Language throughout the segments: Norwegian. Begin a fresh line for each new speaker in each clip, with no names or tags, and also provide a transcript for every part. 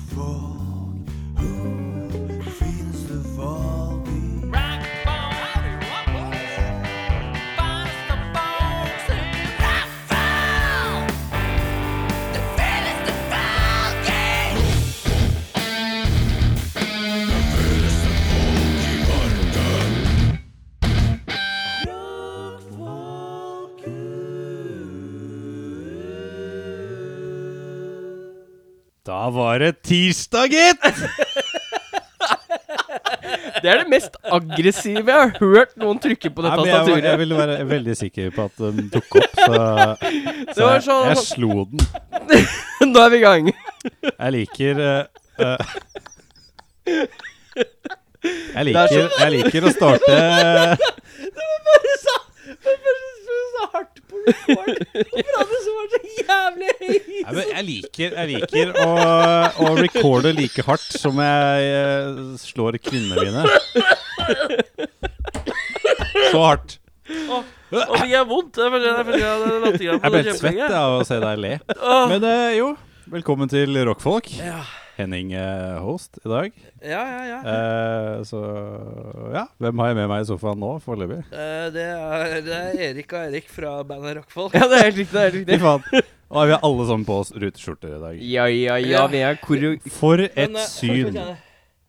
folk? Who finnes det folk i?
Da var det tirsdag, gitt!
Det er det mest aggressive jeg har hørt noen trykke på det
Nei, men jeg, var- jeg
tastaturet.
ville være veldig sikker på at den dukket opp, så, så
var
jeg,
sånn-
jeg slo den.
Nå er vi i gang.
Jeg liker eh, eh, jeg,
er sånn-
liker, jeg liker å starte Nei, men Jeg liker, jeg liker å, å recorde like hardt som jeg eh, slår kvinnene mine. Så hardt.
Nå fikk jeg vondt. Det er første det er første gang jeg hadde latterkrampe
Jeg
på
ble
det
helt svett
kjempelenge.
jeg, av å se deg le.
Åh.
Men eh, jo, velkommen til Rockfolk. Henning eh, host i dag.
Ja, ja, ja.
Eh, så ja, hvem har jeg med meg i sofaen nå foreløpig?
Eh, det, er, det er Erik og Eirik fra bandet Rockfolk.
Ja, det er helt riktig. det er helt
Fy
riktig
faen. Og vi har alle sammen på oss ruteskjorter i dag.
Ja, ja, ja, vi er koreo...
For
Men,
et
eh,
syn.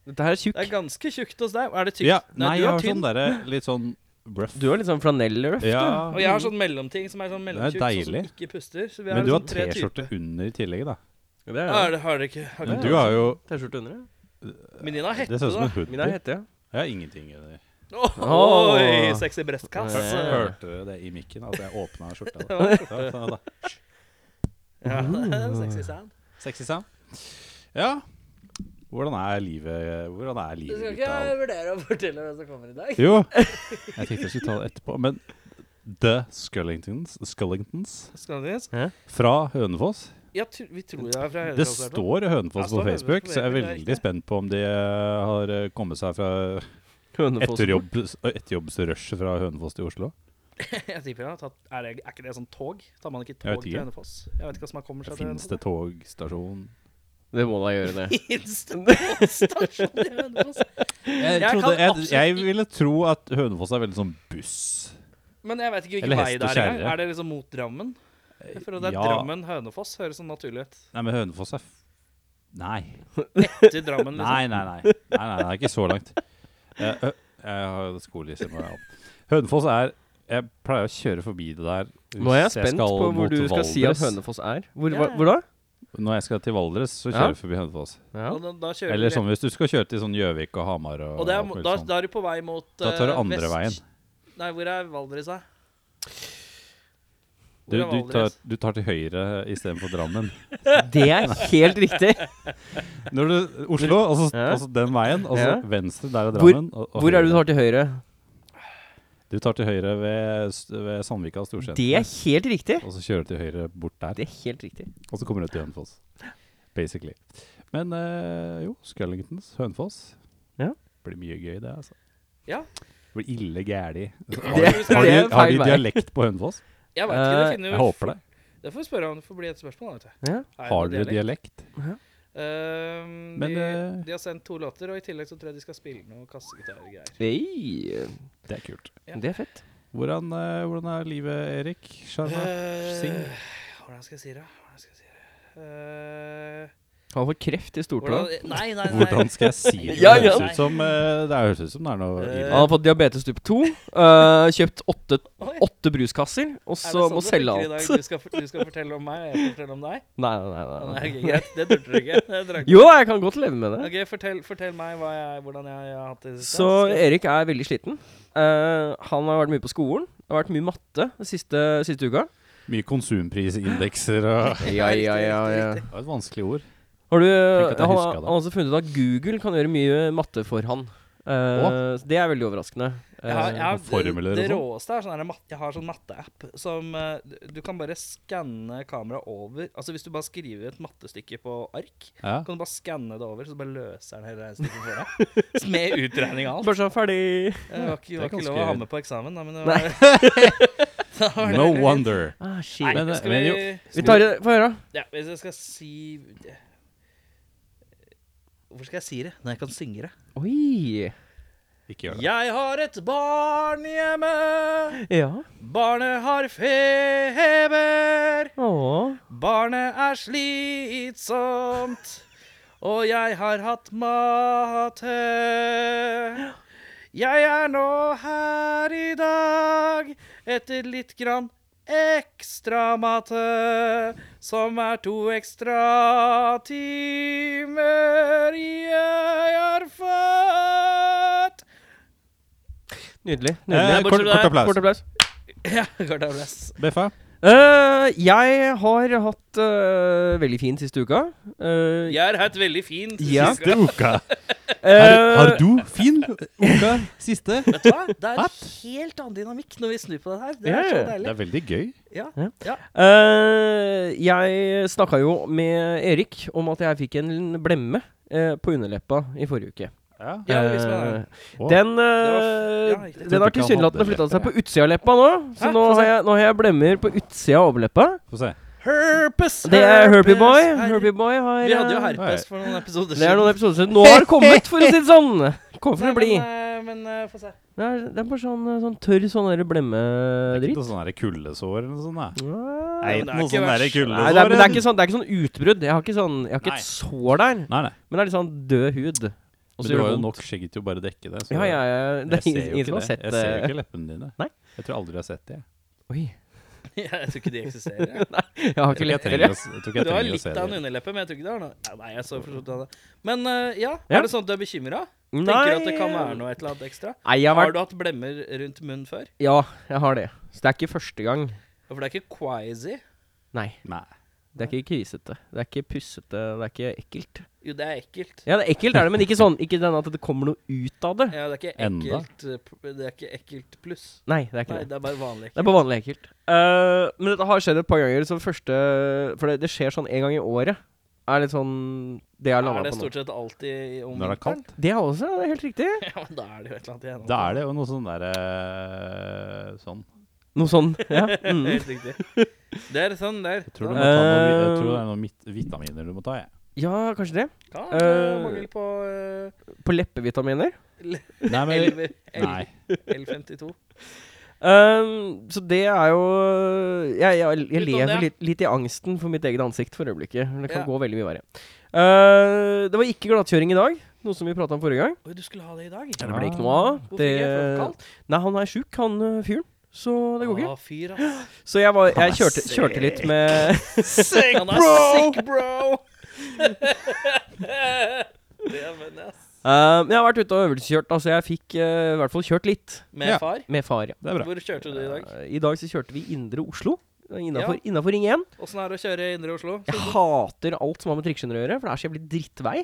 Dette her er
Det er
tjukk.
ganske tjukt hos deg. Er det tykt?
Ja,
nei,
nei,
du
jeg
er
har
tynn.
sånn derre litt sånn bruff.
Du har litt sånn flanellrøff.
Ja.
Og jeg har sånn mellomting som er sånn mellomtjukt, sånn som
deilig.
ikke puster. Så vi
Men du har
sånn tre
T-skjorte
typer.
under i tillegg, da.
Det
Ja,
er det.
det har dere ikke. Har
Men
ikke
du har jo
T-skjorte under. ja.
Men din har hette,
Det ser ut som
da.
en hoodie.
Min er hette, ja.
Jeg har ingenting i det.
Oi,
Åh.
sexy brystkass.
Ja.
Hørte dere det i mikken? At jeg åpna skjorta? da?
Ja,
Ja, Mm. sånn, da.
Ja, det er en sexy sound.
Sexy sound. Ja. Hvordan er livet Hvordan er
Du skal
livet ditt?
ikke
Al?
vurdere å fortelle hvem som kommer i dag.
Jo. Jeg tenkte jeg skulle ta det etterpå, men The Scullingtons, Scullingtons
Skandinavisk?
fra Hønefoss.
Ja, tr- vi tror det er fra
Det
Hønefoss, hvertfall.
står Hønefoss
Ja,
på
står Hønefoss på
Facebook, så jeg er
Facebook, det er
veldig
riktig.
spent på om de eh, har eh, kommet seg fra
Hønefoss.
etterjobbs- etterjobbsrushet eh, fra Hønefoss til Oslo.
Jeg tipper han har tatt er, det, er ikke det sånn tog? Tar man ikke
Jeg
tog
vet
til
ikke.
Hønefoss? Jeg vet ikke hva som har kommer seg til
Fins det togstasjon?
Det må da gjøre det.
Fins det togstasjon i Hønefoss?
Jeg,
Jeg
trodde,
kan
jeg,
absolutt
jeg
ikke-
ville tro at Hønefoss er veldig sånn buss.
Men jeg vet ikke
Eller
hvilken vei
hest
det
og
er engang.
kjerre.
Er det liksom mot Drammen? Jeg føler det er
Ja.
Drammen Hønefoss. Høres sånn naturlig ut.
Nei, men Hønefoss er f Nei.
Etter Drammen, liksom.
Nei, nei, nei. nei, nei, nei det er ikke så langt. Jeg, ø- jeg har skolisse på meg. Hønefoss er Jeg pleier å kjøre forbi det der.
Nå er jeg
hvis
spent
skal
på hvor
mot
du skal si at
Valdres.
Hønefoss er. Hvor,
Ja,
hva,
ja.
hvor da?
Når jeg skal til Valdres, så
Ja.
kjører jeg forbi Hønefoss.
Ja.
Og da, da kjører
Eller
vi
sånn
rett-
hvis du skal kjøre til sånn Gjøvik og Hamar og,
Og det er,
alt mulig
da,
sånn.
da er du på vei mot
Da tar du
eh,
andre
vest.
veien.
Nei, hvor er Valdres, da?
Du,
Hvor er
du, tar,
Valdres?
du tar til høyre istedenfor Drammen.
Det er helt riktig.
Når du, Oslo, og så
Ja.
og så den veien, og så
Ja.
Altså, venstre, der er
Hvor-
Drammen. og, og
Hvor er det du
høyre.
tar til høyre?
Du tar til høyre ved, s- ved Sandvika og Storsenter.
Det er helt riktig.
Og så kjører du til høyre bort der,
Det er helt riktig.
og så kommer du til Hønefoss. Basically. Men eh, jo, Scullingtons, Hønefoss.
Ja.
Blir mye gøy, det, altså.
Ja.
Blir ille gæli. Har,
Det-
de- har,
det er
de- har de
feil vei.
dialekt på Hønefoss?
Jeg vet ikke, det
Eh,
finner
Jeg
jo
håper det.
Det får vi spørre om. Det får bli et spørsmål, vet du.
Ja.
Er det noe
Har dere
dialekt?
dialekt?
Ehm,
Men,
de,
eh,
de har sendt to låter, og i tillegg så tror jeg de skal spille noe kassegitar og greier.
Ei,
Det er kult.
Ja.
det er fett.
Hvordan, eh, hvordan er livet, Erik? Sjarma?
Eh,
sing.
Hvordan skal jeg si det? Hvordan skal jeg si det? Eh,
Han får kreft i
hvordan,
stortåa.
nei, nei, nei.
Hvordan skal jeg si det?
Ja,
Det
ja.
høres ut som, eh, det høres ut som det er noe
Eh,
Han
ille.
har fått diabetes type 2. øh, kjøpt åtte,
Oi,
åtte bruskasser, og
er
så
det sånn
må
det
selge
funker i dag?
alt.
Du skal, fort- du skal fortelle om meg, og jeg skal fortelle om deg?
Nei, nei, nei.
Ah,
nei,
Nei,
nei.
ok, greit. Det turte du ikke. Det drakk du.
Jo, jeg kan godt leve med det.
Ok, fortell, fortell meg hva jeg, hvordan jeg, har hatt det i det siste.
Så
Skal-
Erik er veldig sliten. Eh, han har vært mye på skolen. Det har vært mye matte den siste, siste uka.
Mye konsumprisindekser og
Ja, ja, ja, ja.
Det var et vanskelig ord.
Har du, eh,
at jeg
han
husker
har
det.
han har også funnet ut at Google kan gjøre mye matte for han. Eh, så det er veldig overraskende. Eh,
Jeg har, jeg har,
noen formler og
det
sånn?
råeste er sånn her, mat- Jeg har sånn matteapp som eh, du- Du kan bare skanne kameraet over. Altså Hvis du bare skriver et mattestykke på ark,
Ja.
kan du bare skanne det over, så bare løser den hele regnestykket for deg. Med utregning og alt. Eh,
Bare sånn ferdig.
Det var ikke, det var
Det er
ikke lov å
ganske-
ha med på eksamen, da, men det var, da var det
No
litt-
wonder.
Ah, shit.
Nei,
Men,
skal
men
vi,
jo-
Vi tar det Få høre.
ja, Hvis jeg skal si Hvorfor skal jeg si det når jeg kan synge det?
Oi!
Ikke gjør det.
Jeg har et barn hjemme.
Ja.
Barnet har feber.
Åh.
Barnet er slitsomt, og jeg har hatt matte. Jeg er nå her i dag etter litt grann ekstra matte, som er to ekstra timer jeg har fått.
Nydelig.
Eh,
nydelig.
kort-
Bortsett fra
kort
deg,
applaus.
Kort applaus.
Ja, godt applaus.
Beffa?
Eh, jeg har hatt eh, veldig fint siste uka. Eh,
Jeg har hatt veldig fint.
Ja.
Vet
Siste uka. Har,
eh,
har du fin uka siste?
du hva? Det er en helt annen dynamikk når vi snur på det her. Det er
Ja,
så
ja.
Det
deilig.
er veldig gøy.
Ja,
Ja.
ja.
Eh, jeg snakka jo med Erik om at jeg fikk en blemme eh, på underleppa i forrige uke.
Ja.
Ja, det visste jeg.
Eh,
Å.
den eh,
Det var f-
den har
ja, riktig.
Trodde ikke han hadde
tilsynelatende flytta
lepper,
seg på utsida av leppa nå. Så
Hæ?
nå
Få se.
har, jeg, nå har jeg blemmer på utsida av overleppa.
Få se.
Herpes!
Det er Herpy Boy.
herpes,
Herpy Boy har
Vi hadde jo
eh,
herpes for noen episoder
Det er noen episoder siden. Nå har det kommet, for å si det sånn! Kom for å bli.
Men, eh, få se.
Det er, det er bare sånn, eh, sånn tørr sånn der blemmedritt.
Ikke noe sånn der kuldesår eller noe sånt? da.
Nei,
Nei,
men det er
noe
ikke
sånn der
verst.
kuldesår.
det er, men det er ikke sånn, det er ikke sånn utbrudd. Jeg har ikke, sånn, jeg har ikke
Nei.
et sår der.
Nei, nei.
Men det er litt sånn død hud. Og
Men
så
det
gjør
var jo
det vondt.
nok skjegg til å bare dekke det. så-
Ja, ja, ja.
Jeg
Det er
ser
ingen,
jo ikke
ingen som har
det.
sett
Jeg ser jo
det.
ikke leppene dine.
Nei.
Jeg tror aldri jeg har sett det. jeg.
Oi.
Jeg tror ikke de eksisterer.
Jeg
jeg.
har
Jeg tror
ikke
ikke jeg
lett
trenger å
heller.
s- jeg tror ikke jeg
Det
trenger
var
å
litt
se
av en
det.
underleppe, men jeg tror ikke det var noe Nei, jeg så forstått det. Men eh, ja,
Ja.
er det sånn at du er bekymra? Tenker at det kan være noe et eller annet ekstra?
Nei, jeg har
Har
vært
du hatt blemmer rundt munnen før?
Ja, jeg har det. Så det er ikke første gang.
For det er ikke quazy.
Nei.
Nei.
Det er ikke krisete. Det er ikke pussete. Det er ikke ekkelt.
Jo, det er ekkelt.
Ja, det er ekkelt er det, men ikke sånn Ikke den at det kommer noe ut av det.
Ja, det er ikke
Enda.
ekkelt eh, p- Det er ikke ekkelt pluss.
Nei, det er ikke
Nei,
det.
det er bare vanlig.
Det er bare vanlig ekkelt. Eh, men dette har skjedd et par ganger. Så første For det, det skjer sånn en gang i året. Er litt sånn Det jeg har
Er
landa
det
på nå.
stort sett alltid
Når
om
det er
vinteren?
kaldt.
Det er også det er helt riktig.
Ja, men da er det jo et eller annet igjen.
Da er det jo noe sånn derre Sånn.
Noe sånn. Ja. Mm.
Helt riktig. Det er sånn der.
Jeg tror, du må
Da
ta noen, vi- jeg
Eh.
tror det er noen mit- vitaminer du må ta, jeg.
ja, kanskje det.
kan det være
Eh,
mangel på eh,
På leppevitaminer.
Nei, men
L- L-
Nei.
L52.
Ehm, så det er jo Jeg, jeg, jeg
Utenom
lever
det.
litt, litt i angsten for mitt eget ansikt for øyeblikket. men Det kan
Ja.
gå veldig mye verre. Eh, det var ikke glattkjøring i dag, noe som vi prata om forrige gang.
Oi, du skulle ha det i dag? Ah,
Det ble ikke noe av.
Hvorfor
Det,
ikke? For det var kaldt?
nei, han er sjuk, han øh, fyren. Så det går ikke.
Å, fyr, ass.
Så jeg, var, jeg
er
kjørte, kjørte litt med
Sick, Han er sick, bro! det er men, ass.
Ehm, Jeg har vært ute og øvelseskjørt, altså jeg fikk eh, i hvert fall kjørt litt
Med
Ja.
far?
med far. Ja.
det er bra.
Hvor kjørte du i dag?
Eh, I dag så kjørte vi Indre Oslo. Innafor
Ja.
innafor Ring 1.
Åssen er det å kjøre i Indre Oslo?
Jeg hater alt som har med trikkeskinner å gjøre, for det er så jævlig drittvei.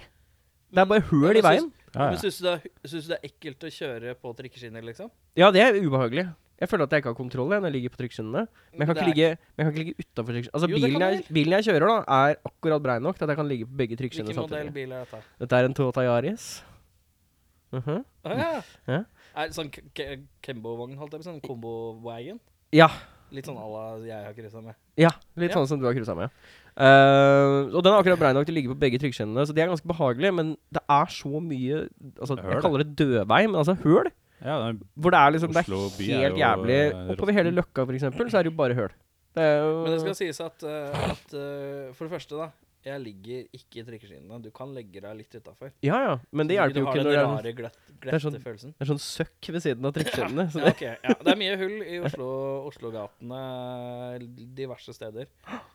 Det er bare høl i
Men
veien.
syns-
Ja,
Men
ja.
Syns du, det er- syns du det er ekkelt å kjøre på trikkeskinner, liksom?
Ja, det er ubehagelig. Jeg føler at jeg ikke har kontroll jeg, når jeg ligger på trykkskyndene. Men jeg kan ikke
Det er-
ligge, men jeg kan ikke ligge utafor trykkskyndet. Altså,
Jo, det
bilen,
kan du
jeg- bilen jeg kjører, da, er akkurat brei nok til at jeg kan ligge på begge trykkskynner
Hvilken modell
samtidig.
bil er dette?
Dette er en Toyota Yaris. Mhm.
Å, ja.
Ja.
Er det sånn Kembo-vogn, holdt jeg på å si? Sånn Combo-wagon?
Ja.
Litt sånn à la jeg har kryssa med.
Ja, litt
Ja.
sånn som du har cruisa med. Eh, og den er akkurat brei nok til å ligge på begge trykkskinnene, så de er ganske behagelige. Men det er så mye altså, Jeg
Høl.
kaller det dødvei, men altså høl.
ja det er-
Hvor det er liksom
Oslo by
Det er
er
helt
jo,
jævlig.
eh,
Oppover hele Løkka, for eksempel, så er det jo bare høl. Det er jo
Men det skal sies at, eh, at eh, For det første, da. Jeg ligger ikke i trikkeskinnene. Du kan legge deg litt utafor.
Ja ja, men det hjelper jo ikke når
det
det
er
er
den
sånn
rare glett,
er sånn-
glettefølelsen.
Det er sånn søkk ved siden av trikkeskinnene. så
Ja,
det-
ok, ja. Det er mye hull i Oslo, Oslo-gatene diverse steder.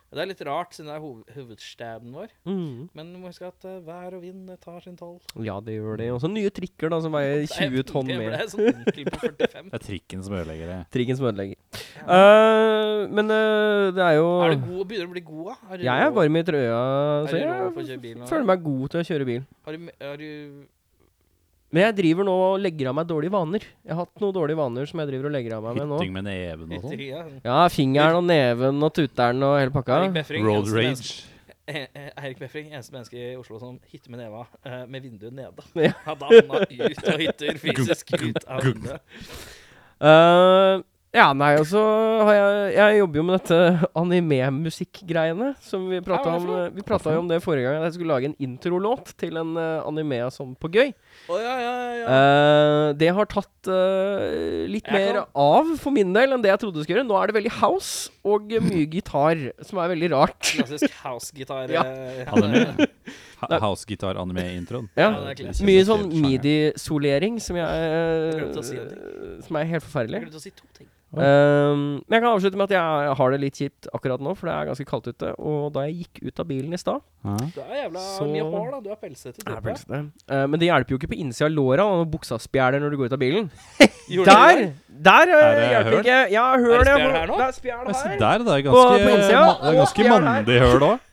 Det er litt rart, siden det er hov hovedstaden vår.
Mm.
Men du må huske at eh, vær og vind tar sin toll.
Ja, det gjør det. Og så nye trikker da, som veier 20 tonn
Det
mer.
ble sånn onkel på 45.
det er trikken som ødelegger det.
Trikken som ødelegger. Eh, men eh, det er jo
Er du god? Begynner du å bli god, da? Er du
Jeg er
rå-
varm i trøya,
er
så
du rå på å
jeg
kjøre bil nå?
føler meg god til å kjøre bil.
Har du, har du
Men jeg driver nå og legger av meg dårlige vaner. Jeg har hatt noen dårlige vaner som jeg driver og legger av meg med nå.
Hytting med neven og sånn.
hytteria?
Ja, fingeren og neven og tuteren og hele pakka.
Erik Befring,
Road
eneste
rage.
menneske- Eh, eh, Erik Befring, eneste menneske i Oslo som hytter med neva eh, med vinduet nede.
Ja.
Han havna ut og hytter fysisk ut av vinduet.
Eh, Ja, nei, og så har jeg Jeg jobber jo med dette anime-musikk-greiene. Som vi prata
Ja, hva er det
om
for noe?
eh, Vi pratet jo om det forrige gang, at jeg skulle lage en introlåt til en eh, anime sånn på gøy.
Å ja, ja, ja, ja.
Eh, det har tatt eh, litt
Jeg
mer
kan-
av for min del enn det jeg trodde det skulle gjøre. Nå er det veldig house og eh, mye gitar, som er veldig rart.
Klassisk housegitar.
Ja.
eh,
Anime. Ha- Housegitar-anime-introen.
Ja,
Ja, det er klassisk.
Mye sånn
midi
midi-solering som jeg eh,
Jeg glemte å si en
Som er helt
Jeg
forferdelig.
glemte å si to ting.
Oi.
Ehm, men jeg kan avslutte med at jeg har det litt kjipt akkurat nå, for det er ganske kaldt ute. Og da jeg gikk ut av bilen i stad
Du er jævla
Så-
mye hår, da. Du er pelsete. type.
Eh, Men det hjelper jo ikke på innsida av låra og når buksa spjæler når du går ut av bilen.
Gjorde
Der!
du det?
Der eh,
Er det
hjelper
høl?
ikke. Ja, høl
Er det
ja,
spjæl
hvor-
her nå?
Det er spjæl
Se
her.
der, det er
På- på
ganske,
innsida.
ma- det er ganske
Å, fjern her.
mandig høl òg.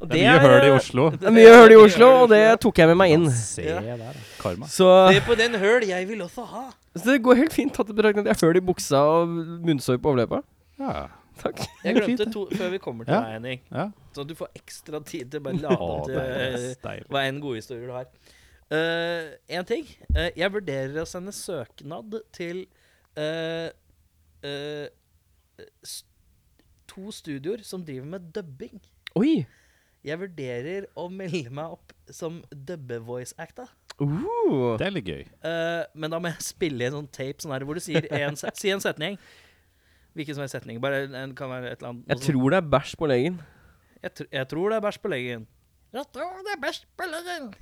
Og
Det er mye høl i Oslo.
Det er mye høl i Oslo, og det tok jeg med meg inn.
Se der, da. Karma.
Så,
Se på den høl jeg vil også ha.
så det går helt fint tatt i betraktning at jeg har høl i buksa og munnsår på overleppa.
Ja.
Takk.
Jeg
Det er fint,
glemte to før vi kommer til
Ja.
deg, Henning.
ja.
Sånn at du får ekstra tid til å bare
Å,
lade opp
det er
til
deilig.
hva enn gode historier du har. Én ting. eh, jeg vurderer å sende søknad til eh, eh, s- to studioer som driver med dubbing.
Oi.
Jeg vurderer å melde meg opp som dubbe-voice-acta.
Uh.
Det er litt gøy.
Eh, men da må jeg spille en sånn tape sånn her, hvor du sier en, se- si en setning. Hvilken som helst setning. Bare en- en, kan være et eller annet. noe
Jeg
sånn-
tror det er bæsj på legen.
jeg, tr jeg tror det er bæsj på leggen. Jeg tror det er bæsj på leggen.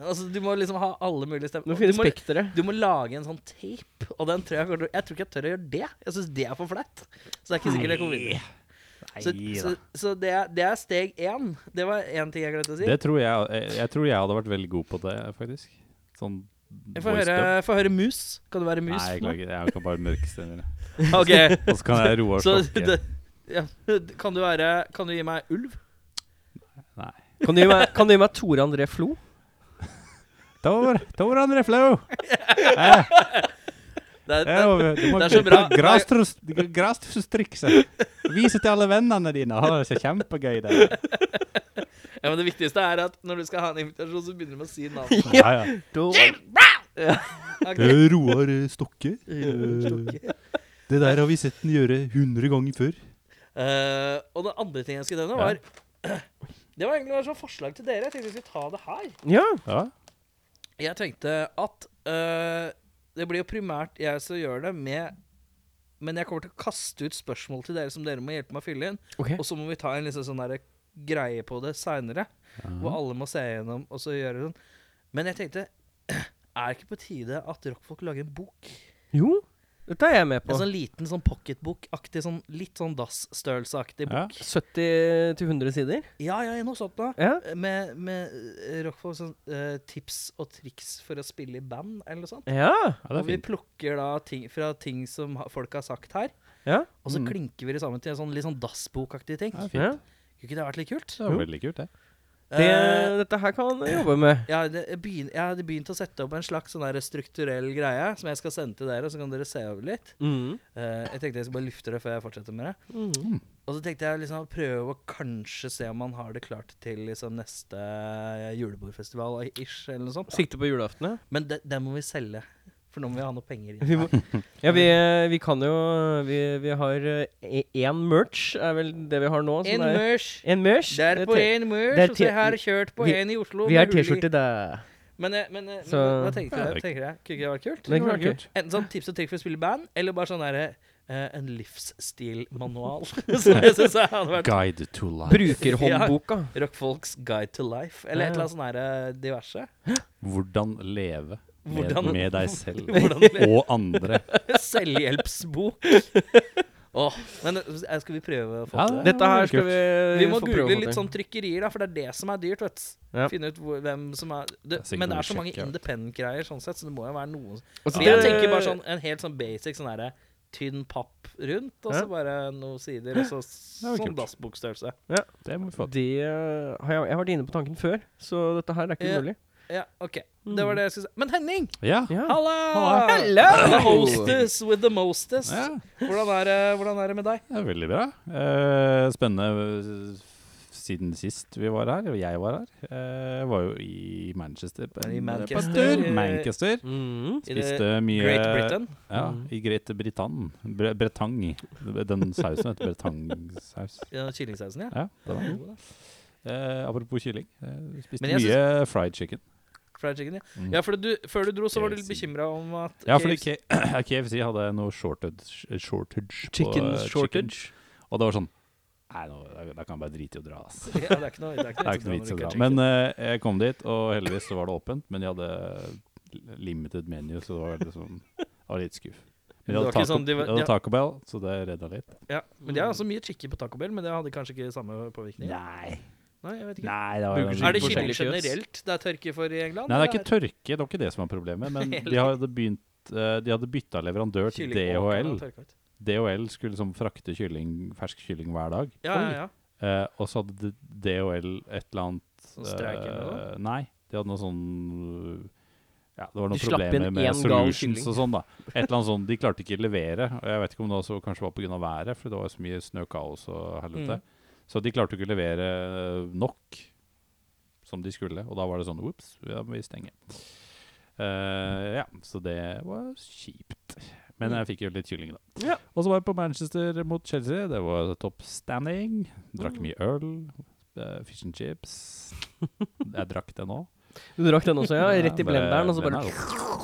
Altså, du må liksom ha alle
Nå
mulige stemmer.
finner
Du må,
spekteret.
du må lage en sånn tape, og den tror jeg kommer til- Jeg tror ikke jeg tør å gjøre det. Jeg syns det er for flaut. Så det er ikke sikkert jeg kommer videre. Så, så, så det, er, det er steg én. Det var én ting jeg glemte å si.
Det tror jeg, jeg, jeg tror jeg hadde vært veldig god på det, faktisk. Sånn
Jeg får
voice
høre,
dub.
får høre mus. Kan du være mus?
Nei, jeg
for meg?
klager. Jeg kan bare mørkestemmer. jeg.
Ok.
Og så kan jeg Roar
Så
Stokke.
det, ja. kan, du være, kan du gi meg ulv?
Kan du gi meg, kan du gi meg Tore André Flo?
Tor, Tor André Flau!
Eh.
Det er,
Det er over. Du må
Det er så bra.
Grastrusstrikse. Vise til alle vennene dine. Ha det så kjempegøy der.
ja, men det viktigste er at når du skal ha en invitasjon, så begynner du med å si navnet.
Ja, ja.
Ok.
Eh, Roar Stokke. Eh, Det der har vi sett den gjøre hundre ganger før.
Eh, og den andre tingen jeg skulle nevne, var
Ja.
Det var egentlig bare sånn forslag til dere. Jeg tenkte vi skulle ta det her.
Ja.
Ja.
Jeg tenkte at eh, Det blir jo primært jeg som gjør det, med men jeg kommer til å kaste ut spørsmål til dere som dere må hjelpe meg å fylle inn.
Ok.
Og så må vi ta en liksom sånn der greie på det seinere. Hvor alle må se gjennom og så gjøre sånn. Men jeg tenkte Er det ikke på tide at rockfolk lager en bok?
Jo, dette er jeg med på.
En sånn liten sånn pocketbok-aktig, sånn, litt sånn dass-størrelseaktig
Ja.
bok.
70 til 100 sider.
Ja, ja, noe sånt da
Ja.
Med, med eh, rockfolk sånn eh, tips og triks for å spille i band, eller noe sånt.
Ja.
ja, det
og
er
vi
fint.
plukker da ting fra ting som ha- folk har sagt her,
Ja.
og så
Mm.
klinker vi det sammen til en sånn litt sånn dassbokaktig ting.
Ja, det er
ja.
fint.
Kunne ikke det vært litt kult?
Det var veldig kult, det.
Det,
Eh,
dette her kan jeg jobbe med.
Jeg hadde, jeg begyn, jeg hadde begynt å sette opp en slags sånn der strukturell greie som jeg skal sende til dere, så kan dere se over litt.
Mm.
Eh, jeg tenkte jeg skulle bare lufte det før jeg fortsetter med det.
Mm.
Og så tenkte jeg liksom å prøve å kanskje se om man har det klart til liksom neste eh, julebordfestival-ish eller noe sånt.
Sikte på julaften, ja.
Men det, det må vi selge, for nå må vi ha noe penger
Vi
inn.
må- Ja, vi, eh, vi kan jo Vi, vi har én merch, er vel det vi har nå. som
En
er-
mørs.
En merch.
Der
Det er
på
te-
en
det er
mørs, og
te-
så har jeg kjørt på
vi-
en i Oslo.
Vi
med
har
hull i.
T-skjorte, da.
Men, eh, men, eh, men
Så-
hva tenkte
Ja,
jeg?
det-
Tenker jeg? Kunne ikke det vært kult?
Det kunne vært kult.
Enten sånn tips og trikk for å spille i band, eller bare sånn derre eh, en livsstilmanual. Som jeg syns hadde vært
Guide to life.
Brukerhåndboka.
Rockfolks guide to life. Eller et eller annet sånn her eh, diverse.
Hvordan leve med,
Hvordan-
med deg selv
Hvordan leve.
og andre.
Selvhjelpsbok. Åh, men eh, skal vi prøve å få
Ja,
til det?
Dette her skal
Kult.
vi
Vi må
få prøve å
google
få
litt
til.
sånn trykkerier, da, for det er det som er dyrt. vet du.
Ja.
Finne ut hvor, hvem som er det,
Det er sikkert
Men det
noe
er så mange
sjekke, vet du.
independent-greier, sånn sett, så det må jo være noen
Og så
Men jeg
det-
tenker bare sånn en helt sånn basic sånn derre tynn papp rundt, og så
Ja.
bare noen sider, og så
var kult.
sånn dassbokstørrelse.
Det må vi få til.
Det eh, har jeg, jeg har vært inne på tanken før, så dette her er ikke
Ja.
mulig. Mm.
Ja, OK. Det var det jeg skulle si. Men Henning!
Ja.
Ja.
Halla!
Hello!
The hostess with the mostest. eh,
ja.
Hvordan, er, det- hvordan er det med deg?
Det er veldig bra. Eh, spennende siden sist vi var her, og jeg var her, eh, var jo i Manchester. på
I
en-
Manchester,
på en tur.
eh,
Manchester.
Mm.
I det
Spiste mye
Great Britain.
Ja,
Mm.
i Great Britann. Bre Bretang. Den sausen heter bretangsaus.
Ja, Kyllingsausen, ja.
Ja, det var
Ja,
den.
god da.
Eh, apropos kylling. Eh, spiste
Men jeg
mye fried chicken.
Fried chicken, ja.
Mm.
ja for du, før du dro, så var du litt
KFC.
bekymra om at
Ja, fordi K KFC hadde noe shortage, shortage på,
Chicken
eh,
shortage.
Og det var sånn Nei, nå, da- da kan jeg bare drite i å dra, ass.
Ja, det er ikke noe, det er
Det
ikke
er
noe
ikke noe vits i å
drama,
dra.
det er
Men
ikke-
eh, jeg kom dit, og heldigvis så var det åpent. Men de hadde limited menu, så det var liksom Jeg var litt skuff. Men
Det
de
var
hadde,
ikke
taco,
sånn, de var-
de hadde
ja.
Taco Bell, så det redda litt.
ja, men de har også mye chicken på Taco Bell, men det hadde kanskje ikke samme påvirkning?
mm. Nei,
Nei, jeg vet ikke.
nei det var
Burger
Er det
Forskjellig
kylling
fjøs.
generelt det er tørke for i England?
Nei, det er
eller
ikke tørke. Det var ikke det som var problemet. Men de hadde begynt eh, De hadde bytta leverandør til
Kyllingåkeren
DHL.
har tørka ut.
DHL skulle liksom frakte kylling, fersk kylling hver dag.
Ja, ja, ja.
Eh, og så hadde d- DHL et eller annet
Sånn streik eller noe?
eh, Nei, de hadde noe sånn ja, Det var
De
noen
slapp
problemer
inn
med
én gal
solutions
kylling.
og sånn. da Et eller annet sånn, De klarte ikke å levere. Og Jeg vet ikke om det også kanskje var pga. været, for det var så mye snøkaos og helvete.
Mm.
Så de klarte ikke å levere eh, nok som de skulle. Og da var det sånn Ops, da må vi stenge. Eh, ja, så det var kjipt. Men
Mm.
jeg fikk jo litt kylling, da.
Ja.
Og så var jeg på Manchester mot Chelsea. Det var topp standing. Drakk
Mm.
mye øl. eh, Fish and chips. Jeg drakk det nå.
Du drakk den også, ja? Rett i blenderen, og så bare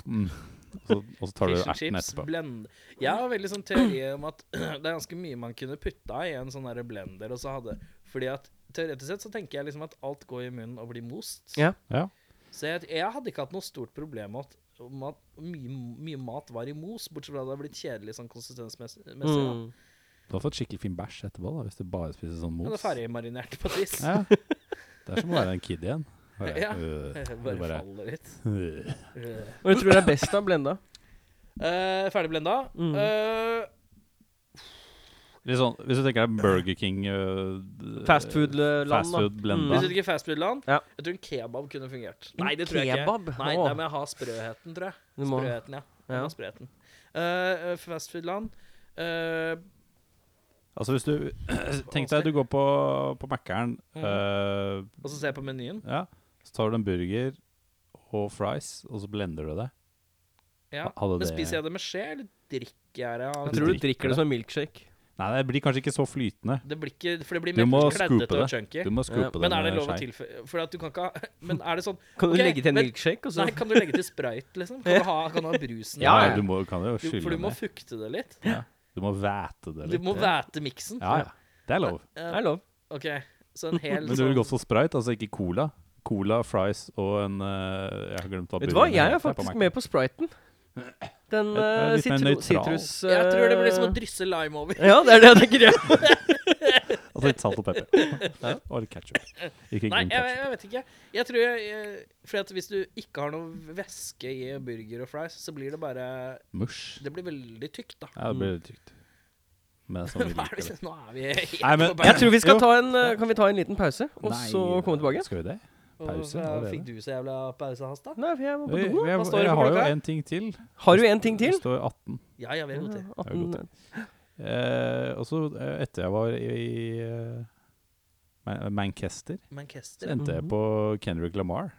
Mm. Og så- Og så tar du
Fish and
erten
chips,
etterpå.
blend. Jeg har veldig sånn teori om at det er ganske mye man kunne putta i en sånn der blender. Og så hadde, fordi at Teoretisk sett så tenker jeg liksom at alt går i munnen og blir most.
Ja.
Ja.
Så jeg, jeg hadde ikke hatt noe stort problem med at, om at mye, mye mat var i mos, bortsett fra at det hadde blitt kjedelig sånn konsistensmessig. messig, da.
mm.
Du har fått skikkelig fin bæsj etterpå da, hvis du bare spiser sånn
Men det
mos.
er ferdigmarinert på et vis.
Ja. Det er som å være en kid igjen. Bare,
Ja.
øh,
Det
det
bare
bare-
faller litt.
øh.
Øh.
Hva tror du er best av blenda?
Eh, Ferdigblenda.
Mm.
Eh,
Litt sånn, hvis du tenker deg Burger King øh, d-
Fastfood-land, da.
fast food blenda.
hvis Mm. du ikke fastfood-land,
Ja.
jeg tror en kebab kunne fungert.
En
Nei, det tror jeg
kebab?
ikke. Nei,
Åh.
da må jeg ha sprøheten, tror jeg.
Du må
Sprøheten, ja.
Ja.
ja. Sprøheten. Eh, eh, Fastfoodland. Eh,
Altså hvis du Tenk deg du går på, på Mækkern,
Mm.
øh,
og så ser jeg på menyen.
ja, så tar du en burger og fries, og så blender du det.
Ja.
Hadde
Men
det-
spiser jeg det med skje, eller drikker jeg det? av-
Jeg tror du drikker det som en milkshake.
Nei, det blir kanskje ikke så flytende.
Det blir ikke For det blir
Du må
mer
scoope
kleddete og
det.
chunky.
Du må
Ja.
scoope det
Men er det
med
lov å
skei.
tilføye For at du kan ikke ha Men er det sånn
Kan du
Ok,
legge til en
men-
milkshake? Og så?
Nei, kan du legge til sprite, liksom? Kan du ha, kan du ha brusen?
Ja,
Ja,
ja.
du må, kan jo
Du, for
skylle
du må
ned.
fukte det litt.
Ja. Du må væte det
Du
litt.
må væte miksen.
Ja, ja. Det er lov.
Eh,
Det er lov.
OK, så en hel
Men du vil
sånn
gå for sprite, altså ikke cola? Cola, fries og en eh, Jeg har glemt hva
Vet du hva,
burgeren
jeg
heter
er
på
faktisk
Mac.
med på spriten. Den
Jeg er
eh,
litt mer
sitro-
nøytral.
sitrus...
Jeg tror det blir som
eh,
å drysse lime over.
Ja, det er det jeg tenker. ja.
Altså litt salt og pepper. Og litt ketsjup. Ikke
Nei,
grønn
jeg,
ketsjup.
jeg vet ikke. Jeg tror jeg, jeg For at hvis du ikke har noe væske i burger og fries, så blir det bare
Mush.
Det blir veldig tykt, da.
Ja, det blir litt tykt. Men det er sånn vi
Hva
liker
er det?
det.
Nå er vi helt
Nei, men-
på
Jeg
beina.
tror vi skal
Jo.
ta en eh, Kan vi ta en liten pause, og
Nei,
så komme tilbake?
Skal vi det? pause
Hvorfor
allerede.
Mm. eh, Fikk du så jævla pausehast, da?
Nei, for jeg må på
Jeg,
do.
jeg,
Hva står det på
har jo
klokka?
en ting til.
Har du en ting til?
Det står 18.
Ja, ja, vi er gode til.
er jo
18,
Eh, og så eh, etter jeg var i, i eh, Ma- Manchester, så
Manchester.
endte jeg
Mhm.
på Kendrick Lamar.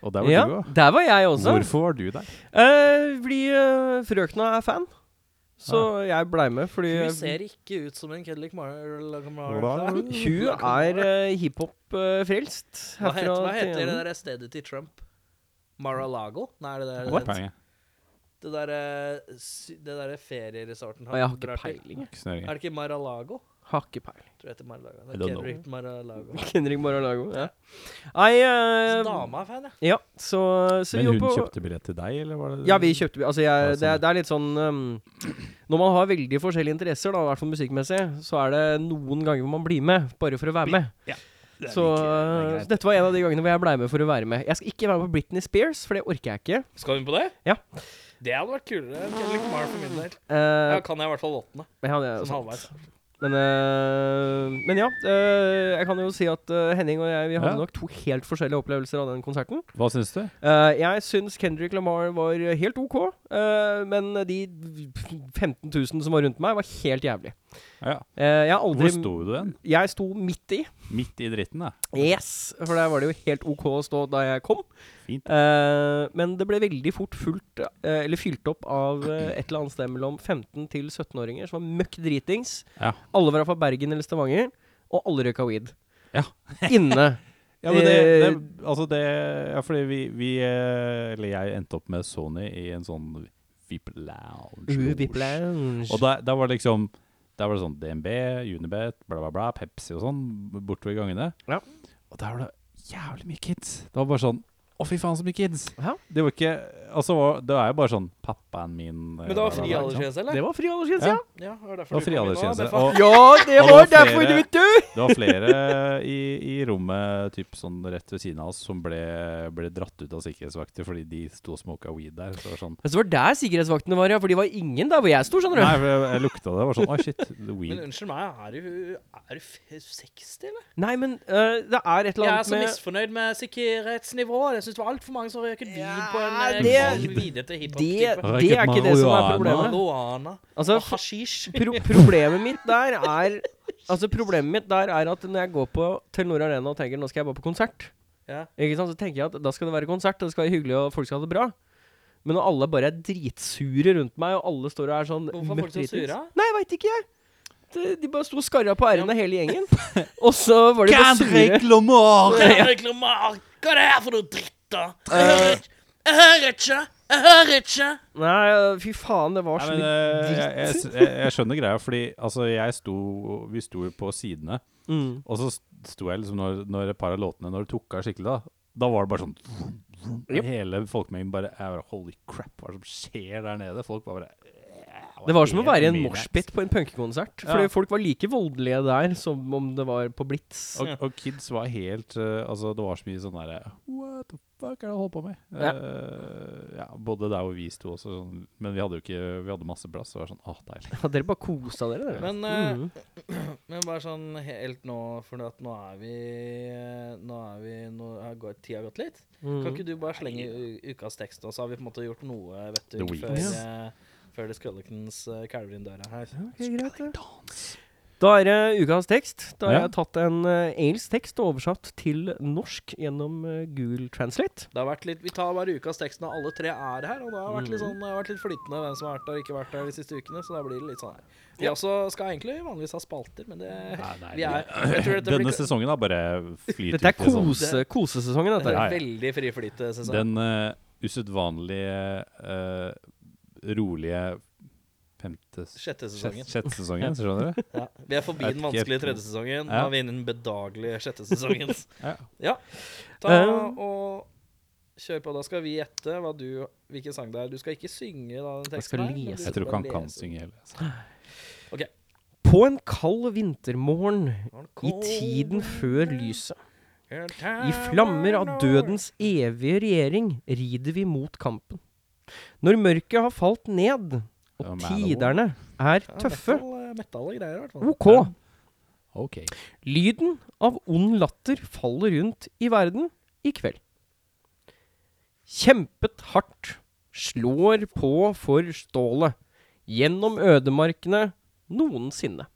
Og der var
ja,
du òg.
der var jeg også.
Hvorfor var du der?
Eh, fordi eh, frøkna er fan. Så jeg blei med fordi
Hun ser ikke ut som en Kedlic Marl...
Hun er eh, hiphop-frelst.
Hva heter, hva heter det der stedet til Trump? Mar-a-Lago? Nei, det der,
What? Poenget.
det der, eh, sy- det der ferieresorten
Jeg har ikke
drar til.
peiling. jeg.
Ikke snøring.
Er det ikke Mar-a-Lago?
Har ikke peiling.
Tror jeg heter Mar-a-Lago.
I
Det
don't
er
know.
Kendrick Mar-a-Lago.
Henrik Mar-a-Lago. Ja. Nei,
Så
eh,
dama er fan, ja.
ja, så, så
Men
vi
hun
var på
kjøpte billett til deg, eller var det
Ja, vi kjøpte Altså, jeg,
Ja, sånn,
det,
ja.
er- det er litt sånn um, Når man har veldig forskjellige interesser, da, i hvert fall musikkmessig, så er det noen ganger hvor man blir med, bare for å være med.
Det er
Så
like- det er
uh,
greit.
dette var en av de gangene hvor jeg blei med for å være med. Jeg skal ikke være med på Britney Spears, for det orker jeg ikke.
Skal hun på det?
Ja.
Det hadde vært kulere enn Kendrick Mar for min del.
Eh,
Ja, kan jeg i hvert fall låtene.
men ja, det er jo
Sånn
sant.
halvveis.
Men, eh, men ja, eh, jeg kan jo si at eh, Henning og jeg Vi hadde
Ja.
nok to helt forskjellige opplevelser av den konserten.
Hva syns du?
Eh, jeg syns Kendrick Lamar var helt OK. Eh, eh, men de 15 000 som var rundt meg, var helt jævlig.
Ja.
Eh, jeg har
Hvor
aldri
sto du hen?
Jeg sto midt i.
Midt i dritten, da.
Yes! For der var det jo helt OK å stå da jeg kom.
Fint.
Eh, men det ble veldig fort fullt, eh, eller fylt opp av eh, et eller annet sted mellom 15 til 17-åringer som var møkk dritings.
Ja.
Alle var fra Bergen eller Stavanger, og alle røyka weed.
Ja.
Inne.
Ja, men det,
Eh,
det Altså, det Ja, fordi vi, vi eh, Eller jeg endte opp med Sony i en sånn VIP-lounge.
Ubi Lounge.
Og da, da var det liksom Der var det sånn DNB, Unibet, bla, bla, bla, Pepsi og sånn bortover gangene.
Ja.
Og der var det jævlig mye kids. Det var bare sånn Å, fy faen, så mye kids!
Ja.
Det var ikke Altså, hva- det er jo bare sånn Pappaen min eh,
Men det var
bla, bla, bla, ikke
fri
sant?
aldersgrense, eller?
det var fri aldersgrense, ja.
Ja, det
Det
var derfor
var fri aldersgrense.
Og
Og
Ja, det
Og det
var
var
derfor,
flere-
vet du!
det var flere i, i rommet typ sånn rett ved siden av oss som ble, ble dratt ut av sikkerhetsvakter fordi de sto og smoka weed der. Så det var sånn
Men så var det der sikkerhetsvaktene var, ja. For de var ingen der hvor jeg sto, skjønner du.
Nei, for jeg, jeg lukta det. Det var sånn Å, shit. the
Men
Weed.
unnskyld meg, er du, er du f- 60, eller?
Nei, men eh, det er et eller
Jeg er
annet
så
med
misfornøyd med sikkerhetsnivået. Jeg syns det var altfor mange som røyket weed
Ja,
på en eh,
det-
kvam videte
det,
hiphop-type.
det er ikke det som er
Marihuana.
problemet.
Marihuana
Altså,
og hasjisj.
Pro problemet mitt der er Altså Problemet mitt der er at når jeg går på Telenor Arena og tenker nå skal jeg bare på konsert,
Ja.
Ikke sant? så tenker jeg at da skal det være konsert, og det skal være hyggelig, og folk skal ha det bra. Men når alle bare er dritsure rundt meg, og alle står og er sånn
Hvorfor er folk så
møkk dritings-
sure?
Nei, jeg veit ikke, jeg. De, de bare sto og skarra på r-ene, hele gjengen. Og så var de bare sure.
reklamer!
Jeg reklamerer. Hva er det her for noe dritt, da?
Eh.
Jeg hører ikke. Jeg hører ikke. Jeg hører ikke.
Nei, fy faen, det var
Nei,
så
men,
mye
eh, jeg, jeg,
dritt.
s- jeg, jeg skjønner greia, fordi altså, jeg sto, vi sto jo på sidene,
Mm.
og så sto jeg liksom når, når et par av låtene Når det tok av skikkelig, da, da var det bare sånn Hele folkemengden bare, jeg bare Holy crap, hva er det som skjer der nede? Folk var bare
Det var som å
helt
være i en
maniacs.
moshpit på en punkekonsert.
Ja.
Fordi folk var like voldelige der som om det var på Blitz.
Og, og kids var helt eh, Altså, det var så mye sånn derre What the fuck er det du holder på med?
Ja.
Eh, ja, både der hvor vi sto også, sånn, men vi hadde jo ikke Vi hadde masse plass, så det var sånn Åh, deilig.
Ja, dere bare kosa dere, dere.
Men, eh,
Mm.
Mhm.
Men bare sånn helt nå, for at nå er vi Nå er vi Nå har gått- tida gått litt. Kan ikke du bare slenge u- ukas tekst, og så har vi på en måte gjort noe, vet du,
The
før,
Weeknd.
eh, før The Skeletons eh, kalver inn døra her.
Da er det ukas tekst. Da har
Ja.
jeg tatt en eh, engelsk tekst og oversatt til norsk gjennom eh, Google Translate.
Det har vært litt, vi tar bare ukas tekst når alle tre er her, og det har vært litt, sånn, det har vært litt flytende hvem som har vært der og ikke vært der de siste ukene, så da blir det litt sånn her. Vi også skal egentlig vanligvis ha spalter, men det Vi er, jeg tror dette
Denne
blir
sesongen da bare flyter
Dette er
ut i sånn-
kose, kosesesongen,
det
dette.
er
Ja, ja.
veldig friflytesesong.
Den eh, usedvanlige eh, rolige femte
Sjette
sjette
sesongen.
sjette sesongen, skjønner du?
Ja. Vi er forbi
Jeg vet
den
ikke
vanskelige
helt-
tredje sesongen.
Ja.
Nå er vi inne i den bedagelige sjette sesongen.
Ja. Eh.
Ja. Ta og kjør på. Da skal vi gjette hva du, hvilken sang det er. Du skal ikke synge da, den teksten
skal
her, men
lese.
du
Jeg tror ikke han
bare
kan
lese.
synge heller. altså.
På en kald vintermorgen
Når den
i tiden før lyset,
kommer-
i flammer av dødens evige regjering, rider vi mot kampen. Når mørket har falt ned,
Det var
og
Manowar.
tiderne er
Ja,
tøffe,
metal- eh, Metal og greier, i hvert fall.
OK.
OK.
Lyden av ond latter faller rundt i verden i kveld. Kjempet hardt, slår på for stålet, gjennom ødemarkene noensinne.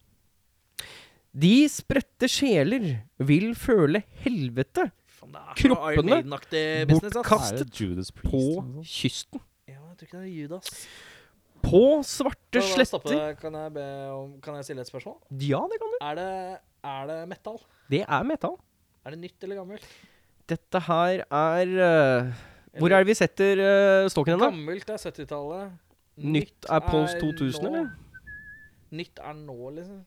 De spredte sjeler vil føle helvete
Faen, det er så Iron
Kroppene
Maiden-aktig business, ass.
bortkast-
Er det Judas Priest? liksom? eller noe
på
sånt?
kysten.
Ja, jeg tror ikke det er Judas.
På svarte
Da- da stopper
sletter
jeg. Kan jeg, be om, kan jeg stille et spørsmål?
Ja, det kan du.
Er det, er det metal?
Det er metall.
Er det nytt eller gammelt?
Dette her er eh, Hvor
Eller-
er det vi setter eh, stokken hen, da?
Gammelt er 70-tallet.
Nytt er Post 2000,
nå.
eller?
Nytt er nå, liksom.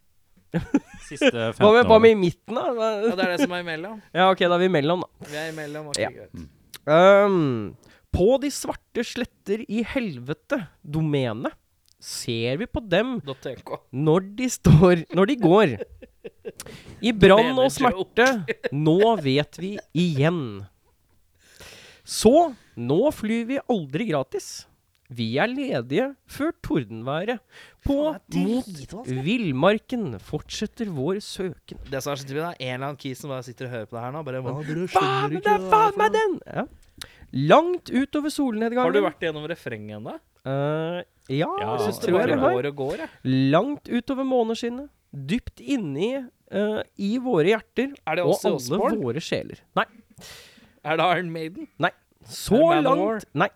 Siste 15
Hva med, hva
årene.
med i midten, da? Hva-
Ja, Det er det som er imellom.
Ja, ok, da er vi imellom, da.
Vi er imellom. ok,
Ja.
greit.
Ehm, på de svarte sletter i helvete, domenet, ser vi på dem
Dot .tk.
når de står Når de går. I brann og
Domenejoke.
smerte, nå vet vi igjen. Så, nå flyr vi aldri gratis. Vi er ledige før tordenværet. På mot villmarken fortsetter vår søken.
Det som er så typisk, det er en eller annen kis som bare sitter og hører på det her nå. Bare, hva,
Faen,
dere skjønner
det
ikke
er
hva
faen
det er
meg den! Ja. Langt utover
for noe?
solnedgangen
Har du vært gjennom refrenget ennå?
Eh, ja,
Ja,
jeg
Jeg syns det
tror
bare
jeg det har.
går og går. Jeg.
Langt utover måneskinnet. Dypt inni eh, i våre hjerter
Er det
og
Ozzy
alle
Osbourne?
våre sjeler. Nei.
Er det Iron Maiden?
Så
Er det Manowar?
langt Nei.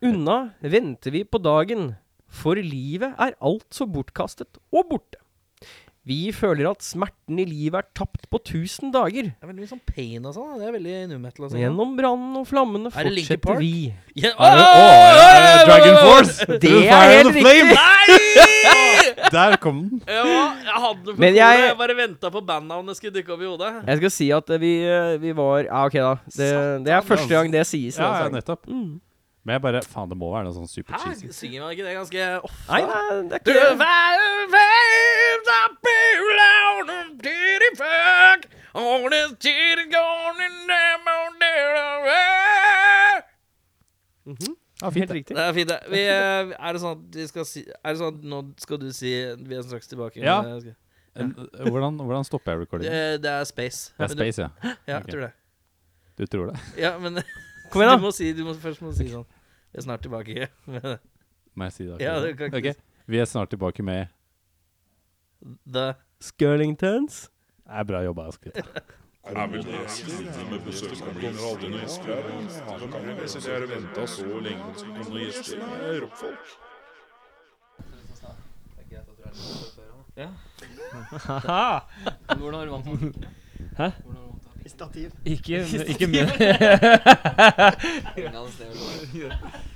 Unna venter vi på dagen, for livet er alt så bortkastet og borte. Vi føler at smerten i livet er tapt på tusen dager.
Det er veldig mye sånn pain og sånn. da. Det er veldig nu metal og sånn.
Gjennom brannen og flammene
Er det Linkin Park?
fortsetter vi.
Ja,
Er det, å, er det Dragon Force!
Det
Through
er
fire
helt
and the flame! Der kom den.
Ja, jeg hadde det på
Men
bordet.
jeg-
Jeg... bare venta på bandnavnet skulle dukke opp i hodet.
Jeg skal si at eh, vi, eh, vi var Ja, ok, da. Det, det er
altså.
første gang det sies. altså.
Ja,
Mm. i denne
ja,
sangen.
nettopp. Men jeg bare Faen, det må være noe sånn super
Hæ?
cheesy.
Synger man ikke det ganske ofte?
Nei, nei, det
Du
er ikke
fire flames up here loud and titty fuck On this titty gone in them on there
Ja, fint.
Mhm. helt
det.
riktig.
Det er fint, det. Vi, eh, er det sånn at vi skal si Er det sånn at nå skal du si Vi er straks tilbake?
Ja.
Eh, skal-
En- eh, Hvordan, hvordan stopper jeg recordingen?
Eh, Det er space.
Det er
Men du-
space, ja.
Ja, jeg
ok.
tror det.
Du tror det?
Ja, men
Kom igjen,
Du
da.
må si, du må, først må du si sånn Vi er snart tilbake.
Må jeg si det? akkurat?
Ja, du kan ikke
Ok. Vi er snart tilbake med
The
Skirlingtons.
Det er bra jobba, Askvitt.
Ikke, ikke med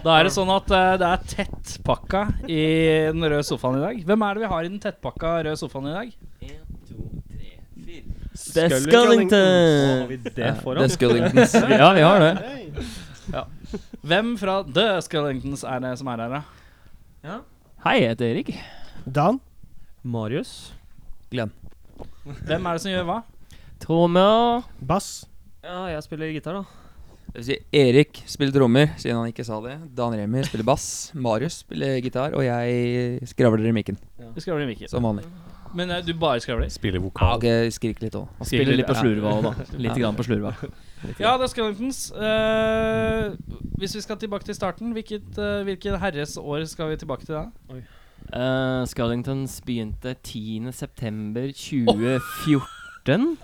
Da er det sånn at eh, det er tettpakka i den røde sofaen i dag. Hvem er det vi har i den tettpakka røde sofaen i dag?
Det er Scullington!
Det
Det er Scullingtons. Ja, vi har det.
Hvem fra The Skellingtons er det som er her, da?
Hei, jeg heter Erik.
Dan?
Marius.
Hvem er det som gjør hva?
Trommer.
Bass?
Ja, jeg spiller gitar, da. Det vil si Erik spiller trommer, siden han ikke sa det. Dan Remi spiller bass. Marius spiller gitar, og jeg skravler i mikken,
Du skravler i mikken.
som vanlig.
Men eh, du bare skravler?
Spiller
Ja,
vokal.
ok, jeg skriker litt òg.
Spiller litt på slurva
òg, da. Litt grann på slurva.
Ja, The Skellingtons. eh, hvis vi skal tilbake til starten, hvilket, eh, hvilket herres år skal vi tilbake til da?
Uh, Scullingtons begynte 10.9.2014.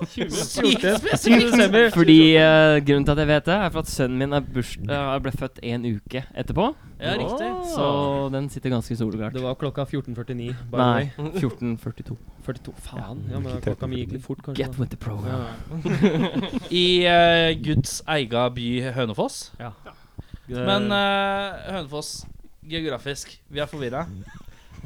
14.
Fordi eh, Grunnen til at jeg vet det, er for at sønnen min er burs eh, ble født en uke etterpå.
Ja, riktig.
Så den sitter ganske soleklart.
Det var klokka 14.49. by the
Nei,
way.
14.42.
42. Faen. Ja, men klokka mi gikk litt fort, kanskje.
Get with the program.
Ja.
I eh, Guds eiga by Hønefoss. Men eh, Hønefoss, geografisk, vi er forvirra.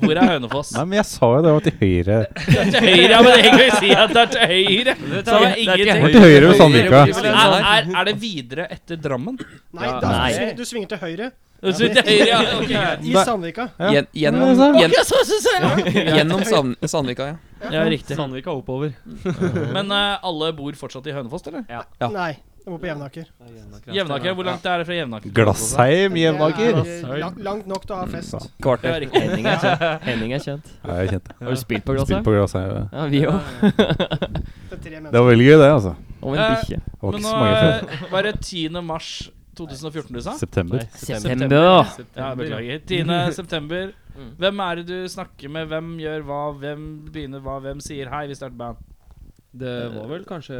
Hvor er Hønefoss?
Nei, men jeg sa jo det var til høyre.
Det er til høyre, ja, men jeg kan jo si at det er til høyre! Så det er ingenting.
Til høyre ved Sandvika.
Er, er, er det videre etter Drammen?
Nei,
Ja.
da,
Nei.
Du, sving- du svinger til høyre.
Så til høyre, ja. ok.
I
Hva-
Sandvika.
Gjen, gjennom gjen, gjennom Sand Sandvika, ja.
Ja, riktig.
Sandvika oppover.
Men eh, alle bor fortsatt i Hønefoss, eller?
Ja.
Nei, jeg bor på Jevnaker.
Jevnaker, hvor langt er det fra Jevnaker?
Glassheim, Jevnaker.
Det er, eh, lang- Langt nok til å ha fest.
Ja,
Kvarter.
riktig.
Henning er kjent. Henning er kjent.
Ja, jeg kjente
Har du spilt på
Spilt
glasset?
på Glassheim. ja.
Ja, vi òg.
Det er tre
Det
mennesker.
var veldig gøy, det, altså.
Om en
Eh,
bikkje.
Det var ikke
Men nå
så mange fra
eh, var det 10. mars 2014 du sa?
september.
September.
Ja, beklager. 10. september.
Mm.
Hvem er det du snakker med? Hvem gjør hva? Hvem begynner hva? Hvem sier hei? Vi starter band.
Det var vel kanskje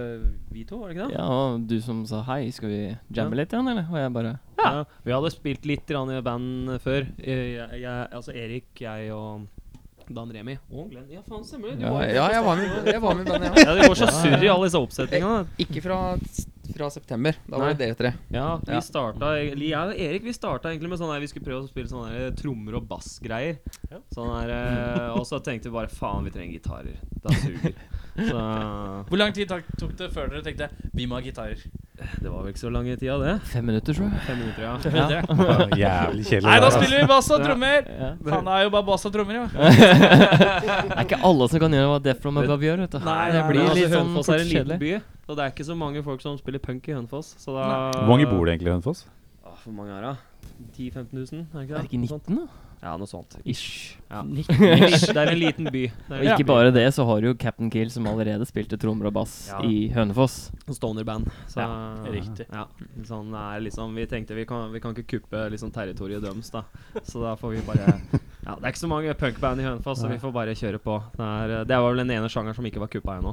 vi to, var det ikke det?
Ja, og du som sa hei, skal vi jamme litt igjen, eller? Og jeg bare
Ja. Vi hadde spilt litt grann i band før. Jeg, jeg, altså Erik, jeg og Dan Remi. Og Glenn. Ja, faen, stemmer det. Du
Ja,
var jo
ja
på
jeg var
festen.
med, jeg var med i bandet, ja.
Ja, det går så surr i alle disse oppsetningene. da.
Ikke fra, fra september. Da var
Nei.
det dere tre.
Ja, vi e-
Ja.
starta eller Jeg og Erik vi starta egentlig med sånn her Vi skulle prøve å spille sånne her eh, trommer og bassgreier. Sånn her eh, Og så tenkte vi bare faen, vi trenger gitarer. Da suger. Så
Hvor lang tid tak- tok det før dere tenkte vi må ha gitarer?
det var vel ikke så lang tid av det.
Fem minutter, tror jeg.
Fem minutter, ja.
Dere?
Jævlig kjedelig.
Nei,
der,
da
altså.
spiller vi bass og trommer!
Ja.
Faen, det er jo bare bass og trommer, jo.
Det er ikke alle som kan gjøre hva Death From Above gjør, vet du.
Nei,
det
nei,
blir
nei,
altså,
litt sånn
Hønefoss
fort
er en liten
kjedelig.
by, og det er ikke så mange folk som spiller punk i Hønefoss. Så da
Hvor mange bor det egentlig i Hønefoss?
Åh, hvor mange er det? 10 000-15 000? Er det ikke
Er det
det?
ikke
Noe sånt.
19, da?
Ja, noe sånt.
Ish.
Ja.
Nick.
Det er en liten by.
Og
Det er
ikke bare det, så har du jo Captain Kill, som allerede spilte trommer og bass
Ja.
i Hønefoss.
en stoner-band. Så
riktig.
Ja, sånn er liksom Vi tenkte vi kan, vi kan ikke kuppe liksom territoriet deres, da. Så da får vi bare Ja, det er ikke så mange punkband i Hønefoss, så vi får bare kjøre på. Det, er, eh, det var vel den ene sjangeren som ikke var kuppa ennå.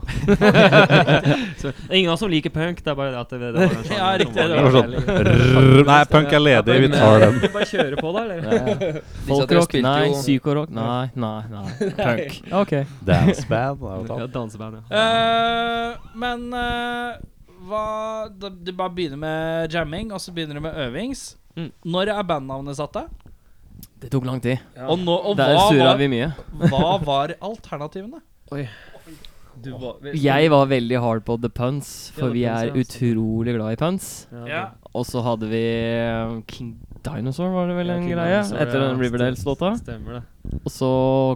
så det er ingen av oss som liker punk, det er bare det at det, det var den sjangeren.
Ja, riktig,
som
det
var
var
litt-
Rrrr, Nei, punk er ledig, vi tar den.
Vi bare kjører på, da, eller?
Disse dere
Folkrock?
spilte
Nei.
jo-
Psykorock? Nei, nei, nei. Punk. OK.
Danceband.
Ja, danseband, ja.
Eh, men eh, hva da- Du bare begynner med jamming, og så begynner du med øvings.
Mm.
Når er bandnavnet satt, da?
Det tok lang tid.
Og, nå, og hva,
Der surra
var,
vi mye.
hva var alternativene?
Du var,
Jeg var veldig hard på The Puns, for
Ja,
vi
The
er
Puns,
utrolig glad i puns.
ja.
Og så hadde vi eh, King Dinosaur, var det vel
Ja,
en
King
greie?
Dinosaur,
Etter
ja,
den Riverdales-låta.
Stemmer det.
Og så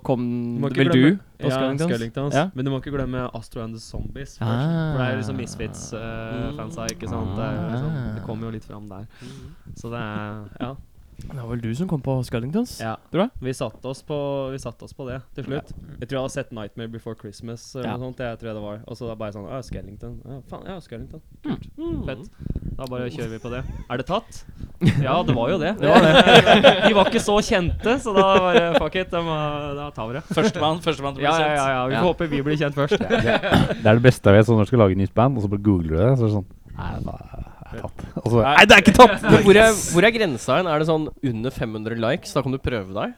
kom
må ikke
vel du
glemme-
på
ja,
Skullingtons?
Skullingtons.
Ja.
Men du må ikke glemme Astro and the Zombies. først,
Ah.
For det er liksom Misfits-fansa, ikke sant. Det, er jo liksom, det kommer jo litt fram der.
Mm.
Så det er Ja.
Det var vel du som kom på Skullingtons?
ja.
Bra.
Vi satte oss på, vi satte oss på det til slutt.
Mm.
Jeg tror jeg hadde sett 'Nightmare Before Christmas' eller
Ja.
noe sånt. Jeg tror jeg det var. Og så det er bare sånn Å, Skellington. Ja, faen, ja, Skellington.
Mm.
Kult. Fett. Da bare kjører vi på det. Er det tatt? Ja, det var jo det. de var ikke så kjente, så da bare fuck it. Da, må- da tar vi det.
Førstemann førstemann til å bli
Ja, ja, ja,
kjent.
ja. Vi får håpe vi blir kjent først.
Det er det beste jeg vet, sånn når du skal lage nytt band, og så bare googler du det, så er det sånn Nei, det er tatt. Og så bare, Altså, Nei, det er ikke tatt!
Men hvor er, hvor er grensa hen? Er det sånn under 500 likes? Da kan du prøve deg?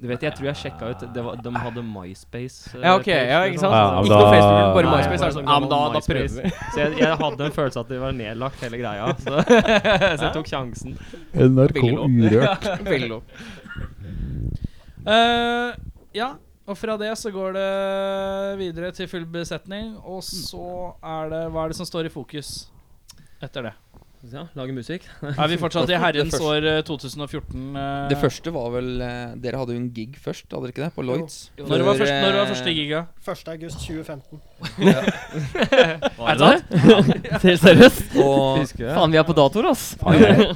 Du vet, jeg tror jeg sjekka ut det var, De hadde MySpace. eh,
Ja, ok,
page
ja,
eller noe
ikke sant?
Ja,
sånt.
ikke noe
da-
Facebook, bare
Nei,
MySpace.
bare
Er det sånn,
sånn
ja, men da,
gammel
da prøver vi.
Så jeg, jeg hadde en følelse at de var nedlagt, hele greia. Så, så jeg tok sjansen.
NRK Urørt.
Veldig lov.
Eh, ja, og fra det så går det videre til full besetning, og så er det Hva er det som står i fokus etter det?
Ja, Lage musikk.
Er vi fortsatt i herrens
Det første-
år eh, 2014? eh,
Det første var vel eh, Dere hadde jo en gig først, hadde dere ikke det? På Lloyds.
Når var,
Hvor,
først, når var
eh,
første giga?
1. august 2015.
Er det sant?
Helt seriøst?
Og
Faen, vi er på datoer, ass.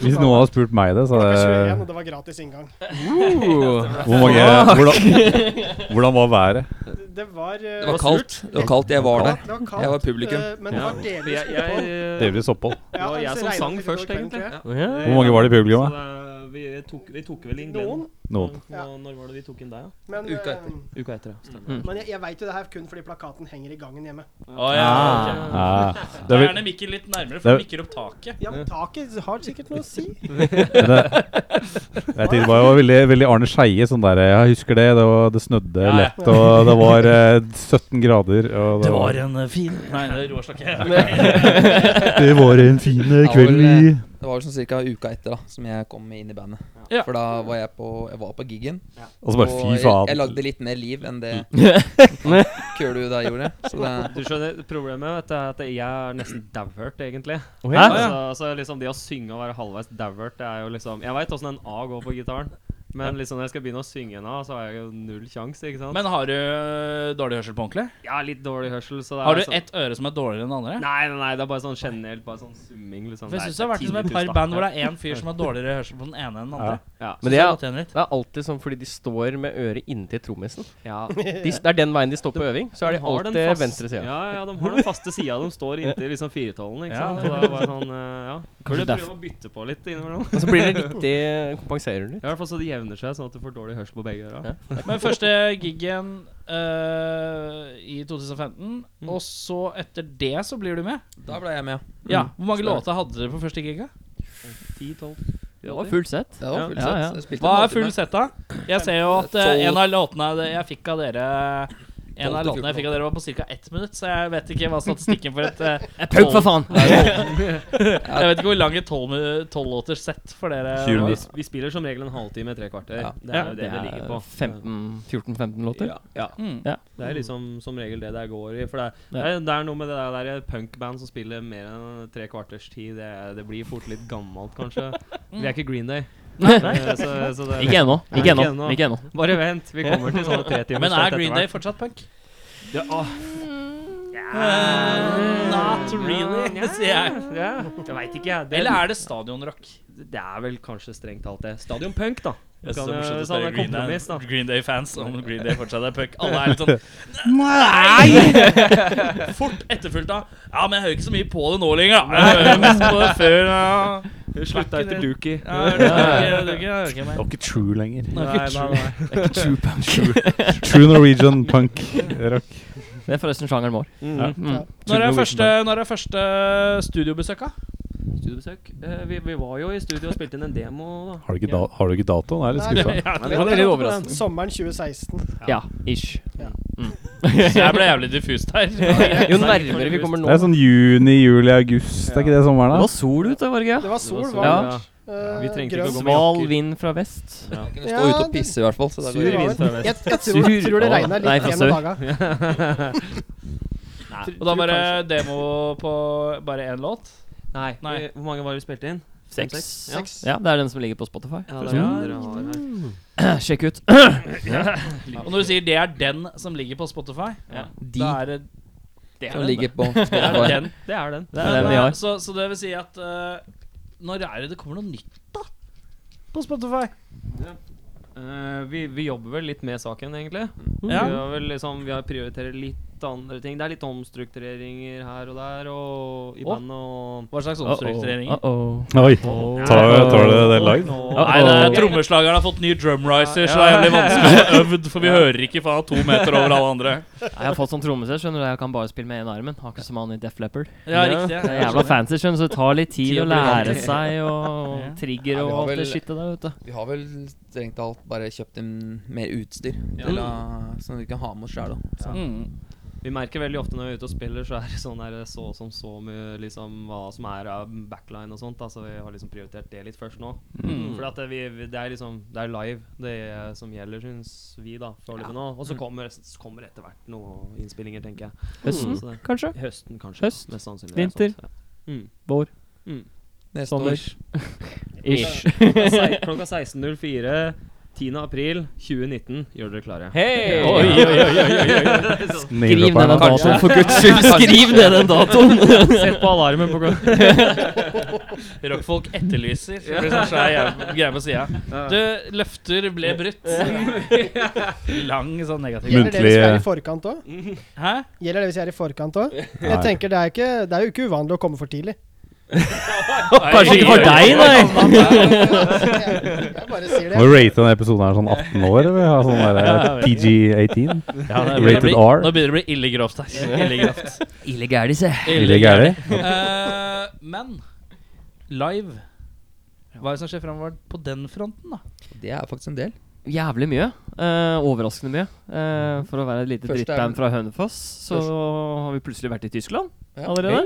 Hvis noen hadde spurt meg det, så
Klokka
hadde
21,
jeg
og det var gratis inngang.
Uh.
Hvor mange Hvordan, hvordan var været?
Det- Det var eh,
det var kaldt. Det var kaldt, jeg var der.
Det var kaldt.
Jeg var publikum.
eh, men det var delvis
Jeg,
opphold.
jeg,
Delvis opphold.
Ja,
det var jeg
altså,
som
regnet
sang
litt i
først,
går kveld,
egentlig.
tror jeg.
Hvor mange var det i
Så
publikummet?
det- vi, tok, vi tok vel inn Glenn.
Noen,
Noen.
Ja.
Nå- Når var det vi tok inn deg, da?
men,
Uka
eh,
Uka etter, ja. Stemmer.
Mm.
men jeg, jeg veit jo det her kun fordi plakaten henger i gangen hjemme.
Å,
Ah,
ja, ok.
Ja.
Det
Ah. Det
er
er
gjerne mikken litt nærmere,
det
for
er-
du mikker opp taket.
Ja, men taket har sikkert noe å si.
Men det, jeg tenkte bare, det var veldig, veldig Arne Skeie. Sånn der, jeg husker det. Det, var, det snødde
Ja, ja.
lett, og det var eh, 17 grader. Og det, var,
en
eh,
fin Nei, det er Roar Stokke.
det var en fin eh,
Ja,
kveld i
vel, Det var vel sånn cirka uka etter da som jeg kom inn i bandet.
Ja.
For da var jeg på Jeg var på gigen.
Og så bare
og
fy
jeg, jeg
faen.
lagde litt mer liv enn det
Mm.
Kølu da gjorde. Så det
Du skjønner, Problemet vet du, er at jeg er nesten dauhørt, egentlig.
Hæ?
Altså, altså liksom Det å synge og være halvveis dauhørt, det er jo liksom Jeg veit åssen en A går på gitaren, men liksom når jeg skal begynne å synge en A, så har jeg jo null sjanse, ikke sant?
Men har du øh, dårlig hørsel på ordentlig?
jeg har litt dårlig hørsel, så det er
Har du
sånn-
ett øre som er dårligere enn det andre?
Nei, nei, nei, det er bare sånn generelt bare sånn summing, liksom.
For jeg synes det har vært som et par band hvor det er én fyr som har dårligere hørsel på den ene enn den andre.
Ja.
Men det er,
Så tjener litt.
det er alltid sånn fordi de står med øret inntil trommisen.
ja.
De, det er den veien de står på øving. Så er de
har den
alltid
fast-
venstre sida.
Ja, ja, de har den faste sida de står inntil liksom firetollen, ikke
Ja.
sant. Så det er bare sånn, eh, ja.
Kanskje
Burde
derfor-
prøve å bytte på litt innimellom.
Og så blir det riktig kompenserer du.
Ja, I hvert fall så det jevner seg, sånn at du får dårlig hørsel på begge øra.
Men første gigen øh, i 2015,
Mm.
og så etter det så blir du med?
Da ble jeg med.
Ja. Hvor mange låter hadde dere på første giga?
10-12
Det var fullt sett.
Det var fullt
Ja,
sett.
ja.
Jeg spilte
Hva
en
er full
halvtime.
sett, da? Jeg ser jo at eh,
Tolv.
en av låtene det- jeg fikk av dere En av
Tolv til
låtene jeg fikk
fjorten.
av dere, var på ca. ett minutt, så jeg vet ikke hva statistikken for et eh,
Pauk, for faen!
Jeg vet ikke hvor lang et tolvlåters sett for dere
Tjue
var.
eh, Vi, vi spiller som regel en halvtime, tre kvarter.
Ja.
Det er jo det det ligger på.
Mm,
14-15 låter.
Ja, ja.
Mm.
Det er liksom som regel det det går i. For det er,
Ja.
det er- det er noe med det der, der punkband som spiller mer enn tre kvarters tid. Det, det blir fort litt gammelt, kanskje. Vi er ikke Green Day. Eh, så, så det,
Ikke ennå.
Ikke
Ikke ennå.
ennå.
Ikke ennå.
Bare vent, vi kommer til sånne tre timer. Mm.
Men er Green Day fortsatt punk?
ja, åh,
not really, sier jeg.
Mm. ja, Jeg veit ikke, jeg. Det-
Eller er det stadionrock?
Det er vel kanskje strengt talt det. Stadion Punk, da.
Jeg
Kan
synes det
jo-
er morsomt
hvis
å
han
spørre
er
Green
kompromiss, da.
Day- Green Day-fans om Green Day fortsatt er punk. Alle er litt sånn Nei! Fort etterfulgt av Ja, men jeg hører ikke så mye på det nå lenger, da. Jeg hører mest på det før. Ja.
Slutta etter Dookie.
Ja, jeg hører ikke- jeg hører ikke- jeg hører ikke mer.
Det var ikke true lenger.
Nei, nei, nei.
True Norwegian punk rock.
Det er forresten sjangeren vår. Mm.
Når er første, når er første studiobesøk, da?
Studiobesøk. Eh, vi, vi var jo i studio og spilte inn en demo, da.
Har du ikke, da, har du ikke dato? Nå er jeg litt skuffa.
Det var veldig overraskende.
Sommeren 2016.
Ja, ish.
Mm. Jeg ble jævlig diffust her.
Jo nærmere vi kommer
Det
nå
er sånn juni, juli, august. Det er ikke det sommeren,
Det
da?
var sol ute, var det ikke?
Det var sol,
Det var
varmt.
sol,
eh,
Vi trengte ikke
grønt.
å gå med
Sval
jakker.
vind fra vest.
Jeg kunne stå ute og pisse, i hvert fall. Så det
Det
går.
var-
vind fra vest.
Jeg, jeg tror,
Sur.
tror det
Nei,
regna litt
fra
gjennom
sør.
daga.
Og da var det demo på bare én låt?
Nei,
Nei.
vi- Hvor mange var det vi spilte inn?
Seks.
Ja.
Ja, det er den som ligger på Spotify.
Ja, det er det dere har her.
Sjekk ut.
Og når du sier det er den som ligger på Spotify,
De
da er det
det
Som ligger på
Det er
Spotify.
den.
Det er den.
Det er den vi har.
Så, så det vil si at eh, Når er det det kommer noe nytt, da? På Spotify?
Eh, vi, vi jobber vel litt med saken, egentlig.
Mm.
Ja.
Vi, har vel liksom, vi har prioriterer litt andre ting. Det er litt omstruktureringer her og der, og i
Å.
bandet og
Hva slags omstruktureringer?
Uh -oh.
Oi. Tar, tar det det live?
Nei, det er Trommeslageren har fått ny drumriser, så det er jævlig vanskelig å få øvd, for vi hører ikke faen to meter over alle andre.
Jeg har fått sånn trommesett, skjønner du. Jeg kan bare spille med én armen. Akkurat som han i Def Leppard.
Ja, riktig.
Det er jævla fancy, skjønner du, så det tar litt tid
Tid
å
å bli vant
lære
til.
seg og trigger
Ja, vi
og
har
alt det
vel-
skittet der, vet du.
Vi har vel strengt talt bare kjøpt inn mer utstyr til, å- som vi kan ha med oss sjæl.
Mm.
Vi merker veldig ofte når vi er ute og spiller, så er det sånn der så som så med liksom hva som er av backline og sånt. da, Så vi har liksom prioritert det litt først nå.
Mm.
For at det, vi, vi, det er liksom Det er live det er som gjelder, syns vi, da, foreløpig nå. Og så
Mm.
kommer, kommer etter hvert noen innspillinger, tenker jeg.
Høsten,
Så det-
kanskje?
altså. Høsten, kanskje.
Høst,
Mest sannsynlig.
vinter.
sånt, ja. Mm.
Vår.
Neste
Sommer.
år.
Ish.
Klokka sei- Klokka 16.04 10. april 2019 gjør dere klare.
Hei!
Oi, oi, oi, oi, oi, oi.
Skriv ned den
Kanskje.
datoen, for guds skyld! Skriv ned den datoen!
Sett på alarmen på klokka
Rockfolk etterlyser. Det blir sånn svær jæv- greie på sida. Du, løfter ble brutt. Lang sånn negativ
Gjelder det hvis vi er
Muntlig-
i forkant òg?
Hæ?
Gjelder det hvis vi er i forkant òg? Jeg
Nei.
tenker det er, ikke, det er jo ikke uvanlig å komme for tidlig.
Kanskje ikke for deg, nei!
Jeg bare sier
Må
det.
du rate denne episoden her sånn 18 år, eller? Ha sånn der PG-18?
Ja, det
Rated
begynner å
R.
bli- Nå begynner det å bli ille grovt her. Ille grovt.
Illegælis, jeg.
Ille gærlig?
Eh, men live Hva er det som skjer fremover på den fronten, da?
Det er faktisk en del.
Jævlig mye. Eh, overraskende mye. Eh, for å være et lite
Først er-
drittband fra Hønefoss, så har vi plutselig vært i Tyskland
Ja.
allerede.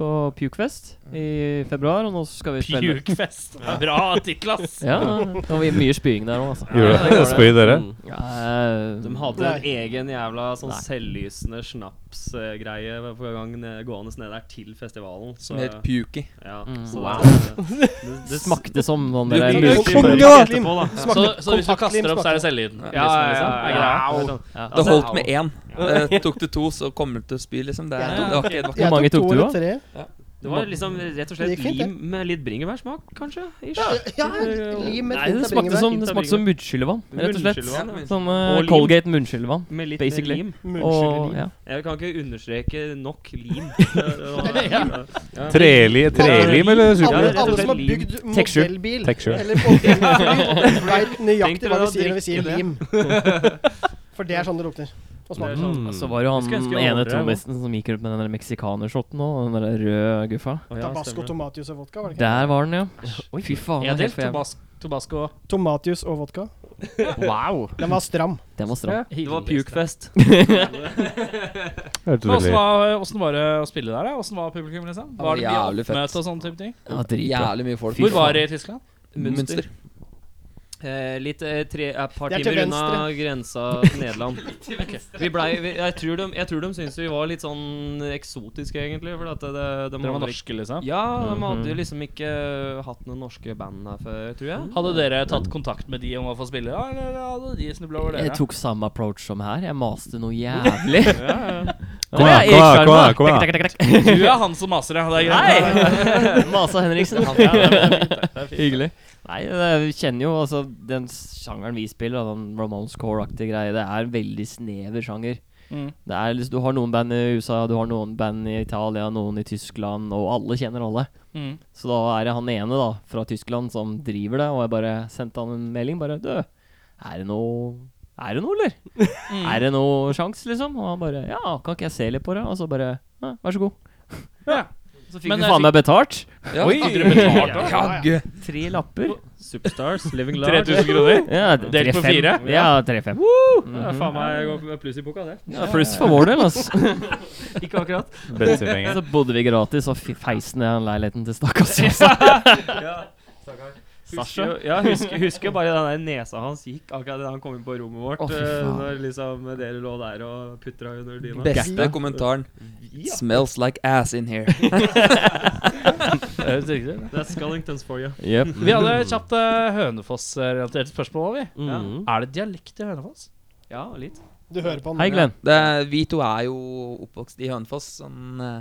På Pukefest i februar, og nå skal vi spille
Pukefest. Det er Bra tittel, ass!
Ja, det var mye spying der òg, altså.
Gjorde det? Spøy dere?
Mm. Ja, eh,
De hadde en egen jævla sånn selvlysende snapsgreie hver gang ned- gående ned der til festivalen. Så,
Som heter Puki.
ja,
Mm.
så
Wow.
det, det, det
smakte som noen
det-
der
det-
lur-
det-
Konge,
det-
da!
etterpå, da.
Så, så hvis du kaster opp, så er det selvlyden?
Ja, ja, ja, ja, ja.
Wow.
Det er sånn-
Ja.
Det holdt med én. Eh, tok det to, så kommer du til å spy, liksom. Det, er, det var ikke det var ikke-
Hvor mange
Jeg
tok du,
to eller
da?
tre.
Det var liksom rett og
Det
slett
gikk fint, det.
lim med litt bringebærsmak, kanskje? Ish. øh,
Ja, lim med
Nei,
fint
det
av
smakte
bringebær.
som, det smakte som munnskyllevann, rett og slett.
Munnskyllevann, ja.
Sånn
Og
eh,
lim.
Colgate munnskyllevann.
Med litt
Basically.
lim.
Og ja.
Jeg kan ikke understreke nok lim. Det var-
Treli, trelim, eller
Ja,
Alle,
det er
superlim?
rett og
alle som har
slett lim.
bygd
Texture.
modellbil
Texture.
eller modellfly, vet nøyaktig hva
dere
vi
å
sier når vi sier
drikke
lim. For det er sånn det lukter. Og
Det er
smaker.
sånn-
Og så var det jo
Jeg skulle
han
ønske jeg
ene
overdrev,
trommisen som gikk rundt med den der meksikanershoten òg, den der røde guffa.
Å, ja,
Tabasco,
stemmer.
tomatjus og vodka, var det ikke?
Der var den, ja. Fy faen. den er
Ja, del
helt for jævlig.
tobas tobasco.
Tomatjus og vodka.
Wow.
Den var stram.
Den var stram.
Det var pukefest.
Hørtes
Men Åssen
veldig
var, åssen var det å spille der? da? Åssen var publikum? liksom? Var det mye
Jævlig fett.
oppmøte og sånne type ting?
Det var dritbra.
Jævlig mye folk.
Hvor var det i Tyskland?
Mønster.
Eh, litt eh, tre, eh, par
Det er til
timer unna grensa til Nederland. vi blei, vi, jeg, tror de, jeg tror de syntes vi var litt sånn eksotiske, egentlig. For at det, det, de
Dere var
hadde ikke-
norske, liksom?
Ja, de hadde jo liksom ikke hatt noen norske band her før, tror jeg.
Hadde dere tatt kontakt med de om å få spille, da, eller hadde de snubla over dere?
Jeg tok samme approach som her. Jeg maste noe jævlig.
Kom igjen, kom igjen, kom igjen, kom igjen.
Du er han som maser, ja. Det er
Hei!
greit.
Masa Henriksen.
Hyggelig.
Nei, jeg kjenner jo altså den sjangeren vi spiller, da, den Ramones Core-aktige greie. Det er en veldig snever sjanger.
Mm.
Det er liksom, du har noen band i USA, du har noen band i Italia, noen i Tyskland, og alle kjenner alle.
Mm.
Så da er det han ene da, fra Tyskland som driver det, og jeg bare sendte han en melding. Bare Du, er det noe Er det noe, eller? Er det noe sjans, liksom? Og han bare Ja, kan ikke jeg se litt på det? Og så bare ja, Vær så god.
Ja.
Så fikk
Men
vi
jeg
faen meg betalt.
Ja, Oi!
Tre lapper.
Superstars, Living Large.
3000 kroner.
Ja,
Delt på
3-5.
fire?
Ja, 3-5.
Det er faen meg jeg går pluss i boka, det.
Ja, pluss for vår del, altså.
Ikke akkurat.
Bensinpenger.
Så bodde vi gratis, og fy- feisen ned den leiligheten til stakkars.
Sasha? Ja, husker, husker bare den der nesa hans gikk akkurat da han kom inn på rommet vårt.
Å, fy
eh,
faen.
når liksom dere lå der og putra under dyna.
Beste kommentaren. Smells like ass in here.
That's Scullingtons for you.
Yep.
Vi hadde et kjapt eh, Hønefoss-relatert spørsmål. Var vi.
Mm.
Er det dialekt i
altså?
Hønefoss?
Ja, litt.
Du hører på han.
Hei, Glenn.
Det er, vi to er jo oppvokst i Hønefoss, sånn eh,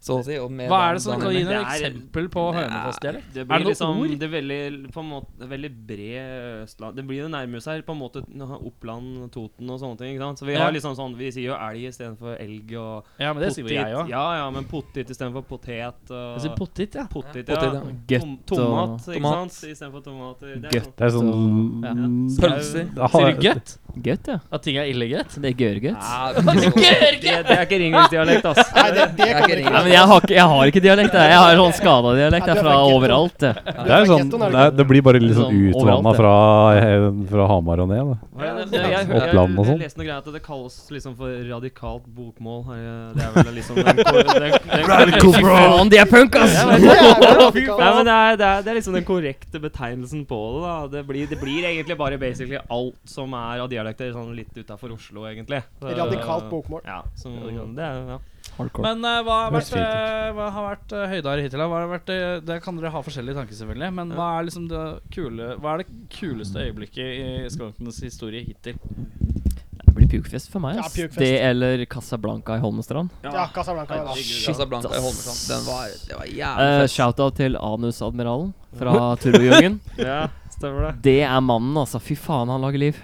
så å si. Og med
Hva er det
Dan-
som
Dan
kan gi
Henning.
deg et
Det er-
eksempel på Hønefoss-dialekt?
Det
Er
blir
det noe
liksom
ord?
Det er veldig, på en måte, veldig bred Østland Det blir jo nærmere seg på en måte Oppland, Toten og sånne ting. ikke sant? Så vi
Ja.
har liksom sånn Vi sier jo elg istedenfor elg og
Ja, men det sier jo jeg òg.
Ja, ja, men potet istedenfor potet. Og
Jeg sier pottit, ja.
potet,
Ja,
ja.
potet, ja.
Gøtt og-
Tom, tomat, ikke
Tomat.
sant? Istedenfor tomater. Det er
Gøtt.
sånn-
Det er sånn
Ja.
Pølser.
Da har-
Sier du gøtt?
Gøtt, ja.
At ting er illegøtt?
Så det er gørgøtt.
Ja, det er ikke så-
Det, det er ikke ringviksdialekt, ass.
Nei, det, det
Jeg er
kan
ikke
du
ringere.
ikke.
Nei, men jeg har ikke, jeg har ikke dialekt. Jeg, jeg har sånn skada dialekt. Det er fra overalt. Det.
Det er sånn Det, er, det blir bare litt sånn
Sånn overalt,
utvanna
det.
fra, eh, fra Hamar og ned, da.
Ja, det,
Ja,
jeg, jeg, jeg,
Oppland og sånn.
leste noe greier at det kalles liksom for radikalt bokmål. her, Det er vel liksom den, ko- den, den,
Fy faen, de er punk, ass!
Nei, men det er, det, er, det er liksom den korrekte betegnelsen på det. da Det blir, det blir egentlig bare basically alt som er av dialekter sånn litt utafor Oslo, egentlig. Så-
Radikalt bokmål.
Ja, så det er, ja.
Hardcore.
Men eh, hva, har
Høres
vært,
fint ut.
eh, hva har vært eh, høyder hittil? da? Hva har vært, eh, det kan dere ha forskjellige tanker, selvfølgelig. Men hva er, liksom det, kule, hva er det kuleste øyeblikket i Skankenes historie hittil?
Det blir pukefest for meg.
Ja,
Ass.
pukefest.
det eller Casablanca i Holmestrand.
Ja, Casablanca.
Ja,
Ja,
Casablanca i
ass.
Holmestrand. Den var, det var
Eh,
jævlig fett.
Shout-out til Anus-admiralen fra Turbojungen.
ja, stemmer det.
Det er mannen, altså. Fy faen, han lager liv.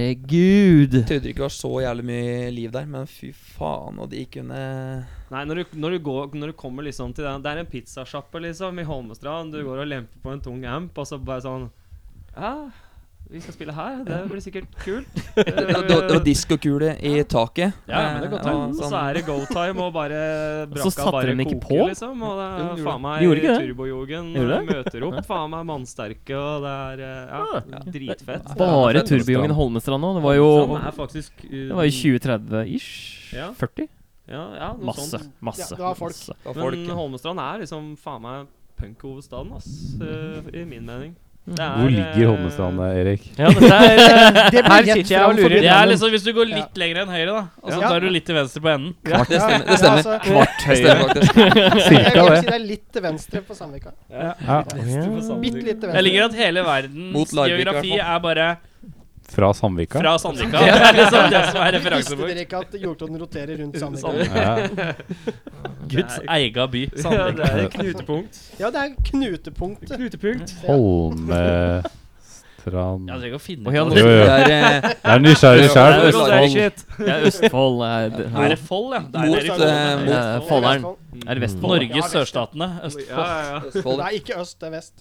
Herregud.
Trodde ikke det var så jævlig mye liv der, men fy faen, og de kunne
Nei, når du, når du, går, når du kommer liksom til den Det er en pizzasjappe liksom i Holmestrand. Du går og lemper på en tung amp, og så bare sånn Ja, vi skal spille her. Det blir sikkert kult.
Det, det, var- det var diskokule i taket.
Ja, ja, men det er godt,
Eh,
ja.
og
Og så
sånn-
er det go time, og bare brakka
så satte
bare
de ikke
koker,
på?
Liksom, og det
Jo, de
er
gjorde
faen
De
meg
gjorde ikke det?
turbojogen
Gjorde
møter opp. Faen meg mannsterke, og det er eh, ja, dritfett.
Ah. Bare Turbojungen Holmestrand nå. Det var jo
Som er faktisk eh,
Det var jo 2030-ish.
Ja.
40?
Ja, ja, noe
Masse.
sånt.
Masse.
Ja, det var folk.
masse.
det var folk,
Men
ja.
Holmestrand er liksom faen meg punkhovedstaden, ass. eh, I min mening. Det er,
Hvor ligger
eh,
Holmestrand, Erik?
Ja, dette er
Det blir
Her
rett
sitter jeg og
fram forbi
lurer.
Det
navnet.
er liksom hvis du går litt lenger enn høyre, da. Og så
Ja.
tar du litt til venstre på enden.
Ja, det stemmer.
Ja,
Det stemmer,
altså,
kvart
det stemmer
høyere.
faktisk.
Jeg
Cirka
vil
det.
si det er litt til venstre på Sandvika.
Ja,
Bitte litt til
Jeg
venstre.
liker at hele
Mot
verdens
Larvik, i hvert
geografi
fall.
er bare
fra Sandvika.
fra Sandvika. Det er liksom det som er
Visste
referansepunkt.
dere ikke at jordkloden roterer rundt Sandvika?
Sandvika.
Ja.
Guds eiga by.
Ja, det
Sandvika.
er knutepunkt.
Ja, det er knutepunktet.
Knutepunkt.
Holmestrand
Jeg
Det
trenger ikke å finne
Oi, ja,
på
nå-
Jo,
det.
jo.
Det er, eh,
er nysgjerrig sjæl.
Det er
Østfold.
Det er Østfold. eh, det-
Det er Fold, ja. Det er
Mot,
dere i
eh,
Fold.
mot-
Ja,
Folderen.
Vestfold.
Er det Vestfold?
Norges sørstatene.
Ja,
Østfold.
ja, ja.
Østfold.
Nei, ikke øst, det er vest.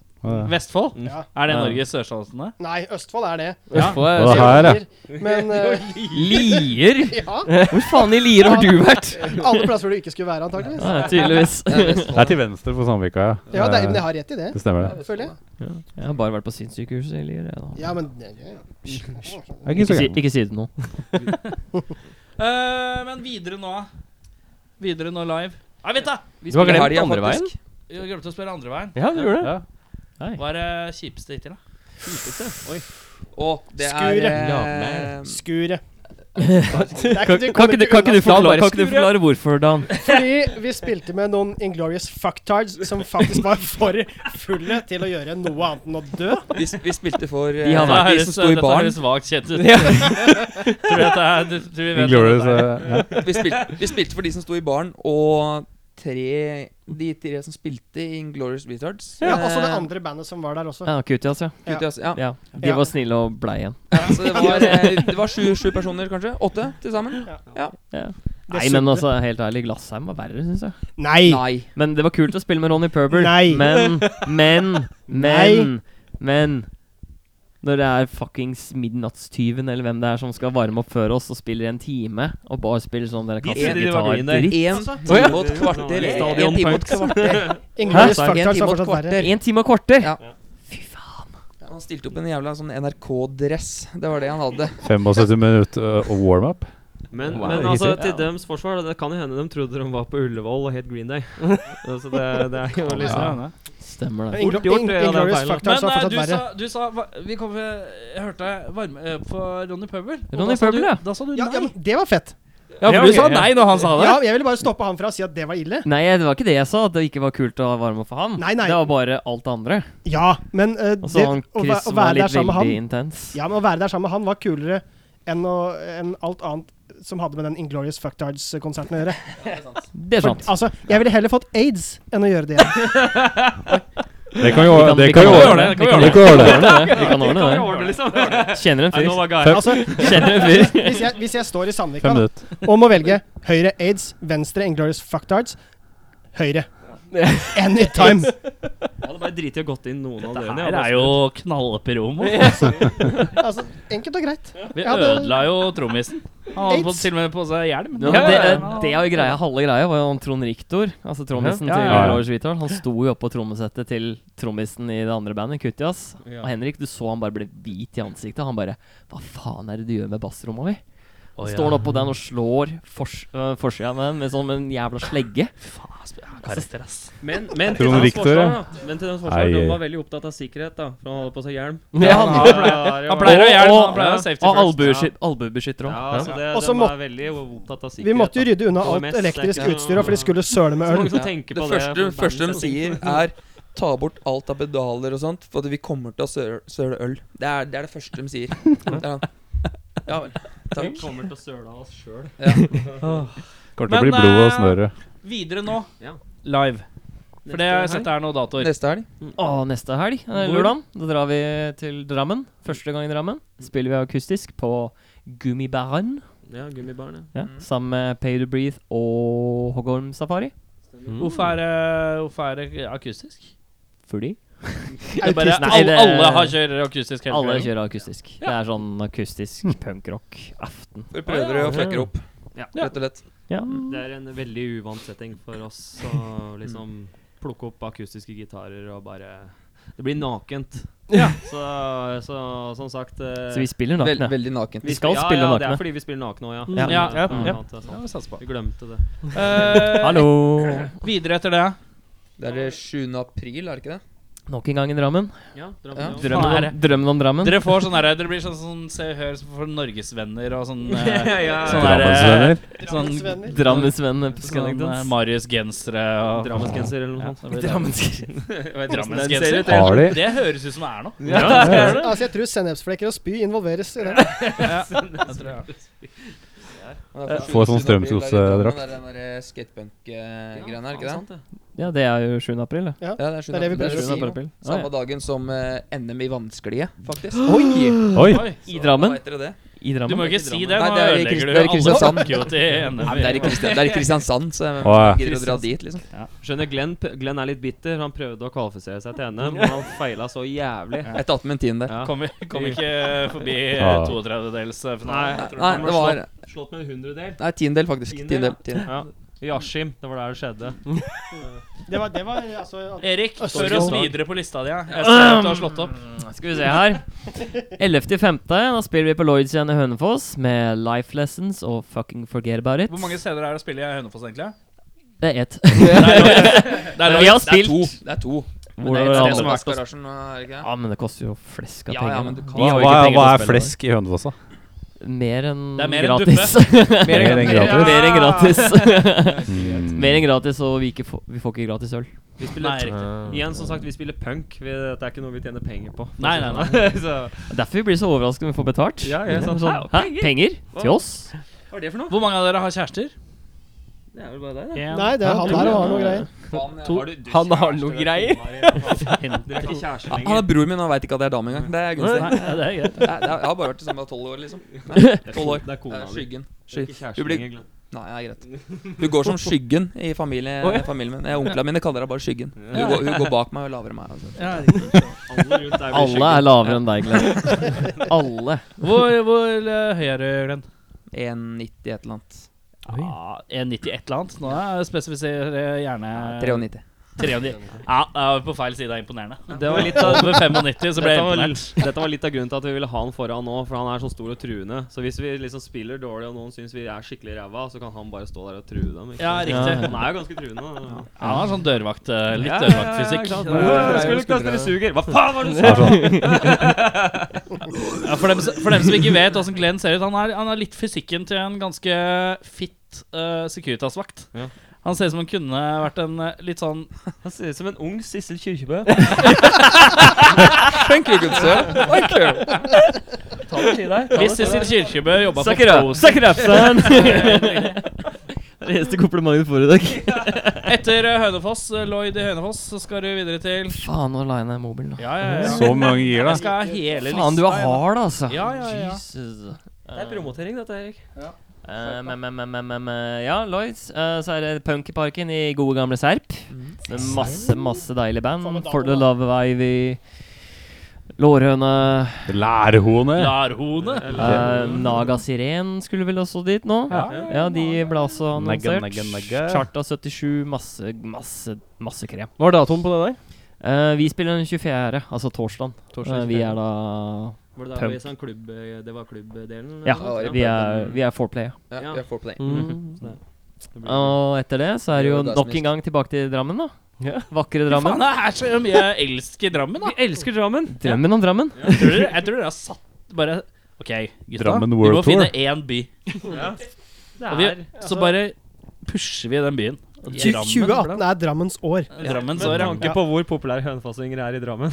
Vestfold?
Ja.
Er det
Ja.
Norges sørstatene?
Nei, Østfold er det.
Østfold
Og det
er
her, ja.
Men eh,
Lier?
ja,
Hvor faen i Lier har du vært?
alle plasser hvor du ikke skulle være, antakeligvis.
Ja, tydeligvis.
Det er Vestfold.
Det er til venstre for Sandvika, ja.
Ja, det, er- men jeg har rett i det.
Det stemmer, det.
Føler jeg.
Jeg har bare vært på sinnssykehuset i Lier. jeg, da.
Ja, men ja,
Det er
Ikke
ikke så
si,
gærent.
ikke si det nå.
Eh, men videre nå. Videre nå live. Nei, vent, da!
Du har
spiller
glemt
helgen,
andre veien?
faktisk.
Jeg glemte å spørre andre veien.
Ja, du gjorde det.
Hva er det kjipeste hittil, da?
Og det
Skure.
er eh,
Skuret.
Kan, kan, ikke du- kan, ikke du forklare, kan ikke du forklare hvorfor, Dan?
Fordi vi spilte med noen Inglorious fucktards som faktisk var for fulle til å gjøre noe annet enn å dø.
Vi, s- vi spilte for eh,
De har vært-
de som sto i
dette
baren.
høres vagt kjent ut.
Ja.
Tror du at det er, du, tror vi vet hva
Inglourious,
det er.
eh, ja.
Vi spilte, vi spilte for de som sto i baren, og tre, de tre som spilte i Glorious Retards.
Ja, også det andre bandet som var der også.
Ja, Kutias, ja.
Kutt i oss, ja.
ja.
Ja.
De var snille og blei igjen.
Ja, Så det var, eh, det var sju, sju personer, kanskje? Åtte til sammen?
Ja. Nei, men altså, helt ærlig, Glassheim var verre, syns jeg.
Nei!
Nei.
Men det var kult å spille med Ronny Purber.
Nei.
Men, men, men, men Når det er fuckings midnattstyven eller hvem det er som skal varme opp før oss og spiller en time, og bare spiller sånn dere kaster
trodde de var green der.
gitar
Én time og et kvarter.
Stadion
En time og et
punks.
kvarter.
Inglorious
Hæ?
fucktards
En time og
var
et
fortsatt verre.
kvarter.
En time og kvarter!
Ja. Han stilte opp i en jævla sånn NRK-dress. Det var det han hadde.
75 minutter uh, warm-up.
Men,
Wow.
men altså,
Hittil.
til deres forsvar, det kan jo hende de trodde de var på Ullevål og het Green Day. Så det, det er jo liksom
Ja.
Stemmer det.
Inglo-
Fort gjort,
Ing-
det er den
Inglorious
feilen.
fucktards var
Men eh,
fortsatt
du
verre.
sa, du sa hva- Vi kom ved, Jeg hørte deg varme eh, på Ronny Pøbel. og
Ronny
da sa
eh,
Pøbel,
du-
ja.
Da sa du
Ja, ja,
nei.
men det var fett.
Ja, for du sa nei når han sa det.
Ja, jeg ville bare stoppe han fra å si at det var ille.
Nei, det var ikke det jeg sa, at det ikke var kult å varme opp for han.
Nei, nei.
Det var bare alt det andre.
Ja, men eh,
Og
det,
så han
å, væ-
Chris
å
var
være der
litt veldig
sammen med han
intens.
Ja, men å være der sammen med han var kulere enn å, enn alt annet som hadde med den Inglorious Fucktards-konserten å gjøre.
Det er
For,
sant.
altså, jeg ville heller fått aids enn å gjøre det.
Det kan jo
Vi kan-
det
vi
kan jo
ordne
ordne.
det,
Det
vi
kan jo ordne.
det. Vi kan ordne det. liksom. Kjenner en fyr.
Altså,
Kjenner en fyr.
hvis, jeg, hvis jeg står i
Fem
Sandvika da,
minutter.
og må velge høyre aids, venstre Inglorious Fucktards, høyre. Anytime.
Jeg hadde bare driti og gått inn noen av dørene. jeg
Det er
hadde
jo knallpromo.
Altså, enkelt og greit.
Vi
Ja, det-
ødela jo trommisen. Han hadde
Aids.
fått til og med på seg hjelm.
Ja, men det, det er jo greia, halve greia var jo om Trond Riktor, altså trommisen
Ja, ja,
ja.
til Lars Vital. Han sto jo oppå trommesettet til trommisen i det andre bandet, Kutjas.
Ja.
Og Henrik, du så han bare ble hvit i ansiktet. Han bare Hva faen er det du gjør med bassromma mi?
Å, ja.
Står han oppå den og slår fors, øh, forsida med den med sånn med en jævla slegge. Altså,
Karakter, ass.
Men, men, til
Trond
deres
Victor,
forsvar,
ja.
da. men til deres
Nei,
forsvar, de
eh.
var veldig opptatt av sikkerhet, da. For han hadde på seg hjelm.
Ja, han-
han pleier,
Han pleier å ha hjelm.
Og-
Han pleier å ha safety
Og
first.
albuesky- albuebeskytter
Ja,
òg.
så det,
Og så
de
må-
var veldig opptatt av sikkerhet.
Vi måtte jo
da.
rydde unna
Og
alt
mest, det er
elektrisk
ikke noe-
utstyr, da, for de skulle søle med
Så mange
øl.
som
Ja.
tenker
Det
på det.
første,
på
første de
bandet.
sier, er ta bort alt av pedaler og sånt, for at vi kommer til å søle, søle øl. Det er, det er det første de sier. Ja, ja vel.
Vi
Takk.
kommer til å søle av oss sjøl.
Kommer til å
Men,
bli blod og
eh,
snøre.
Videre nå.
Ja.
Live. For det
Neste
jeg setter her nå datoer.
Neste helg.
Og Mm. neste helg, eh,
Hvor?
lørdag, da drar vi til Drammen. Første gang i Drammen. Spiller vi akustisk på Gummibæren.
Ja, gummibarn, ja.
Ja,
Mm.
Sammen med Pay to Breathe og Hoggorm Safari.
Hvorfor er, det- hvorfor er det akustisk?
Fordi
Det er bare,
Akustisk. Nei,
alle,
det-
alle har kjører akustisk Mm. hele
alle
kvelden.
kjører akustisk. Det er sånn akustisk punkrock-aften.
Vi prøver å flekke opp,
Ja.
rett og slett.
Ja.
Det er en veldig uvant setting for oss å liksom plukke opp akustiske gitarer og bare Det blir nakent. Så, så som sagt eh,
Så vi spiller
Vel-
nakne.
veldig nakent.
vi skal
ja,
spille
ja, Det
nakne.
er fordi vi spiller nakne òg, ja.
Ja.
Ja,
det er
ja,
sant,
ja.
det er
Ja,
sant.
vi satser på.
altså. Vi glemte det.
Eh,
Hallo!
Videre etter det.
Det er eh, 7. april, er det ikke det?
Nok en gang i Drammen.
Ja.
Ja, Drammen, ja.
Drømmen om, drømmen om Drammen.
Dere får sånn herre Dere blir sånn, sånn Se og Hør for Norgesvenner og sånn eh,
ja.
Sånn
Drammensvenner.
eh, Sånn, sånn eh,
Drammensvenn-episode.
Marius-gensere og
Drammensgenser eller noe sånt.
Drammensgenser.
Har de?
Det høres ut som det er noe.
Altså, jeg tror sennepsflekker og spy involveres i det.
Ja, det er
Få
7.
sånn
april, det er i Drammen,
strømsgodsedrakt.
Det er den der skatepunk-greia her, ikke det?
Ja, det er jo 7. april, det.
Ja, det er 7.
Det er det vi
april.
pleier å
Det er
7.
jo
april. Ah,
Samme
ja.
dagen som eh, NM i vannsklie, faktisk. Oi!
Oi!
I Drammen.
Vet dere det?
I
Du
Drammen.
må jo ikke si det.
Nei,
Nå
det er i Krist-
ødelegger du
det er i Kristiansand.
Alle bakker jo til NM.
Nei, men det er i Kristian- det er i Kristiansand, så jeg
Å, ja.
gidder å dra dit, liksom.
Skjønner Glenn, p- Glenn er litt bitter. Han prøvde å kvalifisere seg til NM, men han feila så jævlig.
Jeg tatt med en tiende.
Ja.
Kom, kom ikke forbi eh,
Ah.
32-dels-finalen.
Nei, det var
Slått med en hundredel.
Nei, tiendedel, faktisk.
Tiendedel,
Tiendedel. tiendedel.
Ja. Yashim. Det var der det skjedde.
Det var, det var altså
Erik,
Østfold.
før oss videre på lista di. ja. Jeg ser at du har slått opp.
Skal vi se her. 11.5. Da spiller vi på Lloyds igjen i Hønefoss med Life Lessons og Fucking Forget About It.
Hvor mange steder er det å spille i Hønefoss, egentlig?
Det er ett.
Det er
Vi
Det er
har spilt
to. Det er to. det er
Hvor er det
et
andre?
sted som er garasjen, er det ikke det?
Ja, men det koster jo flesk av
Ja,
penger.
ja, men du
da.
kan-
Vi
Hva,
har jo
hva,
ikke penger
hva
til å
er
spille det.
flesk i Hønefoss, da?
Mer enn
Det er mer enn
gratis.
Mer enn gratis.
Mer enn gratis.
Mm.
Mer enn gratis, og vi, ikke får, vi får ikke gratis øl.
Vi
Nei,
spiller Igjen, som sagt, vi spiller punk. Vi, dette er ikke noe vi tjener penger på.
Nei, nei, nei.
så,
Derfor vi blir så overrasket når vi får betalt.
Ja, ja, sant.
Sånn, Hæ? Penger? Til oss?
hva er det for noe?
Hvor mange av dere har kjærester?
Det er vel bare deg,
Nei, det er han der og har noe greier.
eh,
Han har noe greier.
Dere er ikke kjærester
Han er bror min, og han veit ikke at jeg er dame engang. Det er gunstig.
Nei, det er greit.
Jeg, jeg har bare vært sammen i tolv år, liksom. Nei, 12 år.
Det er
Det
kona
er
di.
skyggen.
Det er
Sky.
ikke
Du
kjæresten
blir,
din, Glenn.
nei, det er greit. Hun går som skyggen i familie,
Å, ja.
familien min. Eh, Onklene mine kaller henne bare Skyggen. Hun går, hun går bak meg og lavere enn meg. Altså.
Alle rundt deg blir
Alle er lavere enn deg, Glenn. Alle.
Hvor, hvor eh, høy er du, Glenn?
1,90 et eller annet.
Ja, 1,90 et eller annet. Nå er spesifiserer jeg gjerne
93.
93. Ja, da var vi på feil side. Det er imponerende.
Det var litt av
Over 95 så ble jeg
Dette var
imponert.
Dette var litt av grunnen til at vi ville ha han foran nå, for han er så stor og truende. Så hvis vi liksom spiller dårlig, og noen syns vi er skikkelig ræva, så kan han bare stå der og true dem. Ikke?
Ja,
sant?
riktig.
Han er jo ganske truende. da.
Ja, han har sånn dørvakt, eh, litt
Ja, ja, ja,
dørvaktfysikk.
ikke sant?
Ja, ja, ja.
Skulle ikke kaste dere suger! Hva faen var det du
Det er
sa?!
sånn.
Ja, for, dem, for dem som ikke vet åssen Glenn ser ut, han er, han er litt fysikken til en ganske fit eh, Securitas-vakt.
Ja.
Han ser ut som han kunne vært en eh, litt sånn
Han ser ut som en ung Sissel Kyrkjebø.
Thank you, good sir. Thank you.
Ta det til deg.
Hvis Sissel Kyrkjebø jobba på
Suck it up,
Fosen-
suck it up, son! Det er det eneste komplimentet du får i dag.
Etter eh, Hønefoss, eh, Lloyd i Hønefoss, så skal du videre til
Faen, nå la jeg ned mobilen. da.
Ja, ja, ja.
Så mange gir
Jeg
deg.
skal ha hele
Faen, du
lista,
er
jeg, da.
hard, altså.
Ja, ja, ja.
Jesus.
Det er promotering, dette, Erik.
Eh, men, men, men, men, men, men, ja, Lloyds. eh, så er det Punk i Parken i gode gamle Serp.
Mm.
Med masse, masse deilige band. For the Love of Ivy. Lårhøne.
Lærhone.
Larhone.
eh, Naga Siren skulle vel også dit nå? Ja, de ble også
Nagga,
annonsert.
nagga, nagga.
Charta 77. Masse, masse, masse krem.
Hva er datoen på det der?
Eh, vi spiller den 24., altså torsdag. vi er da
Var det der
Pump.
vi sa en klubb, eh, det var klubbdelen? eller
Ja,
noe sånt? Mm,
vi er, vi er foreplay.
Ja, vi er foreplay.
Det blir-
Mhm. Og etter det så er det jo
Det er jo det som
nok en gang tilbake til Drammen, da. Vakre Drammen.
Faen, det er så mye jeg elsker Drammen, da.
Elsker Drammen!
Drømmen om Drammen.
Jeg tror dere, jeg tror dere har satt bare OK, gutta.
Drammen
vi må
World Tour.
finne én by.
Det
Og vi,
er altså-
så bare pusher vi den byen.
Tju-
Drammen.
2018 er Drammens år.
Drammens
Med
år, ja.
tanke på hvor populære hønefossinger er i Drammen.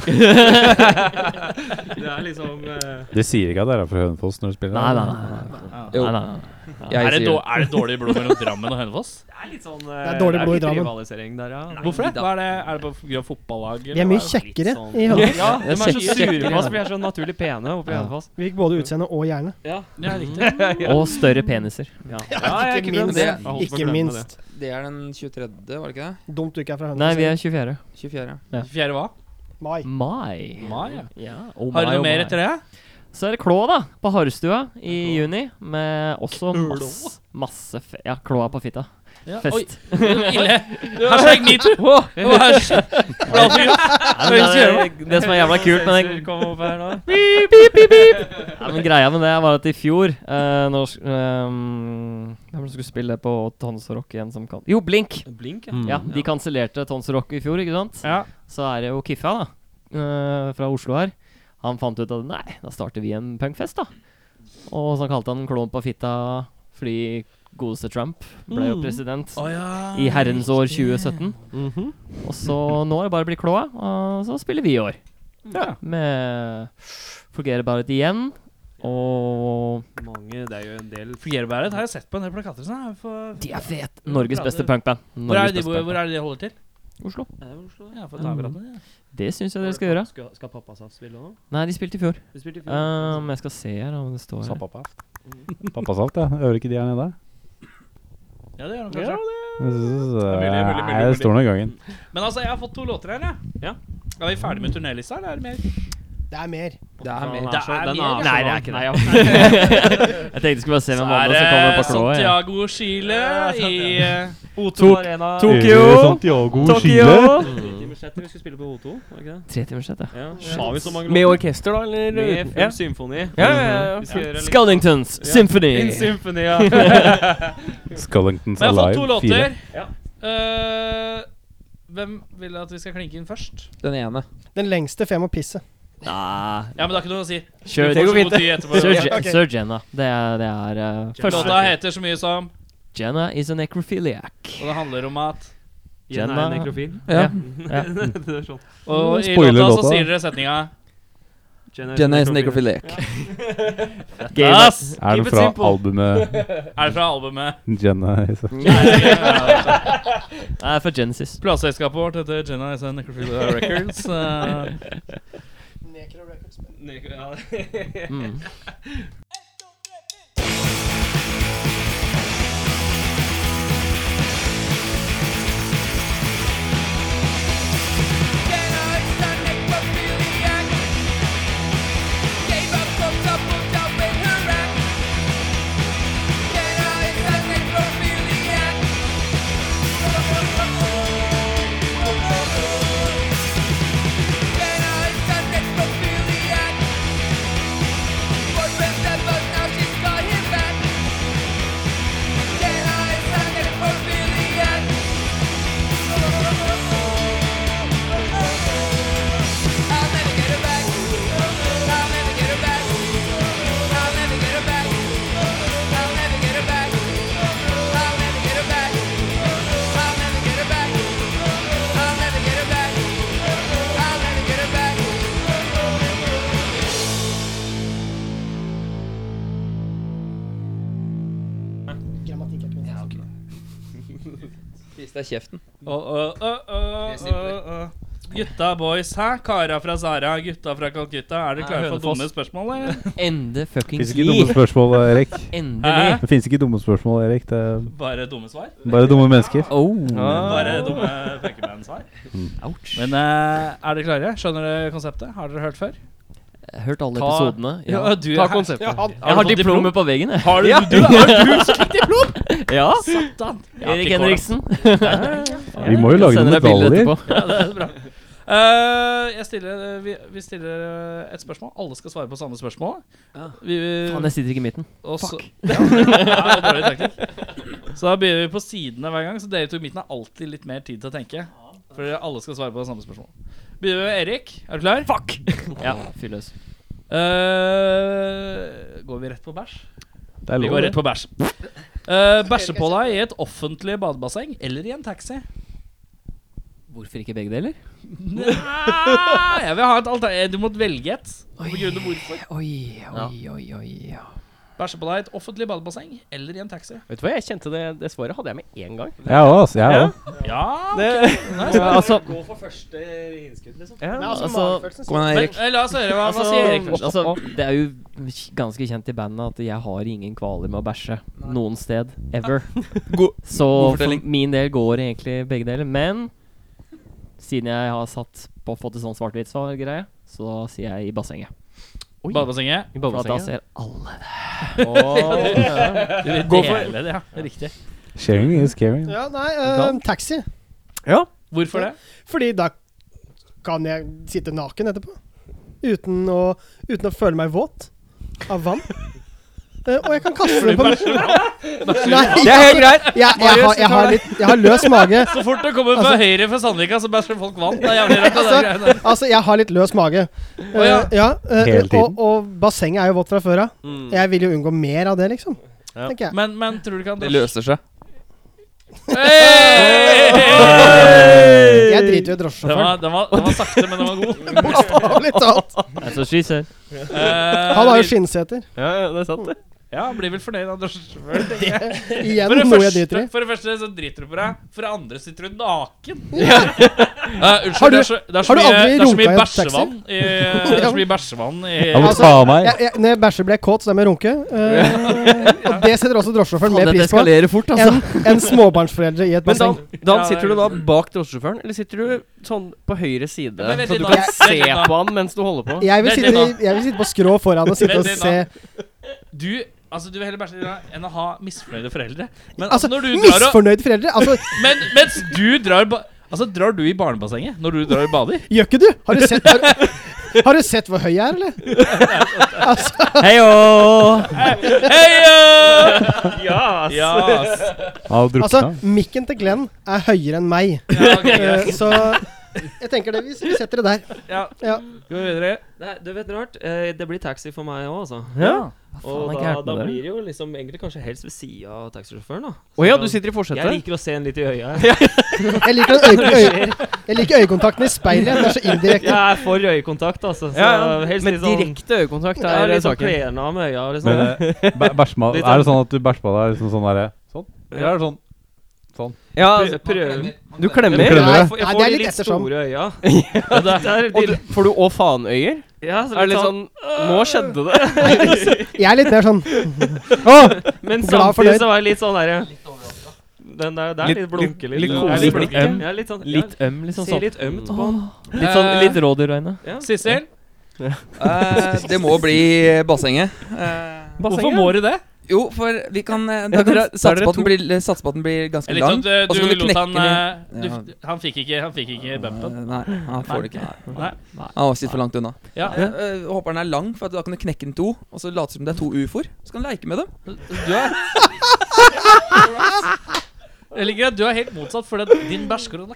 det er liksom eh,
Du sier ikke at dere er fra Hønefoss når du spiller?
Nei, nei, nei. nei.
Jo,
nei, nei, nei.
jeg
Er det,
sier
dår- er det dårlig blod mellom Drammen og Hønefoss?
Det er litt sånn eh,
er dårlig blod i
litt
Drammen.
Rivalisering der, ja.
Hvorfor det? Hva er det? Er det på grunn av fotballag?
Vi er mye kjekkere
sånn?
i Hønefoss.
Ja, de
Det
er
er
så
kjekk-
sure
kjekkere,
på oss,
da.
for vi er så naturlig pene oppe i Hønefoss.
Vi fikk både utseende og hjerne.
Ja, riktig.
Og større peniser.
Ja,
ikke
jeg glemmer
minst.
det. Jeg holdt på å
Ikke
glemme
minst.
Det er den 23., var det ikke det?
Dumt du ikke er fra Hønefoss.
Nei, vi er 24.
24.
Fjerde hva?
Mai.
Mai.
Mai, ja.
Ja. Oh,
Har du
mai, oh,
noe mer
mai.
etter det?
Så er det Klå, da. På Harrestua i juni. Med også masse, masse fe Ja, Klåa på fitta.
Ja. Oi,
Fest.
ille. Hashtag metoo. Hashtag-
Ja, men det, er- det som er jævla kult med den
Kom opp her nå.
Pip, pip, pip, pip. Ja, men greia med det var at i fjor uh, når, um, Hvem var det som skulle spille på Tons og Rock igjen som kan Jo, Blink!
Blink, ja.
Ja, De kansellerte Tons og Rock i fjor, ikke sant?
Ja.
Så er det jo Kiffa, da. eh, fra Oslo her. Han fant ut at nei, da starter vi en punkfest, da. Og så kalte han den Klovn på fitta fordi godeste Trump ble jo president i herrens år 2017. Og så nå er det bare å bli klåa, og så spiller vi i år. Med Forget About It igjen. Og
Mange, det er jo en del
Fjerbæret har jeg sett på en del plakater. Sånn. her, for-
De er fete! Norges beste punkband.
Hvor er,
Norges
det de,
beste
hvor, hvor
punkband.
er det de holder til?
Oslo.
Ja, for å ta hverandre. ja.
Det syns jeg dere skal gjøre.
Skal, skal pappa sa spille nå?
Nei, de spilte i fjor.
Du spilte i fjor.
Um, jeg skal se her om det står
Sa
her.
pappa. Mhm. Pappa Saft, ja. Hører ikke de her nede?
Ja, det gjør de kanskje.
Nei, det står nå i gangen.
Men altså, jeg har fått to låter her, jeg.
Ja.
Er vi ferdig med turnélista, eller er det mer?
Det er mer.
Det er
Den
mer.
er så,
Det er
den
mer.
Nei,
er så
det er
lang.
ikke
Nei,
det.
ja.
Jeg tenkte skulle bare se hvem
er
andre som kommer
det
på klået. jeg.
Santiago Chile i eh,
O2 Arena.
Tokyo!
sånn
Santiago, Chile.
Tokyo!
Tre timer setter, vi skulle spille på O2, var det ikke det?
Tre timers sett, ja.
Ja, har vi så mange
Med
låter?
orkester, da? Eller?
Med full
Ja.
symfoni.
Ja, ja, ja.
Vi skal gjøre litt-
Scullingtons
In
Symphony.
symphony, ja.
Scullingtons
Men jeg har fått to
Alive.
låter.
Ja.
Eh, hvem vil at vi skal klinke inn først?
Den ene.
Den lengste fem å pisse.
Nei
Ja, men det er ikke noe å si.
Kjør,
Du får så god tid etterpå.
Sir, Je- Sir Jenna. Det er, det er eh,
Låta
første.
heter så mye som
Jenna is a necrophiliac.
Og det handler om at
Jenna-
Jenna er nekrofil.
Ja.
det er sånn.
Og i
Spoiler
låta så
låta.
sier dere setninga
Jenna is necrophiliac.
Ass!
Er den
Keep it
fra
simple.
albumet
Er det fra albumet?
Jenna?
Det er fra Genesis.
Plateselskapet vårt heter Jenna is a Necrophilia Records. eh,
Mm.
Grammatikk er ikke noe.
Spis deg kjeften.
og- og- og- og- og- og- Gutta boys, hæ? Kara fra Sara, gutta fra Calcutta. Er dere klare for
Hønefoss.
dumme spørsmål, eller?
Ende
Fins
fuckings
ikke dumme spørsmål, eh, Erik.
Endelig.
Hæ?
Det fins ikke dumme spørsmål, Erik. Det er
Bare dumme svar?
bare dumme mennesker.
Oh. Mm.
Bare dumme punkeband-svar?
Ouch.
Men eh, er dere klare? Skjønner dere konseptet? Har dere hørt før?
Jeg har Hørt alle
Ta-
episodene. Ja.
Ja, du-
Ta konseptet.
Ja, han,
Jeg
Har
har
du fått
diplomet på veggen, jeg.
Har du, du, du, du,
Ja.
Satan!
Erik Henriksen.
Vi må jo lage noen
Sender deg bilde
medaljer.
etterpå.
Ja, det er bra. Eh, jeg stiller, eh, vi, vi stiller eh, et spørsmål. Alle skal svare på samme spørsmål. Vi,
Faen, jeg sitter ikke i midten.
og så, ja, ja, dårlig taktikk. så da begynner vi på sidene hver gang, så dere to i midten har alltid litt mer tid til å tenke. For alle skal svare på samme spørsmål. Begynner vi med Erik. Er du klar? Fuck! Ja.
Fyr løs.
Eh, går vi rett på bæsj?
Det er
Vi
lov.
går
det.
rett på bæsj. Eh, bæsje på deg i et offentlig badebasseng eller i en taxi?
Hvorfor ikke begge deler?
Nei, Ah, jeg vil ha et alternativ. Du må velge et. Og begrunne hvorfor.
Oi, oi, oi, oi. ja.
Bæsje på deg i et offentlig badebasseng eller i en taxi.
Vet du hva, jeg kjente det, det svaret hadde jeg med en gang.
Jeg òg, altså. Jeg òg.
Ja
Det,
Ja, altså,
Gå for første innskudd, liksom.
ja.
Nei, altså,
Altså,
magefølelsen
Kom igjen,
men,
Erik.
eh, La oss høre hva, hva
altså,
sier Erik først.
altså, det er jo ganske kjent i bandet at jeg har ingen kvaler med å bæsje noen sted. Ever.
God- god
Så for
fortelling.
min del går egentlig begge deler. Men siden jeg har satt på fått et sånn svart-hvitt-greie, så sier jeg i bassenget.
Badebassenget.
I
For at da ser
badebassenget.
alle det.
Du vil dele det, ja. Riktig.
Sharing is caring.
Ja, nei, eh, taxi.
Hvorfor det?
Fordi da kan jeg sitte naken etterpå. Uten å, uten å føle meg våt av vann. Eh, og jeg kan kaste det på Nei,
Det er helt greit.
jeg, jeg, har, jeg, har litt, jeg har løs mage.
Så fort det kommer fra høyre fra Sandvika, så bæsjer folk vann. Det er jævlig rart. det der greiene.
Altså, jeg har litt løs mage. Eh,
ja.
eh,
Hele tiden.
Og, og bassenget er jo vått fra før av.
Mm.
Jeg vil jo unngå mer av det, liksom. Tenker jeg.
Men, men tror du ikke han
Det løser seg.
Hey!
Jeg driter jo i
Den
drosjesjåføren.
var, den, var, den var sakte, men den var god.
Bokstavelig talt.
That's what she said.
Eh,
Han har jo skinnseter.
Ja, ja, det er sant, det.
Ja, blir vel fornøyd av drosjesjåføren. tenker jeg.
Igjen
For det,
noe jeg driter
første,
i.
for det første så driter du på deg, for det andre sitter du naken. Eh, unnskyld,
Har du-
det er så, det er så
har du
mye,
aldri
det er så mye
runka i en taxi?
bæsjevann i, Det er så mye bæsjevann i
Jeg må
Altså,
ta av meg.
Jeg, jeg, når jeg bæsjer, blir jeg kåt, så da må jeg runke. Eh, og det setter også drosjesjåføren mer
Dette
pris på
eskalerer fort, altså.
enn enn småbarnsforeldre i et
Men Dan,
basseng.
Dan,
Ja, det er
sitter du da bak drosjesjåføren, eller sitter du sånn på høyre side?
Men vent
Så du
litt da,
kan
vent
se
litt da.
på han mens du holder på?
Jeg vil,
Vent
sitte,
litt
i- jeg vil sitte på skrå foran og sitte
Vent
og
litt
se
Du, altså du vil heller bæsje i deg enn å ha misfornøyde foreldre. Men
Altså,
altså, når du drar og
misfornøyde foreldre? Altså,
men, Mens du drar ba Altså, drar du i barnebassenget når du drar og bader?
gjør ikke du? Har du sett, har, har du sett hvor høy jeg er, eller?
Heio!
Heia!
Ja,
Ja, ass.
Av
Altså,
drukna.
mikken til Glenn er høyere enn meg.
Ja, ok,
Eh,
greit.
Så Jeg tenker det, vi vi setter det der.
Ja.
Ja.
Går vi videre.
Nei, du vet noe rart? Eh, Det blir taxi for meg òg, altså.
Ja.
Og
faen er
da,
gærent
da
med dere?
blir det jo liksom egentlig kanskje helst ved sida av taxisjåføren, da.
Å ja, du
Så
sitter i
jeg
forsetet?
liker å se en litt i øya. Jeg
Jeg liker, den øye, øye, jeg liker øyekontakten i speilet. Den er så indirekte.
Jeg er for øyekontakt, altså. Så
Ja,
helst
Med
litt sånn
direkte øyekontakt
Ja,
er
litt sånn
saken.
klærne av med øya, liksom.
Men
sånn-
eh, bæ- bæsjma-
Litt
Er det sånn at du bæsjer på deg liksom sånn derre Sånn? Eller er det sånn?
Ja,
Prøv- prøv.
du
Prøv-
klemmer.
Nei,
Prøver
Jeg får-
nei,
Jeg får
det er
de
litt
litt
ettersom.
store øya.
Og du, får du å faen-øyer?
Ja, så
Er det litt sånn Nå skjedde det.
Jeg er litt mer sånn
Men
glad
samtidig
for det.
så var jeg litt sånn derre Den der, der
Litt-
litt blunke,
litt- litt
Ja,
koselig blikk,
blunke.
øm.
Ja, litt sånn ja,
Litt øm, liksom
Ser
sånn.
litt ømt på han. Eh,
Litt sånn litt rådyrøyne.
Ja.
Sissel,
Eh, det må bli bassenget. Eh,
hvorfor må du det?
jo, for vi kan, eh,
Ja,
da
dere
kan
er-
satse,
dere
på at
to?
den blir, satse på at den blir ganske
Litt sånn,
lang.
at,
og så kan
eh, du
du
lot
knekke
han
den i-
eh, du, Han fikk ikke, han fikk ikke bumpen.
Eh, Nei, han får det ikke.
Nei.
Han sitter for langt unna.
Ja.
Eh, eh, håper den er lang, for at da kan du knekke den i to. Og så late som det er to ufoer. Så kan du leke med dem.
Du er Jeg liker at du er helt motsatt, for at din bæsjkorona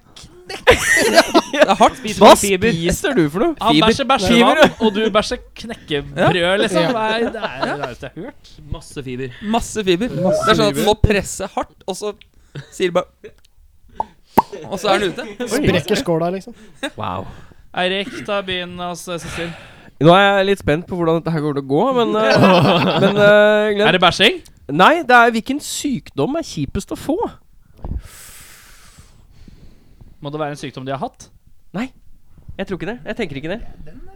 Det er hardt.
Hva spiser du for noe?
Han
Fiber.
bæsjer bæsjevann, og du bæsjer knekkebrød, liksom. Det er det er det rareste jeg har hørt.
Masse fiber.
Masse fiber. det er sånn at du må presse hardt, og så sier du bare Og så er den ute.
Brekker skåla, liksom.
Wow.
Eirik, ta byen hos eh, Cecil.
Nå er jeg litt spent på hvordan dette her kommer til å gå, men, eh, men eh, Glenn
Er det bæsjing?
Nei, det er hvilken sykdom er kjipest å få?
Må det være en sykdom de har hatt?
Jeg tror ikke det. Jeg tenker ikke det.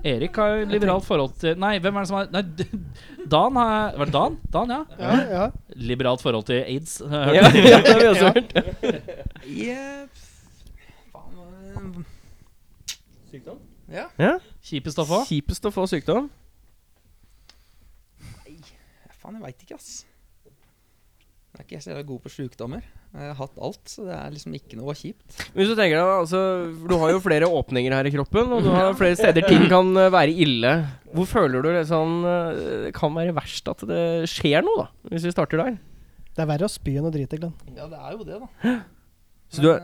Erik har jo liberalt forhold til Nei, hvem er det som har Nei, d- Dan har Var det Dan? Dan, ja.
Ja, ja.
Liberalt forhold til aids. har jeg
Ja,
hørt.
ja, det har vi også hørt.
Sykdom? Ja.
Kjipest å få.
Kjipest å få sykdom?
Faen, jeg veit ikke, ass. Jeg er ikke så jævla god på sjukdommer. Jeg har hatt alt, så det er liksom ikke noe kjipt.
Hvis du tenker deg, da, altså, for Du har jo flere åpninger her i kroppen, og du har flere steder ting kan eh, være ille. Hvor føler du det sånn eh, Det kan være verst at det skjer noe, da? Hvis vi starter der.
Det er verre å spy enn å drite, Glenn.
Ja, det er jo det, da.
Så du er,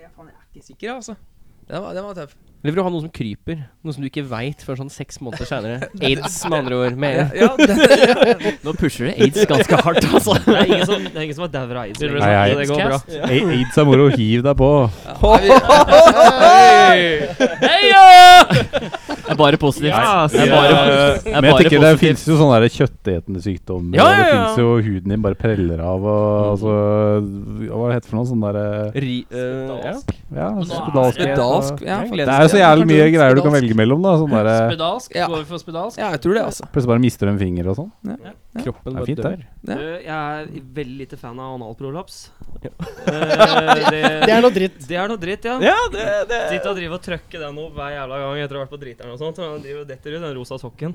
jeg, faen, jeg er ikke sikker, jeg, altså. Den var, den var tøff.
eller vil du ha noe som kryper? Noe som du ikke veit før sånn seks måneder seinere? Aids, med andre ord.
Ja,
Med,
ja, den,
Nå pusher du aids ganske hardt, altså.
Det er ingen som, det er ingen som har dauer av aids.
Blir sånn det
Nei,
sånn?
lenger, så det går bra.
aids-cast?
A- Aids er moro. Hiv deg på.
Det er bare positivt.
Ja,
det er bare, det
Men jeg
er bare
tenker det
positivt.
fins jo sånne der kjøttetende sykdommer.
Ja,
og Det
ja, ja.
fins jo huden din bare preller av og
Mm.
altså, Hva heter det for noe? Sånn derre
ri, eh, ja.
Ja, Altså, spedalsk.
Spedalsk, ja,
og-
faktisk,
Det er jo så
ja.
jævlig mye greier du kan
Spedalsk.
velge mellom, da. Sånn derre
Spedalsk?
Ja.
Går vi for spedalsk?
ja, jeg tror det, altså.
Plutselig bare mister du en finger og sånn. Det er
Kroppen bare
fint,
dør.
det.
Ja.
Du, jeg er veldig lite fan av analprolaps. Eh,
Det er noe dritt.
det er noe dritt, ja.
Ja, det, det.
Sitte og drive og trøkke den opp hver jævla gang etter å ha vært på driteren og sånt. Og den driver og detter ut den rosa sokken.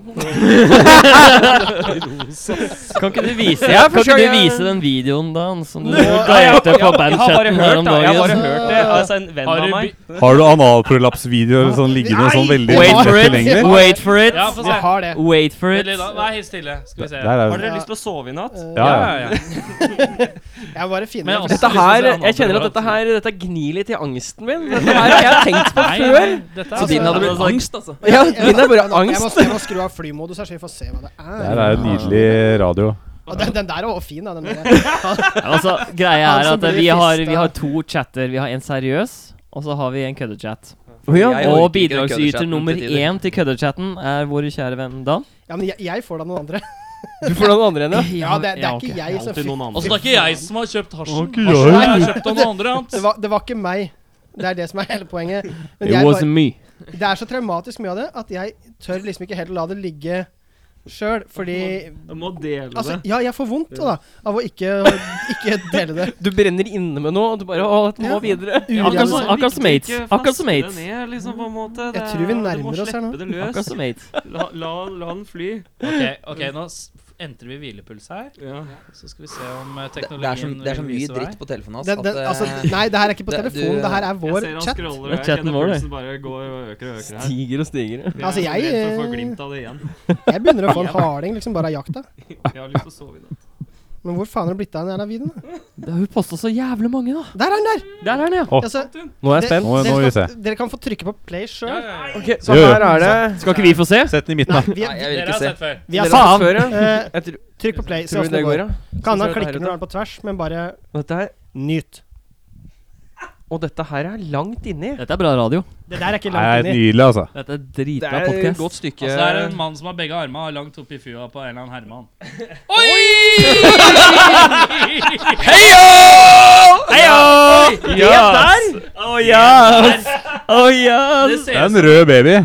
Kan ikke du vise,
Jeg
kan ikke
forsøker-
du vise den videoen, Dan, som du
Ja,
delte på
Jeg har bare
bandchatten her
hørt
om
det. Jeg har bare
dagen?
hørt det. Altså, en venn
Har
av
du
meg.
by-
Har du analprolapsvideoer sånn liggende sånn veldig
Wait
lett
for it!
tilgjengelig?
Wait for it!
Ja, få
Vi
se.
har det.
Wait for it!
Veldig da- Vær helt stille. Skal vi se.
Der er
Har
det.
dere lyst til å sove i natt?
Eh,
Ja,
Ja,
ja.
ja, ja.
Jeg bare finner
Men altså,
Dette
også- Hvis
det.
du
her,
ser andre
jeg kjenner at
overalt,
dette her Dette gnir litt i angsten min. Dette her har jeg tenkt på
Nei,
før.
nei, dette
Så
er
din hadde
altså-
blitt angst, altså.
Ja, min er bare
Jeg må,
angst.
jeg må skru av flymodus her, så vi får se hva det
Det
er.
her er jo nydelig radio.
Og den, den der var fin, da. Den der.
Ja, altså, greia
Han
er
som
at eh,
blir
vi har,
fista.
vi har to chatter. Vi har en seriøs, og så har vi en køddechat.
Å ja.
Jeg
Og
orker ikke den
bidragsyter
køddechatten
nummer
til tider.
én til køddechatten er vår kjære venn Dan.
Ja, men jeg, jeg får da noen andre.
Du får den andre enden, ja.
Ja, det, det
ja,
er
ok.
ikke jeg som
Alltid
fikk
noen andre.
Altså, det er ikke jeg som har kjøpt hasjen.
ikke
Hasjen
jeg.
har jeg kjøpt av noen andre. Hans.
det. Var, det var ikke meg. Det er det som er hele poenget. Men
It
jeg
was
bare,
me.
det er så traumatisk mye av det at jeg tør liksom ikke helt å la det ligge sjøl. Fordi
Du må dele
Altså,
det.
ja, jeg får vondt da, da, av å ikke, ikke dele det.
Du brenner inne med noe, og du bare Å, dette må
Ja.
videre.
Urealistisk.
Akkurat som- akkurat som aids.
Ikke
Akkurat som
feste
aids.
det ned, liksom, på en måte. Det
Jeg tror vi
er-
nærmer oss her nå.
Du må slippe
Akkurat
det løs.
som aids.
La, la, la den fly.
Ok, ok, nå s- entrer vi hvilepuls her.
Ja.
Så skal vi se om eh,
Det,
teknologien
det, er så, det er så
vil
mye
vise vei.
dritt på telefonen hans
Det, det,
at, eh,
altså, nei, det her er ikke på
det- du-
telefon, det her er
Jeg
vår
ser han
chat.
scroller,
Det er
og jeg
chatten
kjenner
vår, det.
pulsen bare går og øker og øker her.
Stiger og stiger.
Jeg
Altså,
er
jeg,
så redd for å
eh,
få glimt av det igjen.
Jeg begynner å få en harding liksom bare av jakta.
Jeg har lyst til å sove i natt.
Men hvor faen har det blitt av den jævla videoen? da?
Det har jo posta så jævlig mange, da.
Der er den der!
Der er den, ja.
Å.
Altså,
Nå er jeg
det-
spent.
Nå- nå vil vi
dere,
se.
kan, dere kan få trykke på play sjøl.
så
Jo, jo.
her er det
Skal ikke vi få se?
Sett den i midten,
Nei,
da.
vi,
Nei, jeg vil
Dere
ikke
har
se.
sett før.
vi er
Faen!
før, ja. Eh,
Jeg tror,
Trykk på play, se
tror
åssen
du det går, ja.
Kan
Tror
hende han
du det er
klikker når han er på tvers, men bare
Dette her,
nyt.
og dette her er langt inni.
Dette er bra radio.
Det der er ikke
Nei, det er
langt inni.
nydelig, altså.
Dette er
Det er
dritbra
et
podkast.
godt stykke
Og så er Altså, det en mann som har begge armene langt oppi fua på en eller annen Herman.
Å yes! Å yes!
Det
Det
ser
er
ut
en rød baby.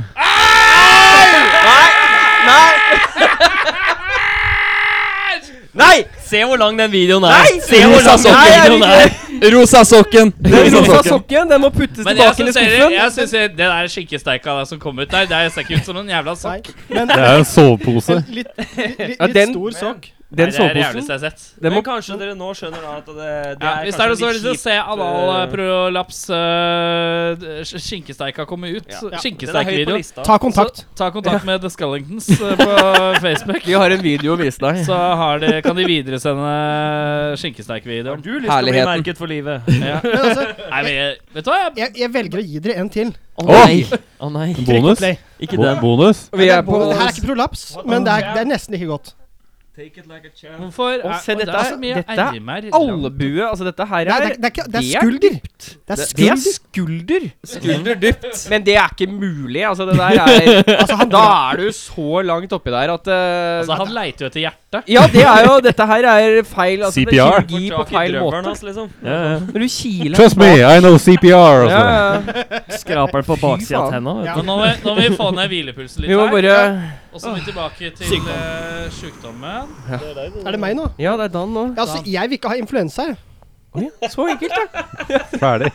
Nei!
Se hvor lang den videoen er.
Nei!
Se hvor lang den
Nei, jeg
videoen er.
Rosa sokken!
Den rosa sokken den må puttes
Men jeg
tilbake inn i
syns dere-
skuffen.
jeg syns dere- det der skinkesteika der som kom ut der, det ser ikke ut som en jævla
Nei,
sokk.
men
Det er en sovepose.
litt, litt, eh, litt,
Ja, den-
stor sokk.
Nei,
Den
det er det
soveposen.
jævligste jeg har sett.
Den må
Men kanskje dere nå skjønner da at det, det
Ja,
er
hvis det er noen
kanskje
som har lyst til å
litt kjipt.
se eh,
øh,
analprolaps uh, skinkesteika komme ut,
Ja. Den er høyt på
skinkesteikvideo,
lista.
Ta kontakt.
ta kontakt med The Scullingtons øh, på Facebook.
Vi har en video å vise deg.
Så har de, kan de videresende skinkesteikvideoen.
Du har lyst til å bli
Herligheten.
merket for livet.
Ja.
Men altså,
Nei, men jeg- vet du hva? Jeg,
jeg, jeg velger å gi dere en til.
Å
Oi!
nei. Å nei.
Trykk på
Bonus.
play.
Ikke
Bo
den.
bonus.
Vi er på
Det her er ikke prolaps, men det er, det er nesten like godt.
hvorfor
Å,
er-
se,
eh, og det
dette
er
er-
så mye
dette er
ermer.
Albue. Altså, dette her
Nei,
er
det, er, det, er ikke, det
det
er
er
skulder. Det er
Det er
skulder.
skulder. Skulder dypt. Men det er ikke mulig. Altså, det der er
Altså,
Da er du så langt oppi der at eh,
Altså, han leiter jo etter hjertet.
Ja, det er jo Dette her er feil. Altså, det er
CPR.
kirurgi på feil måte.
Hans, liksom.
Ja, ja.
Når du kiler
Trust me, I know CPR.
Ja,
Altså.
ja.
Skraper den på baksida av
faen.
tenna. vet
Ja.
du.
Men nå må, vi, nå må vi få ned hvilepulsen litt
Vi må
her.
bare
Og så må vi tilbake til uh, sjukdommen.
Er det meg nå?
Ja, det er Dan nå.
Ja, altså, jeg vil ikke ha influensa. jeg.
Så enkelt, da.
Ferdig.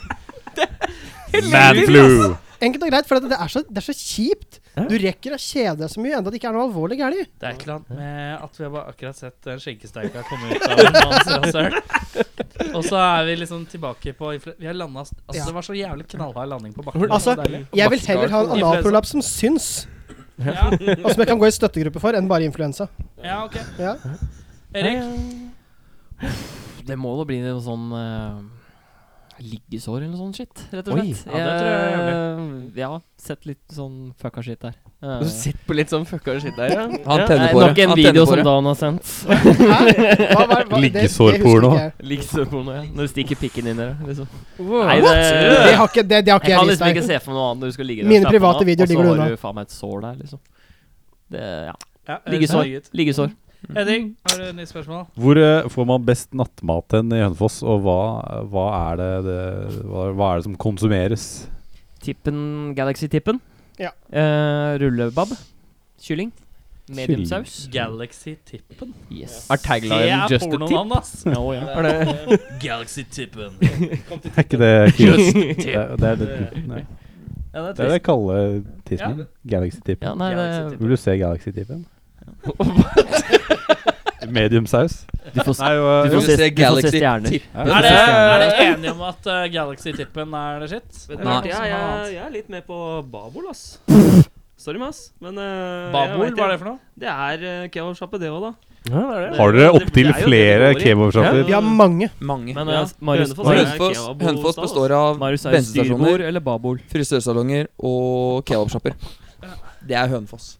Man flu.
altså.
Enkelt og greit, for det det er så, det er så kjipt. Du rekker å kjede deg så mye enda det ikke er noe alvorlig gærent.
Det er et eller annet med at vi har bare akkurat sett den skjenkesteika komme ut av en manns rasshøl. Og så er vi liksom tilbake på influ- Vi har landa Altså,
Ja.
det var så jævlig knallhard landing på bakken.
Altså,
det var deilig.
Jeg vil heller ha en analprolaps som syns,
ja,
og som jeg kan gå i støttegruppe for, enn bare influensa.
ja, ok.
Ja.
Erik,
Det må da bli noe sånn eh, liggesår eller noe sånn shit, rett og
Oi.
slett.
Ja, det tror jeg er
Eh, ja, sett litt sånn fucka shit der. Eh,
Du sitter på litt sånn fucka shit der, ja.
Han
det
tenner
er
på
nok
det.
en
Han tenner
video som
på det.
Dan har sendt.
Hva var- hva- det- det husker
Liggesårporno.
ikke jeg.
Liggesårporno, ja. Når du stikker pikken inn i det, liksom.
Wow.
Nei,
Det
det
har ikke, det, det har
Jeg
ikke jeg
kan
vist
liksom ikke
deg.
se for meg noe annet når du skal ligge der. og
Mine
slappe
private
av,
videoer ligger du
Og så har
unna.
du faen meg et sår der, liksom. Det, ja.
ja, er det
Liggesår.
så høyt?
Liggesår.
Henning, har du et nytt spørsmål?
Hvor eh, får man best nattmat enn i Hønefoss, og hva, hva, er det, det, hva, hva er det som konsumeres?
Tippen, Galaxy-tippen.
Ja.
Eh, rullebab. Kylling. Mediumsaus.
Galaxy-tippen.
Yes.
Er
Det
taglinen
er
just a tip?
pornonavn, ass.
Ja, å, ja.
Galaxy-tippen.
Er ikke det kult? Det, er- det er det, nei. det
Ja, det er
er det
trist.
jeg kaller tissen min. Galaxy-tippen.
Ja, nei, det,
Vil du se Galaxy-tippen? Mediumsaus?
du får, s-
Nei, jo,
du
eh,
får,
jo,
se,
se
du får se
Galaxy
stjerner.
Er det, er det enige om at eh, Galaxy-tippen er det shit? Eller er det
Nei.
noen
Ja,
som har
jeg,
noe annet?
jeg er litt med på babol, ass. Sorry, ass. Men eh,
Babol,
jeg vet
hva er det for noe?
Det er uh, kebabsjappe, det òg, da.
Ja, det er det.
Har dere opptil
Det er jo
flere
det det går i.
kebabshopper?
Vi har mange.
Mange.
Men
Ja,
eh, Marius,
Hønefoss
Marius,
er-
Hønefoss,
kebab og
Hønefoss
stas.
består av
Marius er jo
bensinstasjoner,
styrebord eller babord.
frisørsalonger og kebabsjapper. Det er Hønefoss.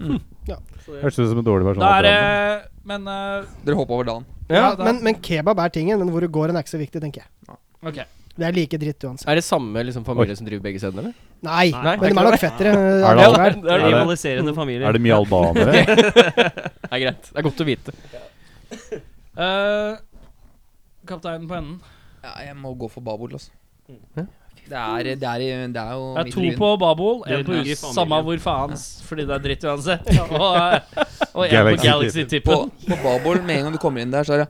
Hørtes ut som en dårlig versjon.
Mm. Da
av
er det
Drammen.
Men eh,
Dere hoppa over dagen.
Ja,
da-
men, men kebab er tingen, men hvor det går hen, er ikke så viktig, tenker jeg.
OK.
Det er like dritt uansett.
Er det samme liksom, familie som driver begge stedene, eller?
Nei,
Nei,
men de er nok fettere. eh,
Er det
alle
alle?
hver.
det
er det.
Rivaliserende familier.
er det mye albanere?
Det er greit. Det er godt å vite.
Eh, Kapteinen på enden.
Ja, jeg må gå for babord, altså. Det er, det er, i- det er jo
Det er
midt
to
i byen.
på Babol,
Det
én på
ligger i
Us,
familien.
samme hvor faen, s- fordi det er dritt uansett. Og, eh, og én på
Galaxy-tippen.
På,
Galaxy-tippen.
på babord, med en gang du kommer inn der, så er det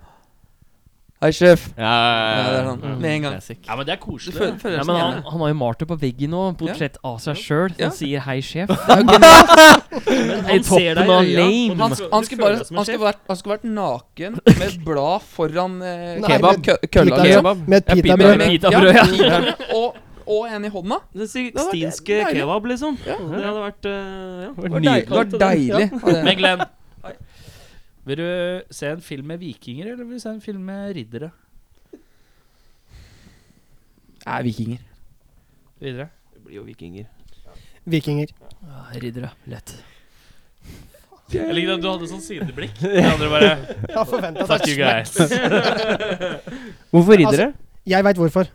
Hei, sjef.
Ja,
Ja, det er sånn. Med en gang.
Ja, men det er
Du
koselig.
føler,
da.
føler
Ja,
deg
men
som
han,
hjemme.
han har jo malt det på veggen nå. Portrett av seg sjøl
Ja.
som sier 'hei, sjef'.
Men
I
han ser
toppen
deg i
av
øya.
lame.
Han, han, skulle bare, han, skulle vært, han skulle vært naken med et blad foran eh,
Nei,
kebab,
men-
kø- kølla.
Pita-
liksom.
Med et
pita-
pitabrød.
med pitabrød, ja.
pitabrød, Og, og en i hånda.
Det er
var
Stinske
deilig.
kebab, liksom.
Ja.
Det hadde vært eh, ja.
Det var deilig. Det var deilig. Ja.
Men Glenn, Vil du se en film med vikinger, eller vil du se en film med riddere?
Er vikinger.
Videre.
Det blir jo vikinger.
Vikinger.
Ja, riddere. Lett.
Jeg liker at du hadde sånn sideblikk. De andre bare
Jeg har forventet
Fuck
at
you guys.
Hvorfor riddere?
Altså, Jeg veit hvorfor.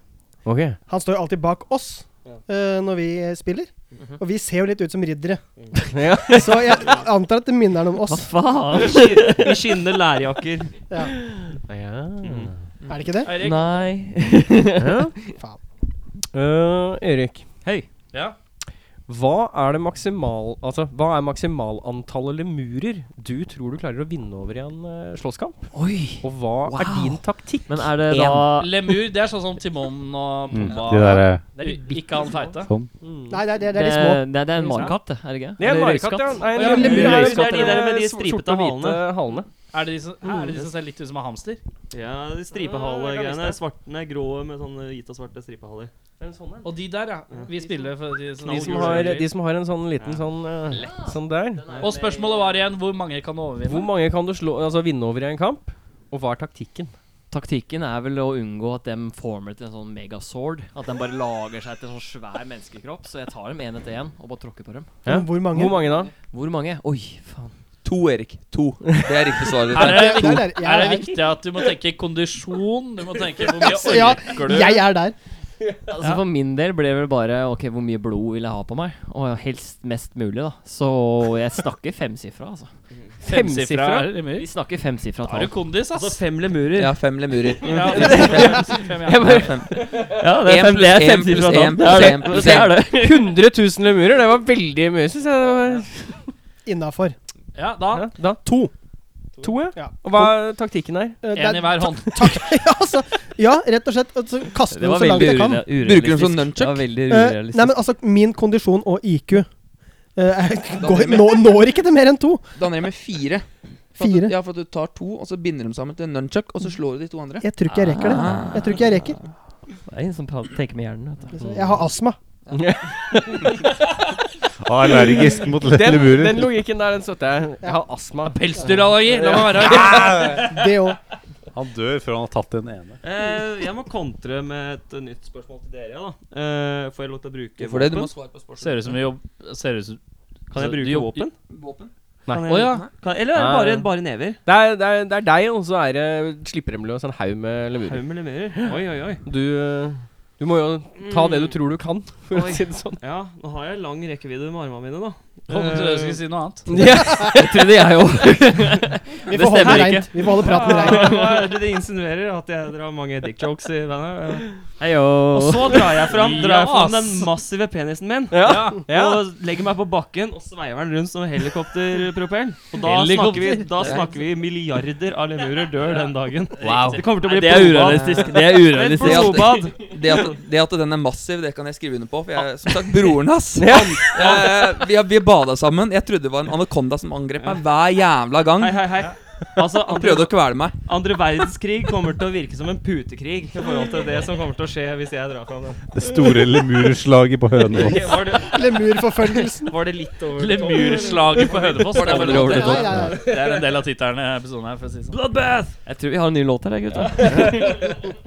ok.
Han står jo alltid bak oss eh, når vi eh, spiller.
Mhm.
Og vi ser jo litt ut som riddere.
Ja.
Så jeg antar at det minner han om
Hva
oss.
faen?
I skinnende lærjakker.
Ja.
Ja.
Er det ikke det?
Eirik.
Nei.
Faen.
Øh, Erik,
Ja.
hva er det maksimal Altså, hva er maksimalantallet lemurer du tror du klarer å vinne over i en eh, slåsskamp?
Oi.
Og hva er
Wow.
din taktikk?
Men er det da
Lemur, det er sånn som Timon og
Mm,
Pumba.
de der, eh,
Det er de bitte Ikke han feite. Mm.
sånn.
Nei, det er, det er,
det,
de små.
det, det er en marekatt, det, er det ikke?
Det er
Eller
marekatt, ja.
røyskatt.
Nei,
Å, ja,
lemur
lemur er
jo
det er
skatt,
de der med de
eh, sort-
stripete
sorte og hvite
halene.
halene.
Er det de som, er det
Mm.
de som ser litt ut som en hamster?
Ja, de
Ja, jeg kan
stripehale-greiene.
vise
Svarte, nei, grå med sånne hvite og svarte stripehaler.
Og de der, ja. Vi spiller for de som,
De som, har, de som har en sånn liten sånn eh, Sånn der.
Og spørsmålet var igjen hvor mange kan du
Hvor
overvinne?
mange kan du slå, altså, vinne over i en kamp? Og hva er taktikken?
Taktikken er vel å unngå at dem former til en sånn megasword. At dem bare lager seg til en sånn svær menneskekropp. Så jeg tar dem én etter én og bare tråkker på dem.
Ja.
Hvor mange?
Hvor mange da?
Hvor mange? Oi, faen.
To, Erik. To. Det er riktig svar.
Er det,
Der er-
viktig,
jeg
er det
er-
viktig at du må tenke kondisjon? Du må tenke hvor mye
Ja,
orker du?
jeg er der.
Altså For min del ble det vel bare Ok, hvor mye blod vil jeg ha på meg? Og helst mest mulig, da. Så jeg snakker femsifra, altså.
Femsifra er lemur.
Vi snakker femsifra
Da
tall.
er du kondis, ass.
Altså,
Altså,
fem lemurer.
Ja, fem lemurer.
Ja, fem, fem, ja.
Ja, fem.
Ja,
En pluss en pluss en pluss en pluss
Det
en.
er det.
100 000 lemurer? Det var veldig mye, syns jeg. Det var,
Innafor.
ja, da.
ja, da to. To, ja.
Ja. Eh,
Og hva er taktikken her?
En i hver hånd.
ja, altså, ja, rett og slett. Altså, kaste
Det
den
var
så langt
veldig
jeg kan.
urea- urealistisk.
Bruker dem som
Det
nunchuck?
var veldig
Eh, nei, men
urealistisk.
altså, min kondisjon og IQ eh, jeg går,
blir det
nå, når ikke til mer enn to.
Da ned med fire. For at du-
Fire.
Ja, for at du tar to, og så binder dem sammen til en nunchuck, og så slår du de to andre. Ah.
Jeg tror ikke jeg rekker det. Jeg tror ikke jeg rekker.
Det er en som pra- tenker med hjernen, vet du.
Jeg har astma.
Allergisk mot
Den,
lemurer.
den logikken der, den støtter jeg. Jeg har astma.
Pelsdyrallergi, la meg være.
Det òg.
Han dør før han har tatt den ene.
Eh, jeg må kontre med et nytt spørsmål til dere, da. Eh, får jeg lov til å bruke
For det, du må svare på spørsmålet.
Ser ut som vi jobber Ser ut som
Kan jeg
Så du
bruke
jobber-
våpen?
Våpen.
Kan jeg-
Å ja.
Kan, eller er det
Nei.
bare, bare never?
Det er, det, er, det er deg, og så er det slipper dem løs en haug med lemurer.
Haug med lemurer. Oi, oi, oi.
Du, eh, du må jo ta det du tror du kan, for å
Mm. Oi.
si det sånn.
Ja, nå har jeg lang rekkevidde med armene mine, da.
Holdt til jeg skulle si noe annet.
Ja.
Jeg trodde jeg òg.
Vi får holde det reint. Vi får holde praten rein.
Hva er det de insinuerer? At jeg drar mange dick jokes i bandet? Og
Heio.
så drar jeg fram, drar jeg fram
Ja,
den
ass.
massive penisen min.
Ja.
Og legger meg på bakken og sveiver den rundt som en helikopterpropell. Og da snakker, vi,
Helikopter.
da snakker vi milliarder av lemurer dør den dagen.
Wow.
Det kommer til å bli
Det er
blodbad.
urealistisk. Det er
Et
urealistisk.
blodbad.
Det at, det at den er massiv, det kan jeg skrive under på. For jeg som sagt, broren hans han, eh, Vi, har- vi bada sammen. Jeg trodde det var en anakonda som angrep meg hver jævla gang.
Hei, hei, hei. Altså,
Han
andre,
prøvde å kvele meg.
andre verdenskrig kommer til å virke som en putekrig i forhold til det som kommer til å skje hvis jeg drar fram den.
Det store lemurslaget på Hønefoss.
Var det,
Lemurforfølgelsen.
var det litt over
Lemurslaget på Hønefoss. Det, er vel-
Nei, nei, nei.
det er en del av tittelen i episoden her. For å si det sånn.
Bloodbath!
Jeg tror vi har en ny låt her, jeg, gutta.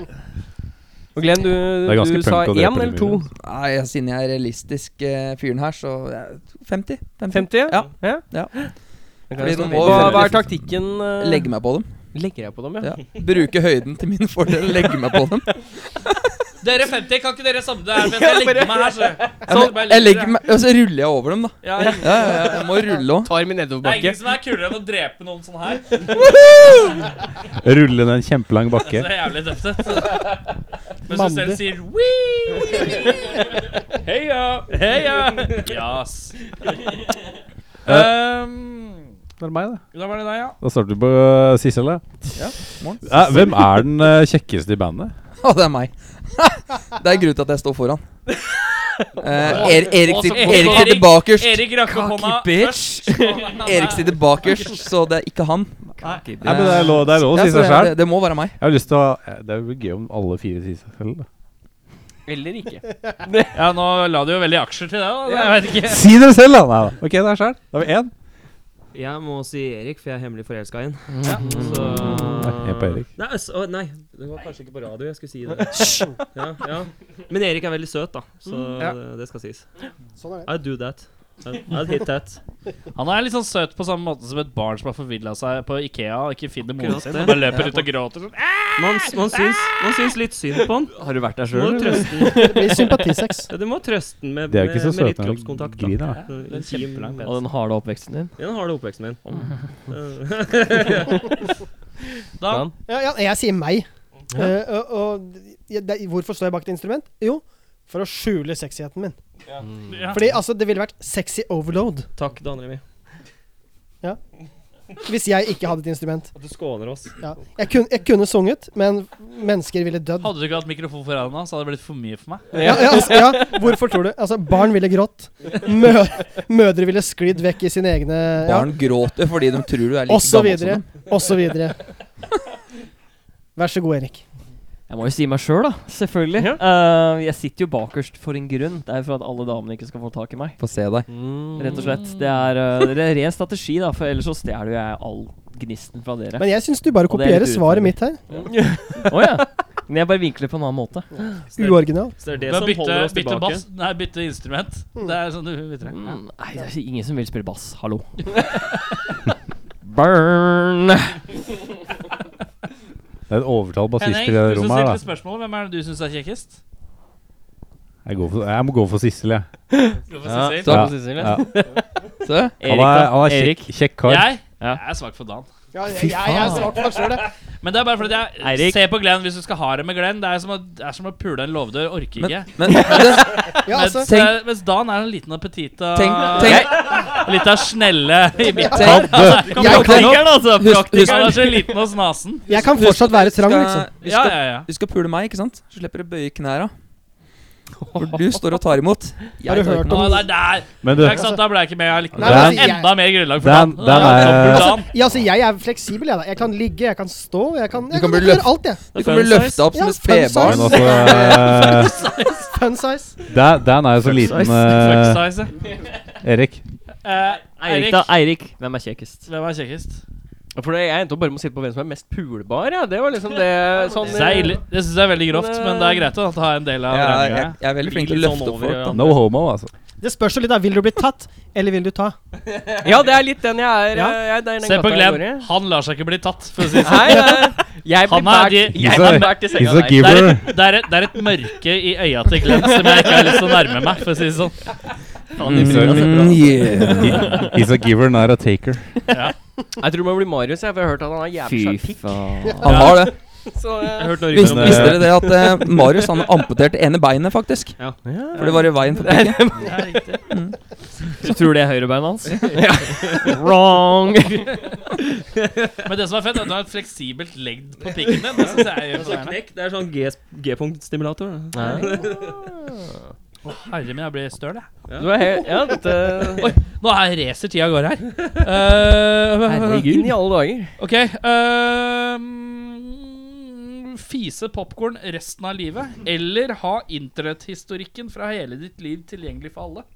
Og Glenn, du,
er ganske
du sa
punk å drepe
én eller to?
lemurer.
Nei, ja, Siden jeg er realistisk eh, fyren her, så eh, 50. 50.
50?
Ja.
ja.
Ja.
Det kan
Fordi
jeg
nå
stå
må
med. Hva,
vi-
hva er taktikken? eh,
Legge meg på dem.
Legger jeg på dem, ja?
Ja. Bruke høyden til min fordel. Legge meg på dem.
Dere 50, kan ikke dere samle dere her mens jeg legger meg
altså,
her? Så.
Ja, men, jeg legger meg, altså, og så ruller jeg over dem, da.
Ja,
Ja, ja, ja, jeg må rulle òg.
Tar min
det er
nedoverbakke.
ingen som er kulere enn å drepe noen sånn her.
Rulle ned en kjempelang
Det
bakke.
ser jævlig tøft ut. Mens du
Mandig.
selv sier «Wii!» Heia! Heia! Yes. Um,
Det er meg, det.
da var det deg, ja.
Da starter vi på uh, Sissel, da. Ja, hvem er den eh, kjekkeste i bandet?
Å, det er meg. det er grunnen til at jeg står foran. Eh, er, Erik,
Å, så
sit,
kort.
Erik sitter
Erik-
bakerst.
Erik rakk opp hånda
Cocky bitch. Erik sitter bakerst, så det er ikke han.
Nei, men Det er lov, det er lov å
Ja,
si
så
seg
det,
sjæl.
det, det må være meg.
Jeg har lyst til å eh, Det er jo gøy om alle fire sier seg selv. da.
Eller ikke.
Ja, nå la du jo veldig aksjer til det, da. Jeg vet ikke.
Si dere selv, da! Nei da. Ok, det er sjæl. Da har vi én.
Jeg må si Erik, for jeg er hemmelig forelska i ham.
Ja.
Så
Jeg på Erik.
Nei, altså, å, nei, det var kanskje ikke på radio jeg skulle si det. Ja, ja. Men Erik er veldig søt, da. Så
Ja.
det, det skal sies.
Mm. Sånn er det.
I do that. I- I'd hit that.
Han er litt sånn søt på samme måte som et barn som har forvilla seg på Ikea og ikke finner moren
Akkurat
sin.
det.
Og bare
Ja.
løper ut og gråter sånn.
Man, man, syns, man syns litt synd på han.
Har du vært der
Du må
sjøl?
trøste
Det
den.
blir sympatisex.
Ja, du må trøste den med,
De er jo
med,
ikke så
med litt
søte når de
kroppskontakt. da.
griner, da.
Ja,
Det er en
intim-
kjempelang
altså. Og
pens.
den harde oppveksten din?
Ja, den harde oppveksten min.
Da
Dan?
Ja, ja, jeg sier meg. Eh, og, og ja, det, hvorfor står jeg bak et instrument? Jo, for å skjule sexigheten min.
Mm.
Ja.
Fordi altså, det ville vært sexy overload
Takk, Dan Remi.
hvis jeg ikke hadde et instrument.
At du skåner oss.
Ja. Jeg, kun, jeg kunne sunget, men mennesker ville dødd.
hadde du ikke hatt mikrofon foran deg, så hadde det blitt for mye for meg.
Ja, ja, altså, ja, hvorfor tror du? Altså, barn ville grått. Mø mødre ville sklidd vekk i sine egne ja,
Barn gråter fordi de tror du er like
Og så
gammel som
videre.
dem.
Og så videre. Vær så god, Erik.
Jeg må jo si meg sjøl, da. Selvfølgelig. Eh, jeg sitter jo bakerst for en grunn. Det er jo for at alle damene ikke skal få tak i meg.
Få se
Mm.
deg.
Rett og slett. Det er eh, det er ren strategi, da, for ellers så stjeler jo jeg all gnisten fra dere. Å
Men jeg syns du bare
Og det er
kopierer
litt
svaret
urettferdig.
mitt her.
ja. Men jeg bare vinkler på en annen måte.
Uoriginal.
Så det er det
Men
som
bytte,
holder oss
bytte
tilbake.
bass Nei, bytte instrument.
Mm.
Det er sånn du vet det.
Mm, nei, det er ingen som vil spille bass. Hallo. Burn!
Det er et overtall bassist
Henning,
i det
du som
rommet her,
stilte
da.
spørsmål, hvem er det du syns er kjekkest?
Jeg, går for, jeg må gå for Sissel, jeg.
Ja,
Sissel.
så,
Ja.
Sissel,
Ja.
Så, Erik,
Han er, han
da.
er kjekk,
Erik.
kjekk kar.
Jeg?
Ja.
jeg er svak for Dan.
Ja, jeg, jeg, er svak for meg selv, jeg.
Men det er bare fordi jeg
Eirik.
ser på Glenn hvis du skal ha det med Glenn. Det er som å, det er som å pule en låvedør. Orker
Men,
ikke.
men det,
Ja, altså,
mens, eh, mens Dan er en liten og petit og
tenk, tenk,
litt av snelle i midten.
tenk,
Kom
Jeg
på
kan-
tenkeren, altså,
Husk-
praktikeren er så liten og snasen.
jeg kan fortsatt være trang, liksom.
Vi
Ja,
skal,
ja, ja.
du skal pule meg, ikke sant? Så slipper du å bøye knæra. For du står og tar imot. Jeg
Har du
tar
hørt
imot.
Å, det er der.
Men du,
Det er ikke sant, da ble jeg ikke med allikevel.
Nei,
Det
men
er
altså, jeg-
Enda mer grunnlag for
Dan-
Dan.
Dan
Ja,
er-
dobbelt Dan.
Ja, altså, jeg er fleksibel, jeg. da Jeg kan ligge, jeg kan stå, jeg kan, jeg
kan
kan,
bli
gjøre alt, jeg.
Du kan bli
Fun size.
løfta opp som
Ja,
et
fun size.
men
spedbarn.
altså eh,
Fun size.
Dan Dan er jo så liten
Fuck
eh,
size.
Erik.
Eh,
Eirik,
Eirik,
da. Eirik, hvem er kjekkest?
hvem er kjekkest?
For det, jeg endte opp bare med å sitte på hvem som er mest pulbar. Ja. Det var liksom det sånn,
Det er ille- det syns jeg er veldig grovt, men det er greit å ta en del av
Ja, jeg,
regninga.
jeg er veldig flink til å
Litt sånn
løfte opp
over,
folk.
ja.
Da. Mm,
No homo, altså.
Det spørs jo litt, da. Vil du bli tatt, eller vil du ta?
Ja, det er litt den jeg er.
Ja.
eh, Jeg, det er den
Se
gata
på
jeg går
Glenn.
i.
Han lar seg ikke bli tatt, for å si det sånn.
Nei, nei, jeg blir
Han er
bært,
de-
jeg
He's a-
blir bært i
He's
senga
a
der.
Det er,
giver.
et, det, er et, det er et mørke i øya til Glenn som jeg ikke har lyst til å nærme meg, for å si det sånn.
Mm, yeah.
He- He's a giver, not a taker.
Jeg tror det må bli Marius, jeg, for jeg har hørt at han har jævlig svær
Fy
pikk.
faen.
Han har det.
Så, eh,
Jeg hørte noen rykter
Visste,
om
Vis-
det.
visste dere det at eh, Marius han amputerte ene beinet, faktisk?
Ja.
For det var i veien for Mm. pikken.
Du tror det er høyrebeinet hans? Wrong!
Men det som er fett, er at du har et fleksibelt legg på pikken din. Det synes jeg er imponerende.
Knekk, det er sånn G- G-punktstimulator. da.
Å, Herre min, jeg blir støl, jeg.
Du er helt Ja, dette
Nå er racer tida av gårde her. Eh,
Herregud. I alle dager.
ok eh, mm, Fise popkorn resten av livet, eller ha internetthistorikken fra hele ditt liv tilgjengelig for alle?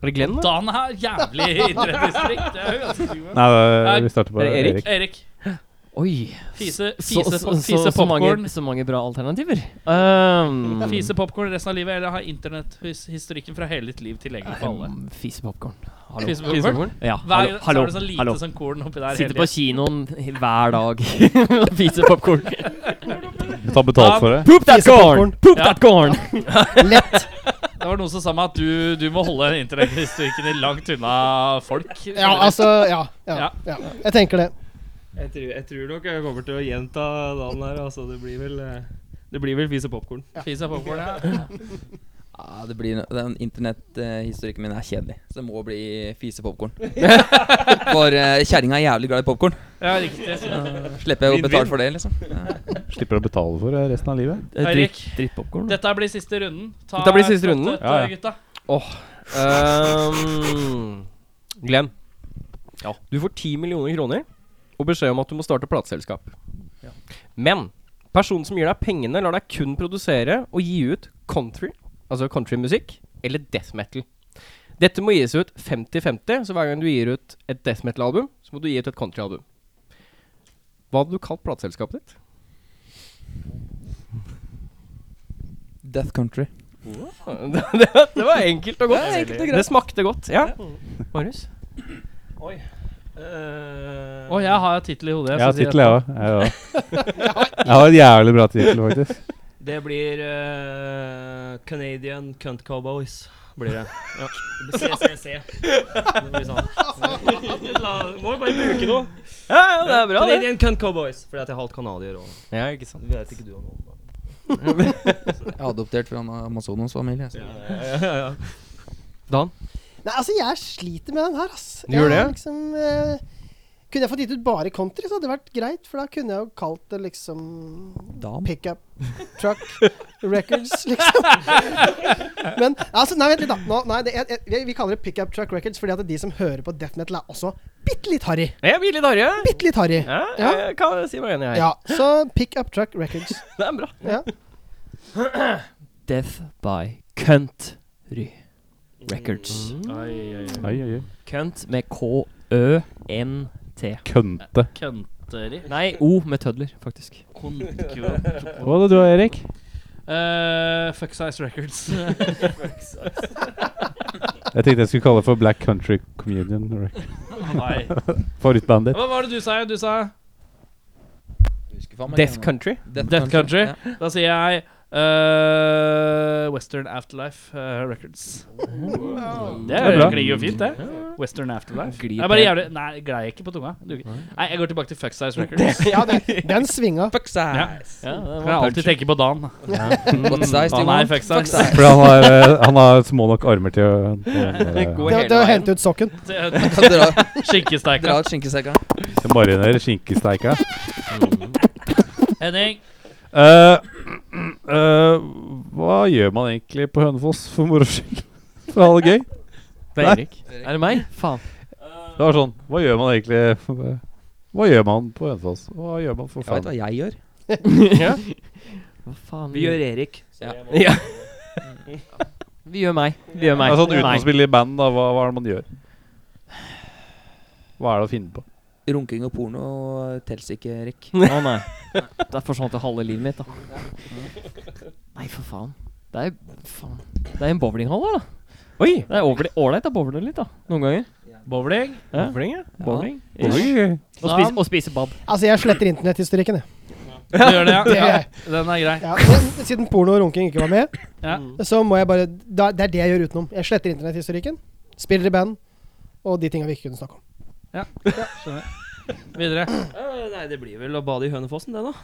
Var det Glenn, da?
Dan er jævlig internetthistorikk. Det er jo ganske sykt.
Nei, det- vi starter på
Er det Erik?
Erik.
Erik,
Oi.
fise,
Så,
fise,
så, så,
fise
så, mange,
popkorn
så mange bra alternativer. Um,
Fise popkorn resten av livet, eller ha internetthistorikken fra hele ditt liv tilgjengelig for alle?
um, Fise popcorn. Hallo.
Fise popcorn?
Ja,
Hver
hallo.
gang så
hallo,
er det sånn lite
hallo.
sånn korn oppi der.
Sitter
hele
på
tiden.
kinoen hver dag og fise popkorn.
Du tar betalt for det.
Poop that
Fise
corn!
popcorn.
Poop that corn!
Lett.
Det var noen som sa meg at du, du må holde internetthistorikken din langt unna folk.
Ja, altså ja, ja,
Ja.
ja. Jeg tenker det.
Jeg tror, jeg tror nok jeg kommer til å gjenta Dan her. Altså, det blir vel eh, Det blir vel fis og popkorn.
Fise popcorn, ja.
Ja, det blir, den internetthistorikken min er kjedelig, så det må bli fisepopkorn. For uh, kjerringa er jævlig glad i popkorn.
ja riktig.
Slipper jeg å
Vinn-vinn.
betale for det, liksom. Ja.
Slipper å betale for det resten av livet.
Eirik.
Dritt, drittpopkorn.
Dette blir siste runden. Ta
Dette blir siste runden?
slottet,
Ja, ja.
gutta.
Um, Glenn. Du får 10 millioner kroner og beskjed om at du må starte plateselskap. Men personen som gir deg pengene, lar deg kun produsere og gi ut country, altså countrymusikk, eller death metal. Dette må gis ut 50-50, så hver gang du gir ut et death metal-album, så må du gi ut et country-album. Hva hadde du kalt plateselskapet ditt?
Death Country.
det, var- det var enkelt og godt. Det, smakte godt. Ja. Marius?
Å, jeg har tittel i hodet.
Jeg har
skal si
tittel, jeg òg. Jeg òg. Jeg har en jævlig bra tittel, faktisk.
Det blir eh, Canadian Cunt Cowboys. Blir det. Ja. CCC. Det blir sånn. La, må jo bare bruke noe.
Ja, ja, det er bra, det.
Canadian Cunt Cowboys. Fordi at jeg er halvt canadier og
Ja, ikke sant.
Det vet ikke du om noe.
Jeg er adoptert fra en Amazonas-familie. så-
Dan?
Nei, altså, jeg sliter med den her, ass.
Du gjør
Jeg
det, ja?
har Liksom, eh, kunne jeg fått gitt ut bare country, så hadde det vært greit, for da kunne jeg jo kalt det liksom
Dam.
Pickup Truck Records, liksom. Men altså, nei, vent litt, da. Nå, nei, det, jeg, jeg, vi kaller det Pickup Truck Records fordi at de som hører på death metal, er også bitte litt harry.
Jeg blir litt harry. jeg.
Bitte litt harry.
Ja,
Ja.
jeg kan si meg enig her.
Ja, så Pickup Truck Records.
Det er bra.
Ja.
Death by Country Records.
Oi, oi, oi.
Oi, oi, oi.
Cunt med K-Ø-N-T.
Kønte.
Country.
Nei, O med tødler, faktisk.
Konkuro.
Hva hadde du, Erik?
Eh, fuck Size Records.
Jeg tenkte jeg skulle kalle det for Black Country Communion. Records.
Nei.
Favorittbandet ditt.
Hva var det du sa? Du sa
Husker faen meg
Death
ikke hva-
Country.
Death Country.
Ja.
Da sier jeg eh, Western Afterlife eh, Records. Det,
er bra.
klinger jo fint, det. Western Afterlife.
Glir
Det er bare
helt-
jævlig Nei, jeg glei ikke på tunga. Det duger ikke. Nei, jeg går tilbake til Fuck Size Records.
Ja, den, den svinga.
Ja.
Ja, det
Kan jeg alltid tenke på Dan.
What size do you
Dan er
want?
fuck size.
For han har, eh, han har små nok armer til å til å-
Gå
Det, det å hente ut sokken.
Dra,
Skinkesteika.
dra ut skinkesekken.
til å marinere skinkesteika.
Henning.
Eh, eh, hva gjør man egentlig på Hønefoss for moro skyld? For å ha det gøy?
Det er
Nei.
Erik. Er det meg? Faen.
Det var sånn Hva gjør man egentlig Hva gjør man på Hønefoss? Hva gjør man for
Jeg vet
faen?
hva jeg gjør.
Hva faen?
Vi gjør Erik.
ja. Vi gjør meg. Vi gjør meg.
Altså, uten å
meg.
spille i band, da, hva, hva er det man gjør? Hva er det å finne på?
Runking og porno tels ikke, Erik.
Å nei. Der forsvant jo halve livet mitt, da. Nei, for faen. Det er faen. Det er en bowlinghall her, da. Oi! Det er ålreit ålreit å bowle litt, da. Noen ganger.
Bowling.
Ja.
Bowling, ja.
Bowling. Og,
Dan.
spise, og spise bab.
Altså, jeg sletter internetthistorikken, jeg.
Du gjør det, ja. ja.
Det-
Den er grei.
Ja, men siden porno og runking ikke var med,
Ja.
så må jeg bare da, Det er det jeg gjør utenom. Jeg sletter internetthistorikken, spiller i band og de tinga vi ikke kunne snakke om.
Videre.
Eh, nei, det blir vel å bade i Hønefossen, det, da.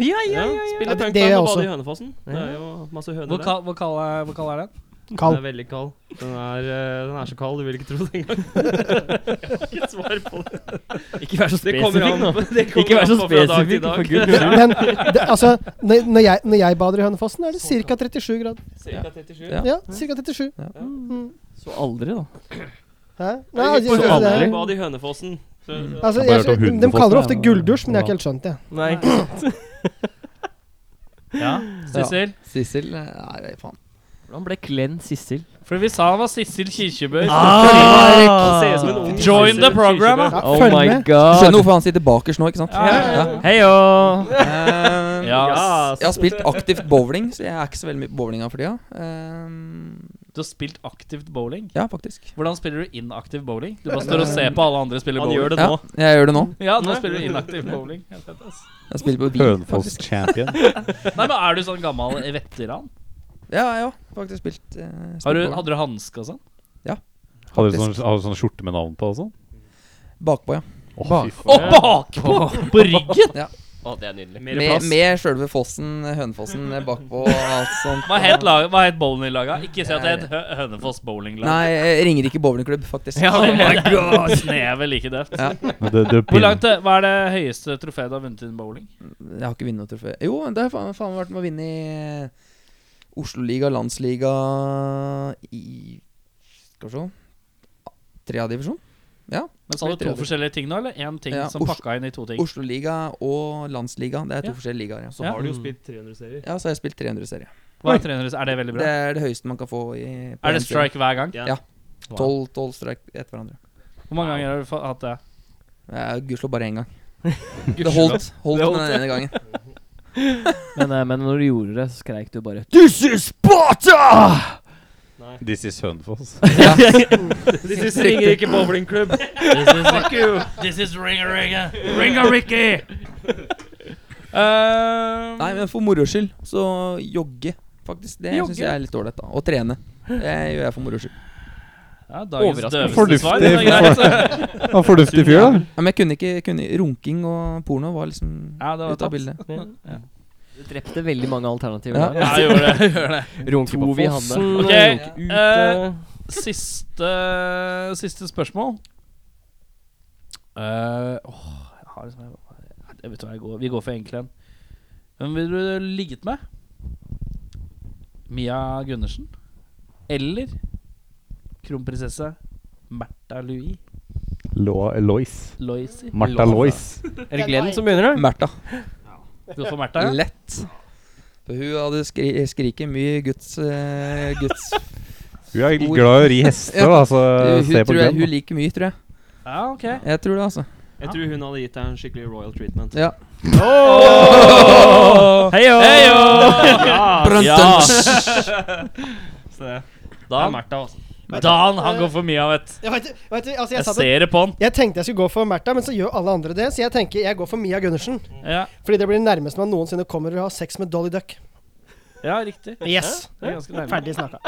ja, ja, ja.
Spille
Ja, det-
punk band
det gjør jeg
og bade
også.
i Hønefossen. Det er jo masse høner
Hvor
der.
kald, hvor kald, er, hvor kald er den?
Den
Kald.
er veldig kald. Den er, eh, den er så kald, du vil ikke tro det engang. jeg har ikke svar på det.
Ikke vær så
Det kommer an på. Det kommer
Ikke vær så
an på fra dag til
spesifikk, for
dag.
guds skyld.
Men det, altså, når, når, jeg, når jeg bader i Hønefossen, er det ca. 37 grader.
Cirka 37.
Ja.
Ja, ca. 37.
Ja.
Mm.
Så aldri, da.
Hæ? Nei,
Nei,
altså,
jeg,
jeg,
jeg,
det,
bad i Hønefossen.
er- altså,
Jeg har bare
jeg,
hørt om
de kaller det ofte
Hundefossen, ja.
gulldusj, men jeg har ikke helt skjønt det.
Nei.
Ja, Sissel.
Sissel
eh,
Nei, faen.
Hvordan ble Glenn Sissel?
Fordi vi sa han var Sissel Kirkjebø.
Ah!
Ser ut som en ung
Join the program, da!
Ja,
Oh
følg
my
med.
Du skjønner
god.
hvorfor han sitter bakerst nå, ikke sant? Ja.
Heio!
Ehm,
Ja.
Ja,
Jeg har spilt aktivt bowling, så jeg er ikke så veldig mye på bowlinga for tida. Ehm,
Du har spilt aktivt bowling.
ja, faktisk.
Hvordan spiller du inaktiv bowling? Du bare står og ser på alle andre spille
han
bowling.
gjør det
Ja,
nå.
jeg gjør det nå.
Ja, nå spiller du inaktiv bowling. Helt fett, ass.
Jeg spiller på Wien,
Hønefoss
faktisk.
champion.
Nei, men Er du sånn gammel veteran?
Ja, ja, faktisk spilt, eh, spilt
Har du,
bowling.
hadde du hanske og sånn?
Hadde du sånn, hadde du sånn skjorte med navn på og sånn?
Bakpå, ja.
Å,
Bak-
fy
Å,
faen.
bakpå! På ryggen!
Mer
Med,
plass.
med sjølve fossen, Hønefossen, eh, bakpå og alt sånt.
Hva het, lag- hva het bowlinglaga? Ikke si at det het Hø- Hønefoss bowlinglag.
Nei, eh, Ringerike bowlingklubb, faktisk.
Ja, oh my god Snevet like døvt.
Men Det, det
Hvor
pin-
langt, eh, Hva er det høyeste trofeet du har vunnet innen bowling?
Jeg har ikke vunnet noe trofé. Jo, det har faen, faen vært med å vinne i Oslo-liga, landsliga i Skal vi se Tredjedivisjon.
Men Sa du to forskjellige ting nå, eller én ting
Ja,
som
Os-
pakka inn i to ting?
Oslo-liga og landsliga. Det er to
Ja.
forskjellige ligaer. Ja.
Ja.
Har du jo spilt 300-serier?
ja, så har jeg spilt 300-serie.
Hva er 300? Er det veldig
Det
bra?
er det høyeste man kan få i på
Er
en
det strike hver gang?
Ja. Tolv tolv streik etter hverandre.
Hvor mange ganger har du fa- hatt det?
Eh, Gudskjelov bare én gang. Det holdt, holdt med den ene gangen.
Men, eh, men når du gjorde det, så skreik du bare This is Sparta!
This is Hønefoss.
This is Ringerike bowlingklubb. Fuck you!
This is Ringa Ringa Ringa Ricky! Um,
Nei, men for moro skyld, så jogge, faktisk. Det
Jogge?
syns jeg er litt ålreit, da. Og trene. Det gjør jeg for moro skyld.
ja, dagens
Overraskende.
døveste svar. men det er greit.
Han er fornuftig fyr, da.
Ja, men jeg kunne ikke kunne, Runking og porno var liksom
Ja, det var
ute av
tapt.
bildet.
Du drepte veldig mange alternativer.
Ja.
der,
Ja,
altså.
jeg gjorde det. jeg Gjorde det.
Runke på
vi
fossen.
hadde.
Ok,
Runke
eh,
ute.
Siste, siste spørsmål. Eh, åh, jeg har liksom jeg vet hva, jeg går, Vi går for enkle en. Hvem ville du ligget med? Mia Gundersen? Eller kronprinsesse Märtha Louis
Lois.
Loisi?
Martha Lois.
Er det Glenn som begynner, da?
Märtha.
Gå for Märtha. ja?
Lett. For hun hadde skri skriket mye Guds eh, Guds
Hun er
Stor.
glad i å ri hester, da, så
hun,
se på
tror jeg,
den.
hun liker mye, tror jeg.
Ja, ok.
Jeg tror det, altså.
Jeg tror hun hadde gitt deg en skikkelig royal treatment.
Ja.
Heio!
Det er
Dan,
Märtha, altså.
Dan, han går for Mia, vet
Jeg, vet, vet, du, altså, jeg,
Jeg
satt og-
ser det på han.
jeg tenkte jeg skulle gå for Märtha, men så gjør alle andre det. Så jeg tenker jeg går for Mia Gundersen.
Ja,
Fordi det blir det nærmeste man noensinne kommer å ha sex med Dolly Duck.
ja riktig.
Yes.
Det er ganske nærme.
Ferdig snakka.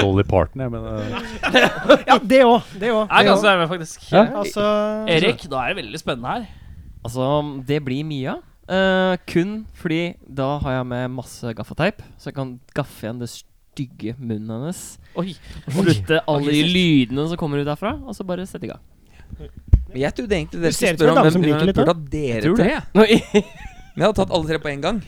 Dolly Parton, jeg, men eh,
Ja, det òg. Det òg.
Jeg er ganske nærme, faktisk.
Altså
Erik, da er det veldig spennende her.
Altså, det blir Mia. Eh, kun fordi da har jeg med masse gaffateip, så jeg kan gaffe igjen det stygge munnen hennes.
Oi.
Og Slutte alle de lydene som kommer ut derfra, og så bare sette i gang.
Men jeg trodde egentlig
Du
dere
ser
skulle
ut som
spørre
en
om
dame
hvem
som liker
hun
litt, da.
burde ha dere til. Men jeg hadde tatt alle tre på en gang.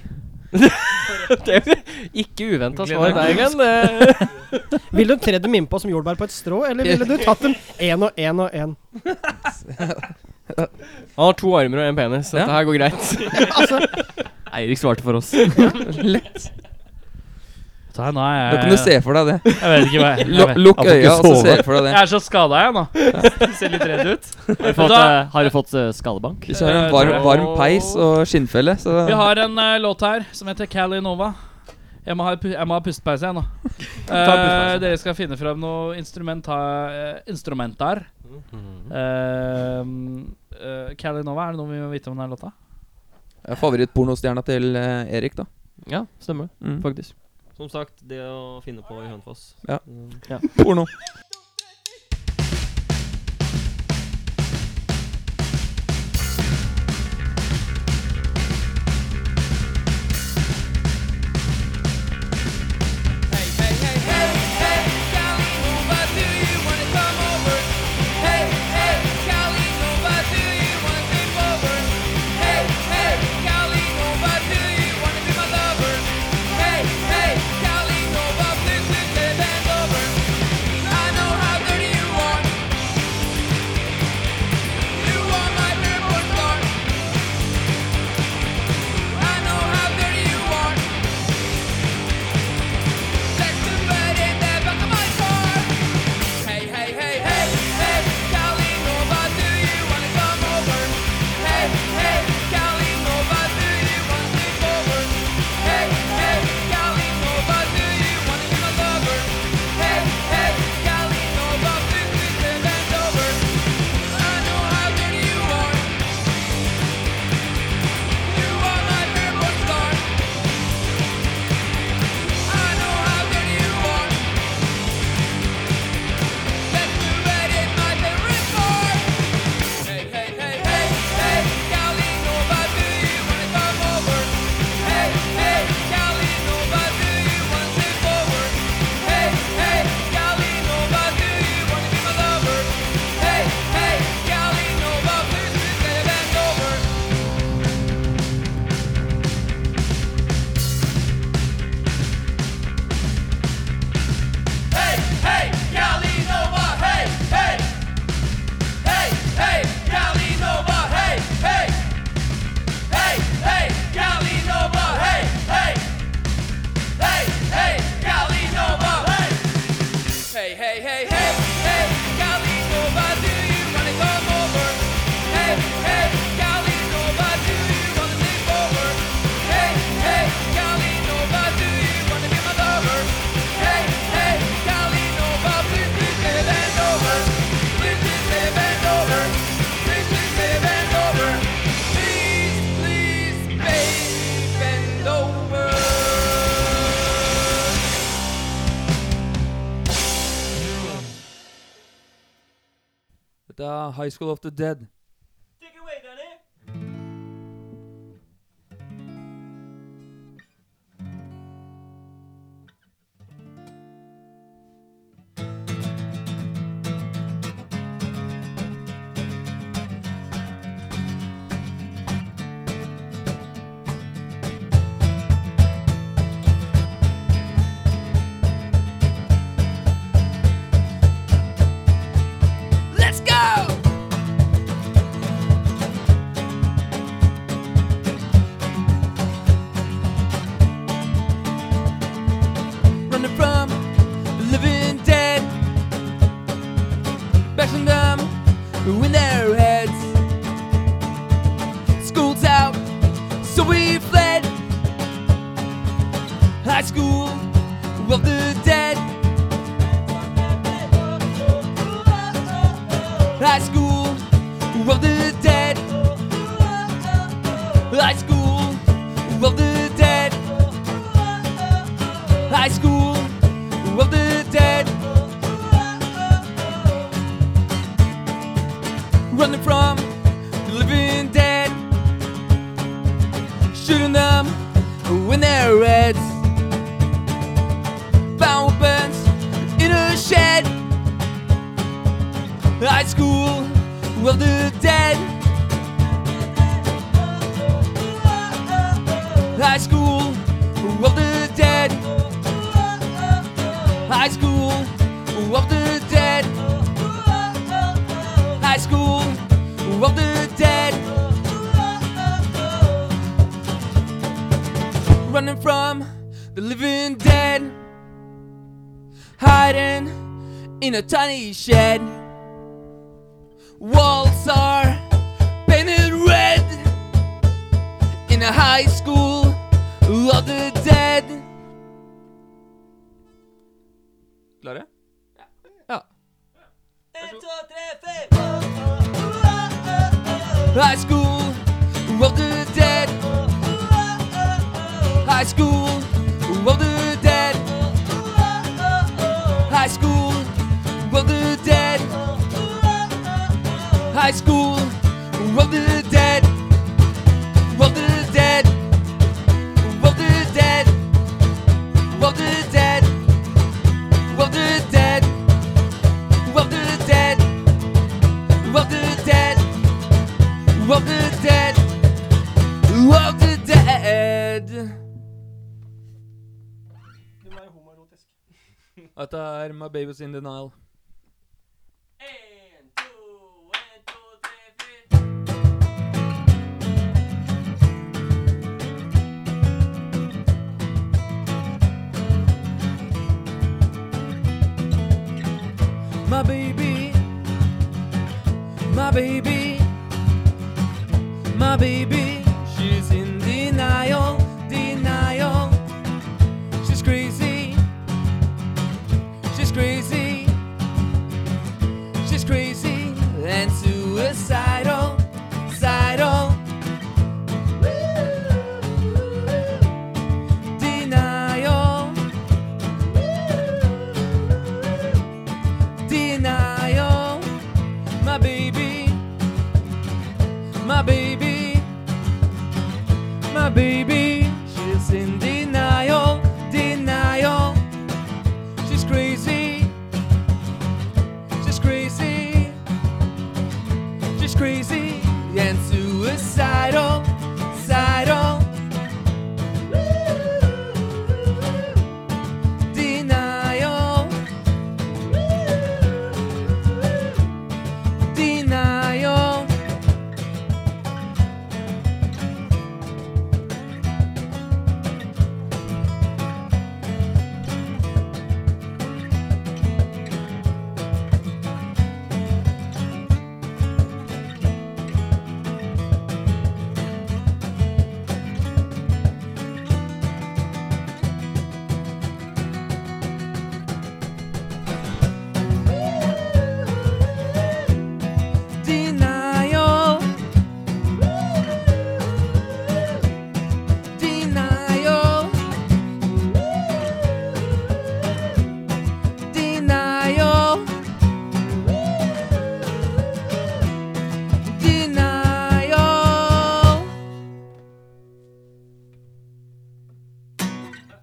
Ikke uventa svar der igjen. det-
Ville Eh, du tredd dem innpå som jordbær på et strå, eller ville du tatt dem én og én og én?
Han har to armer og en penis, så
Ja.
dette her går greit.
Altså-
Eirik svarte for oss.
Da, nå er
Da kan du se for deg det.
Jeg vet ikke hva jeg,
Lu- Lukk
Han får ikke
øya, og så
sove.
ser du for deg det.
er så skada, jeg, nå. Ser litt redd ut.
Har du fått,
Da-
eh, har du fått eh, skallebank?
Hvis du har
Eh,
en varm,
tror jeg.
varm peis og skinnfelle, så
Vi har en eh, låt her som heter Cali Nova. Jeg må ha, pu- jeg må ha pustepeise, jeg, nå. Eh, dere skal finne fram noe instrument her- eh, instrumenter.
Mhm.
Eh, eh, Cali Nova, er det noe vi må vite om den låta?
Ja, Favorittpornostjerna til eh, Erik, da.
Ja, stemmer det.
Mm.
Faktisk.
Som sagt, det å finne på i Hønefoss.
Ja.
Mm.
Porno.
Hey, hey, Cali, Nova, please, please, get it over. I know
Dette er High School of the Dead. running from the living dead, bashing them in their heads. School's out, so we fled. High school of the dead. High school of the dead. High school of the dead. High School of the Dead. Running from the living dead, shooting them in their heads. Found weapons in a shed. High School of the Dead. High School of the Dead. High School of the Dead. High School of the Dead. Running from the living dead. Hiding in a tiny shed. Walls are painted red. In a high school of the dead. Klare? Ja. High school of the dead. High school of the dead. High school of the dead. High school of the dead. Of the dead. Of the dead. Of the dead. Of the dead. Of the dead. Of the dead. Of the dead. Of the dead. Dette er My Babies In Denial. My baby, my baby, my baby. She's in denial, denial. She's crazy, she's crazy, she's crazy and suicidal, suicidal. Denial. denial. My baby, my baby,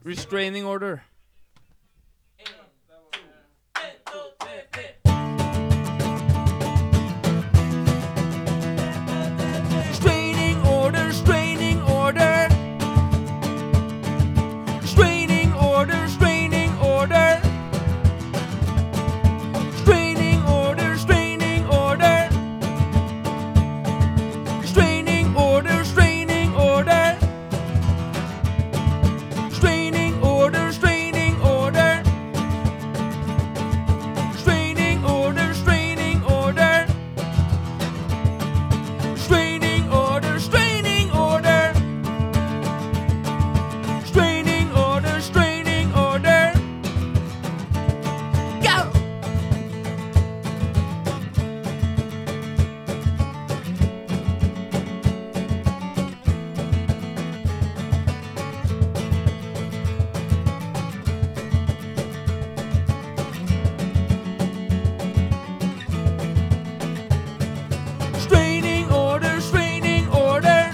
Restraining order. Straining order, straining order. Straining order, straining order. Straining order, straining order. Straining order, straining order. Straining order, straining order. Straining order, straining order. Straining order, straining order. Straining order, straining order. Go! Straining order, straining order.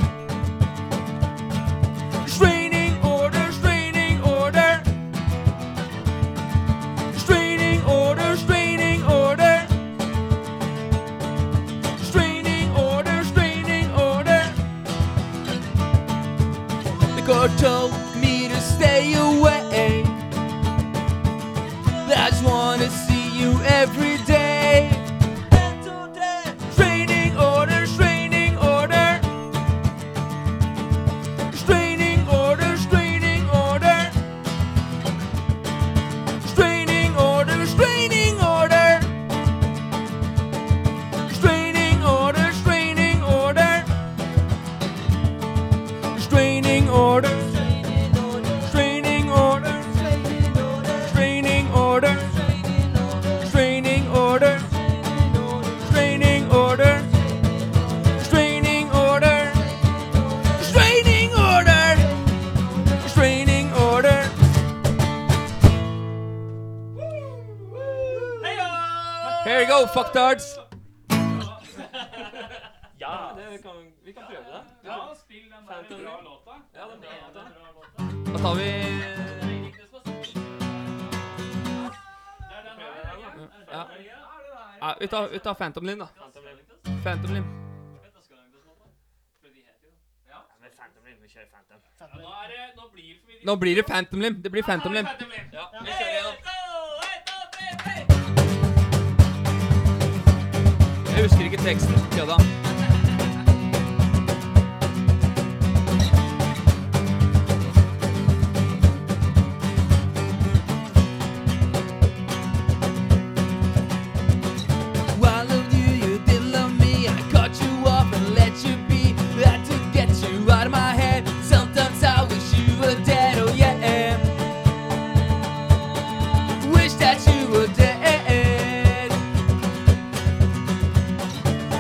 Straining order, straining order. Straining order, straining order. Straining order, straining order. The court told me to stay away. That's wanna see you every day. Straining order, straining order. Straining order, straining order. Straining order, straining order. Straining order, straining order. Straining order. Straining order. Straining order. Straining order. Straining order. Straining order. Straining order. Straining order. Here you go, fucktards. Da tar vi ja. ja, vi tar, vi tar Phantom Limb, da. Phantom Limb. Nå blir det Phantom Limb. Det blir Phantom Limb. Jeg husker ikke teksten. Kødda. I loved you, you didn't love me. I cut you off and let you be. Had to get you out of my head. Sometimes I wish you were dead, oh yeah. Wish that you were dead.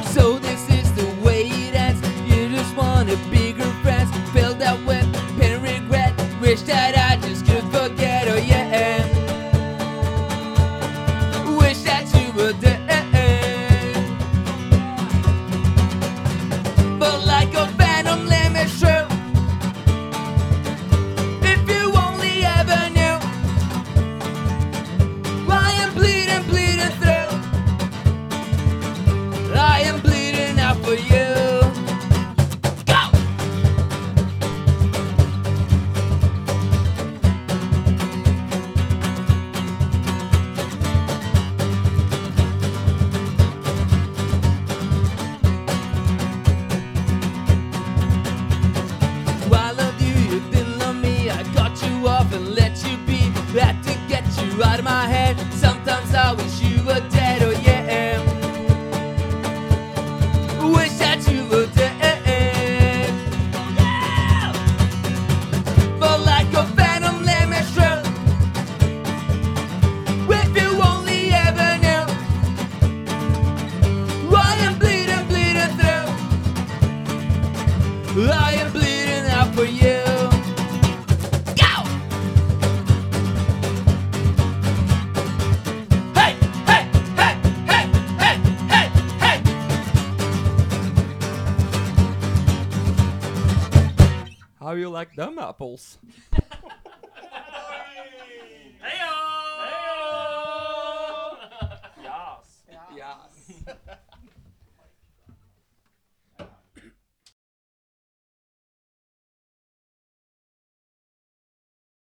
So this is the way it ends. You just wanted bigger friends. Build that with pain and regret. Wish that I just could forget, oh yeah. Wish that you were dead. But like a phantom limb, it's true. If you only ever knew I am bleeding, bleeding through. I am bleeding out for you. Go! I loved you, you didn't love me. I cut you off and let you be. Had to get you out of my head. Sometimes I wish you were dead, oh yeah. Wish that you were dead. But like a phantom lamb, it's true. If you only ever knew what I'm bleeding, bleeding through. I am bleeding out for you. Go! Hey, hey, hey, hey, hey, hey, hey! How you like them apples?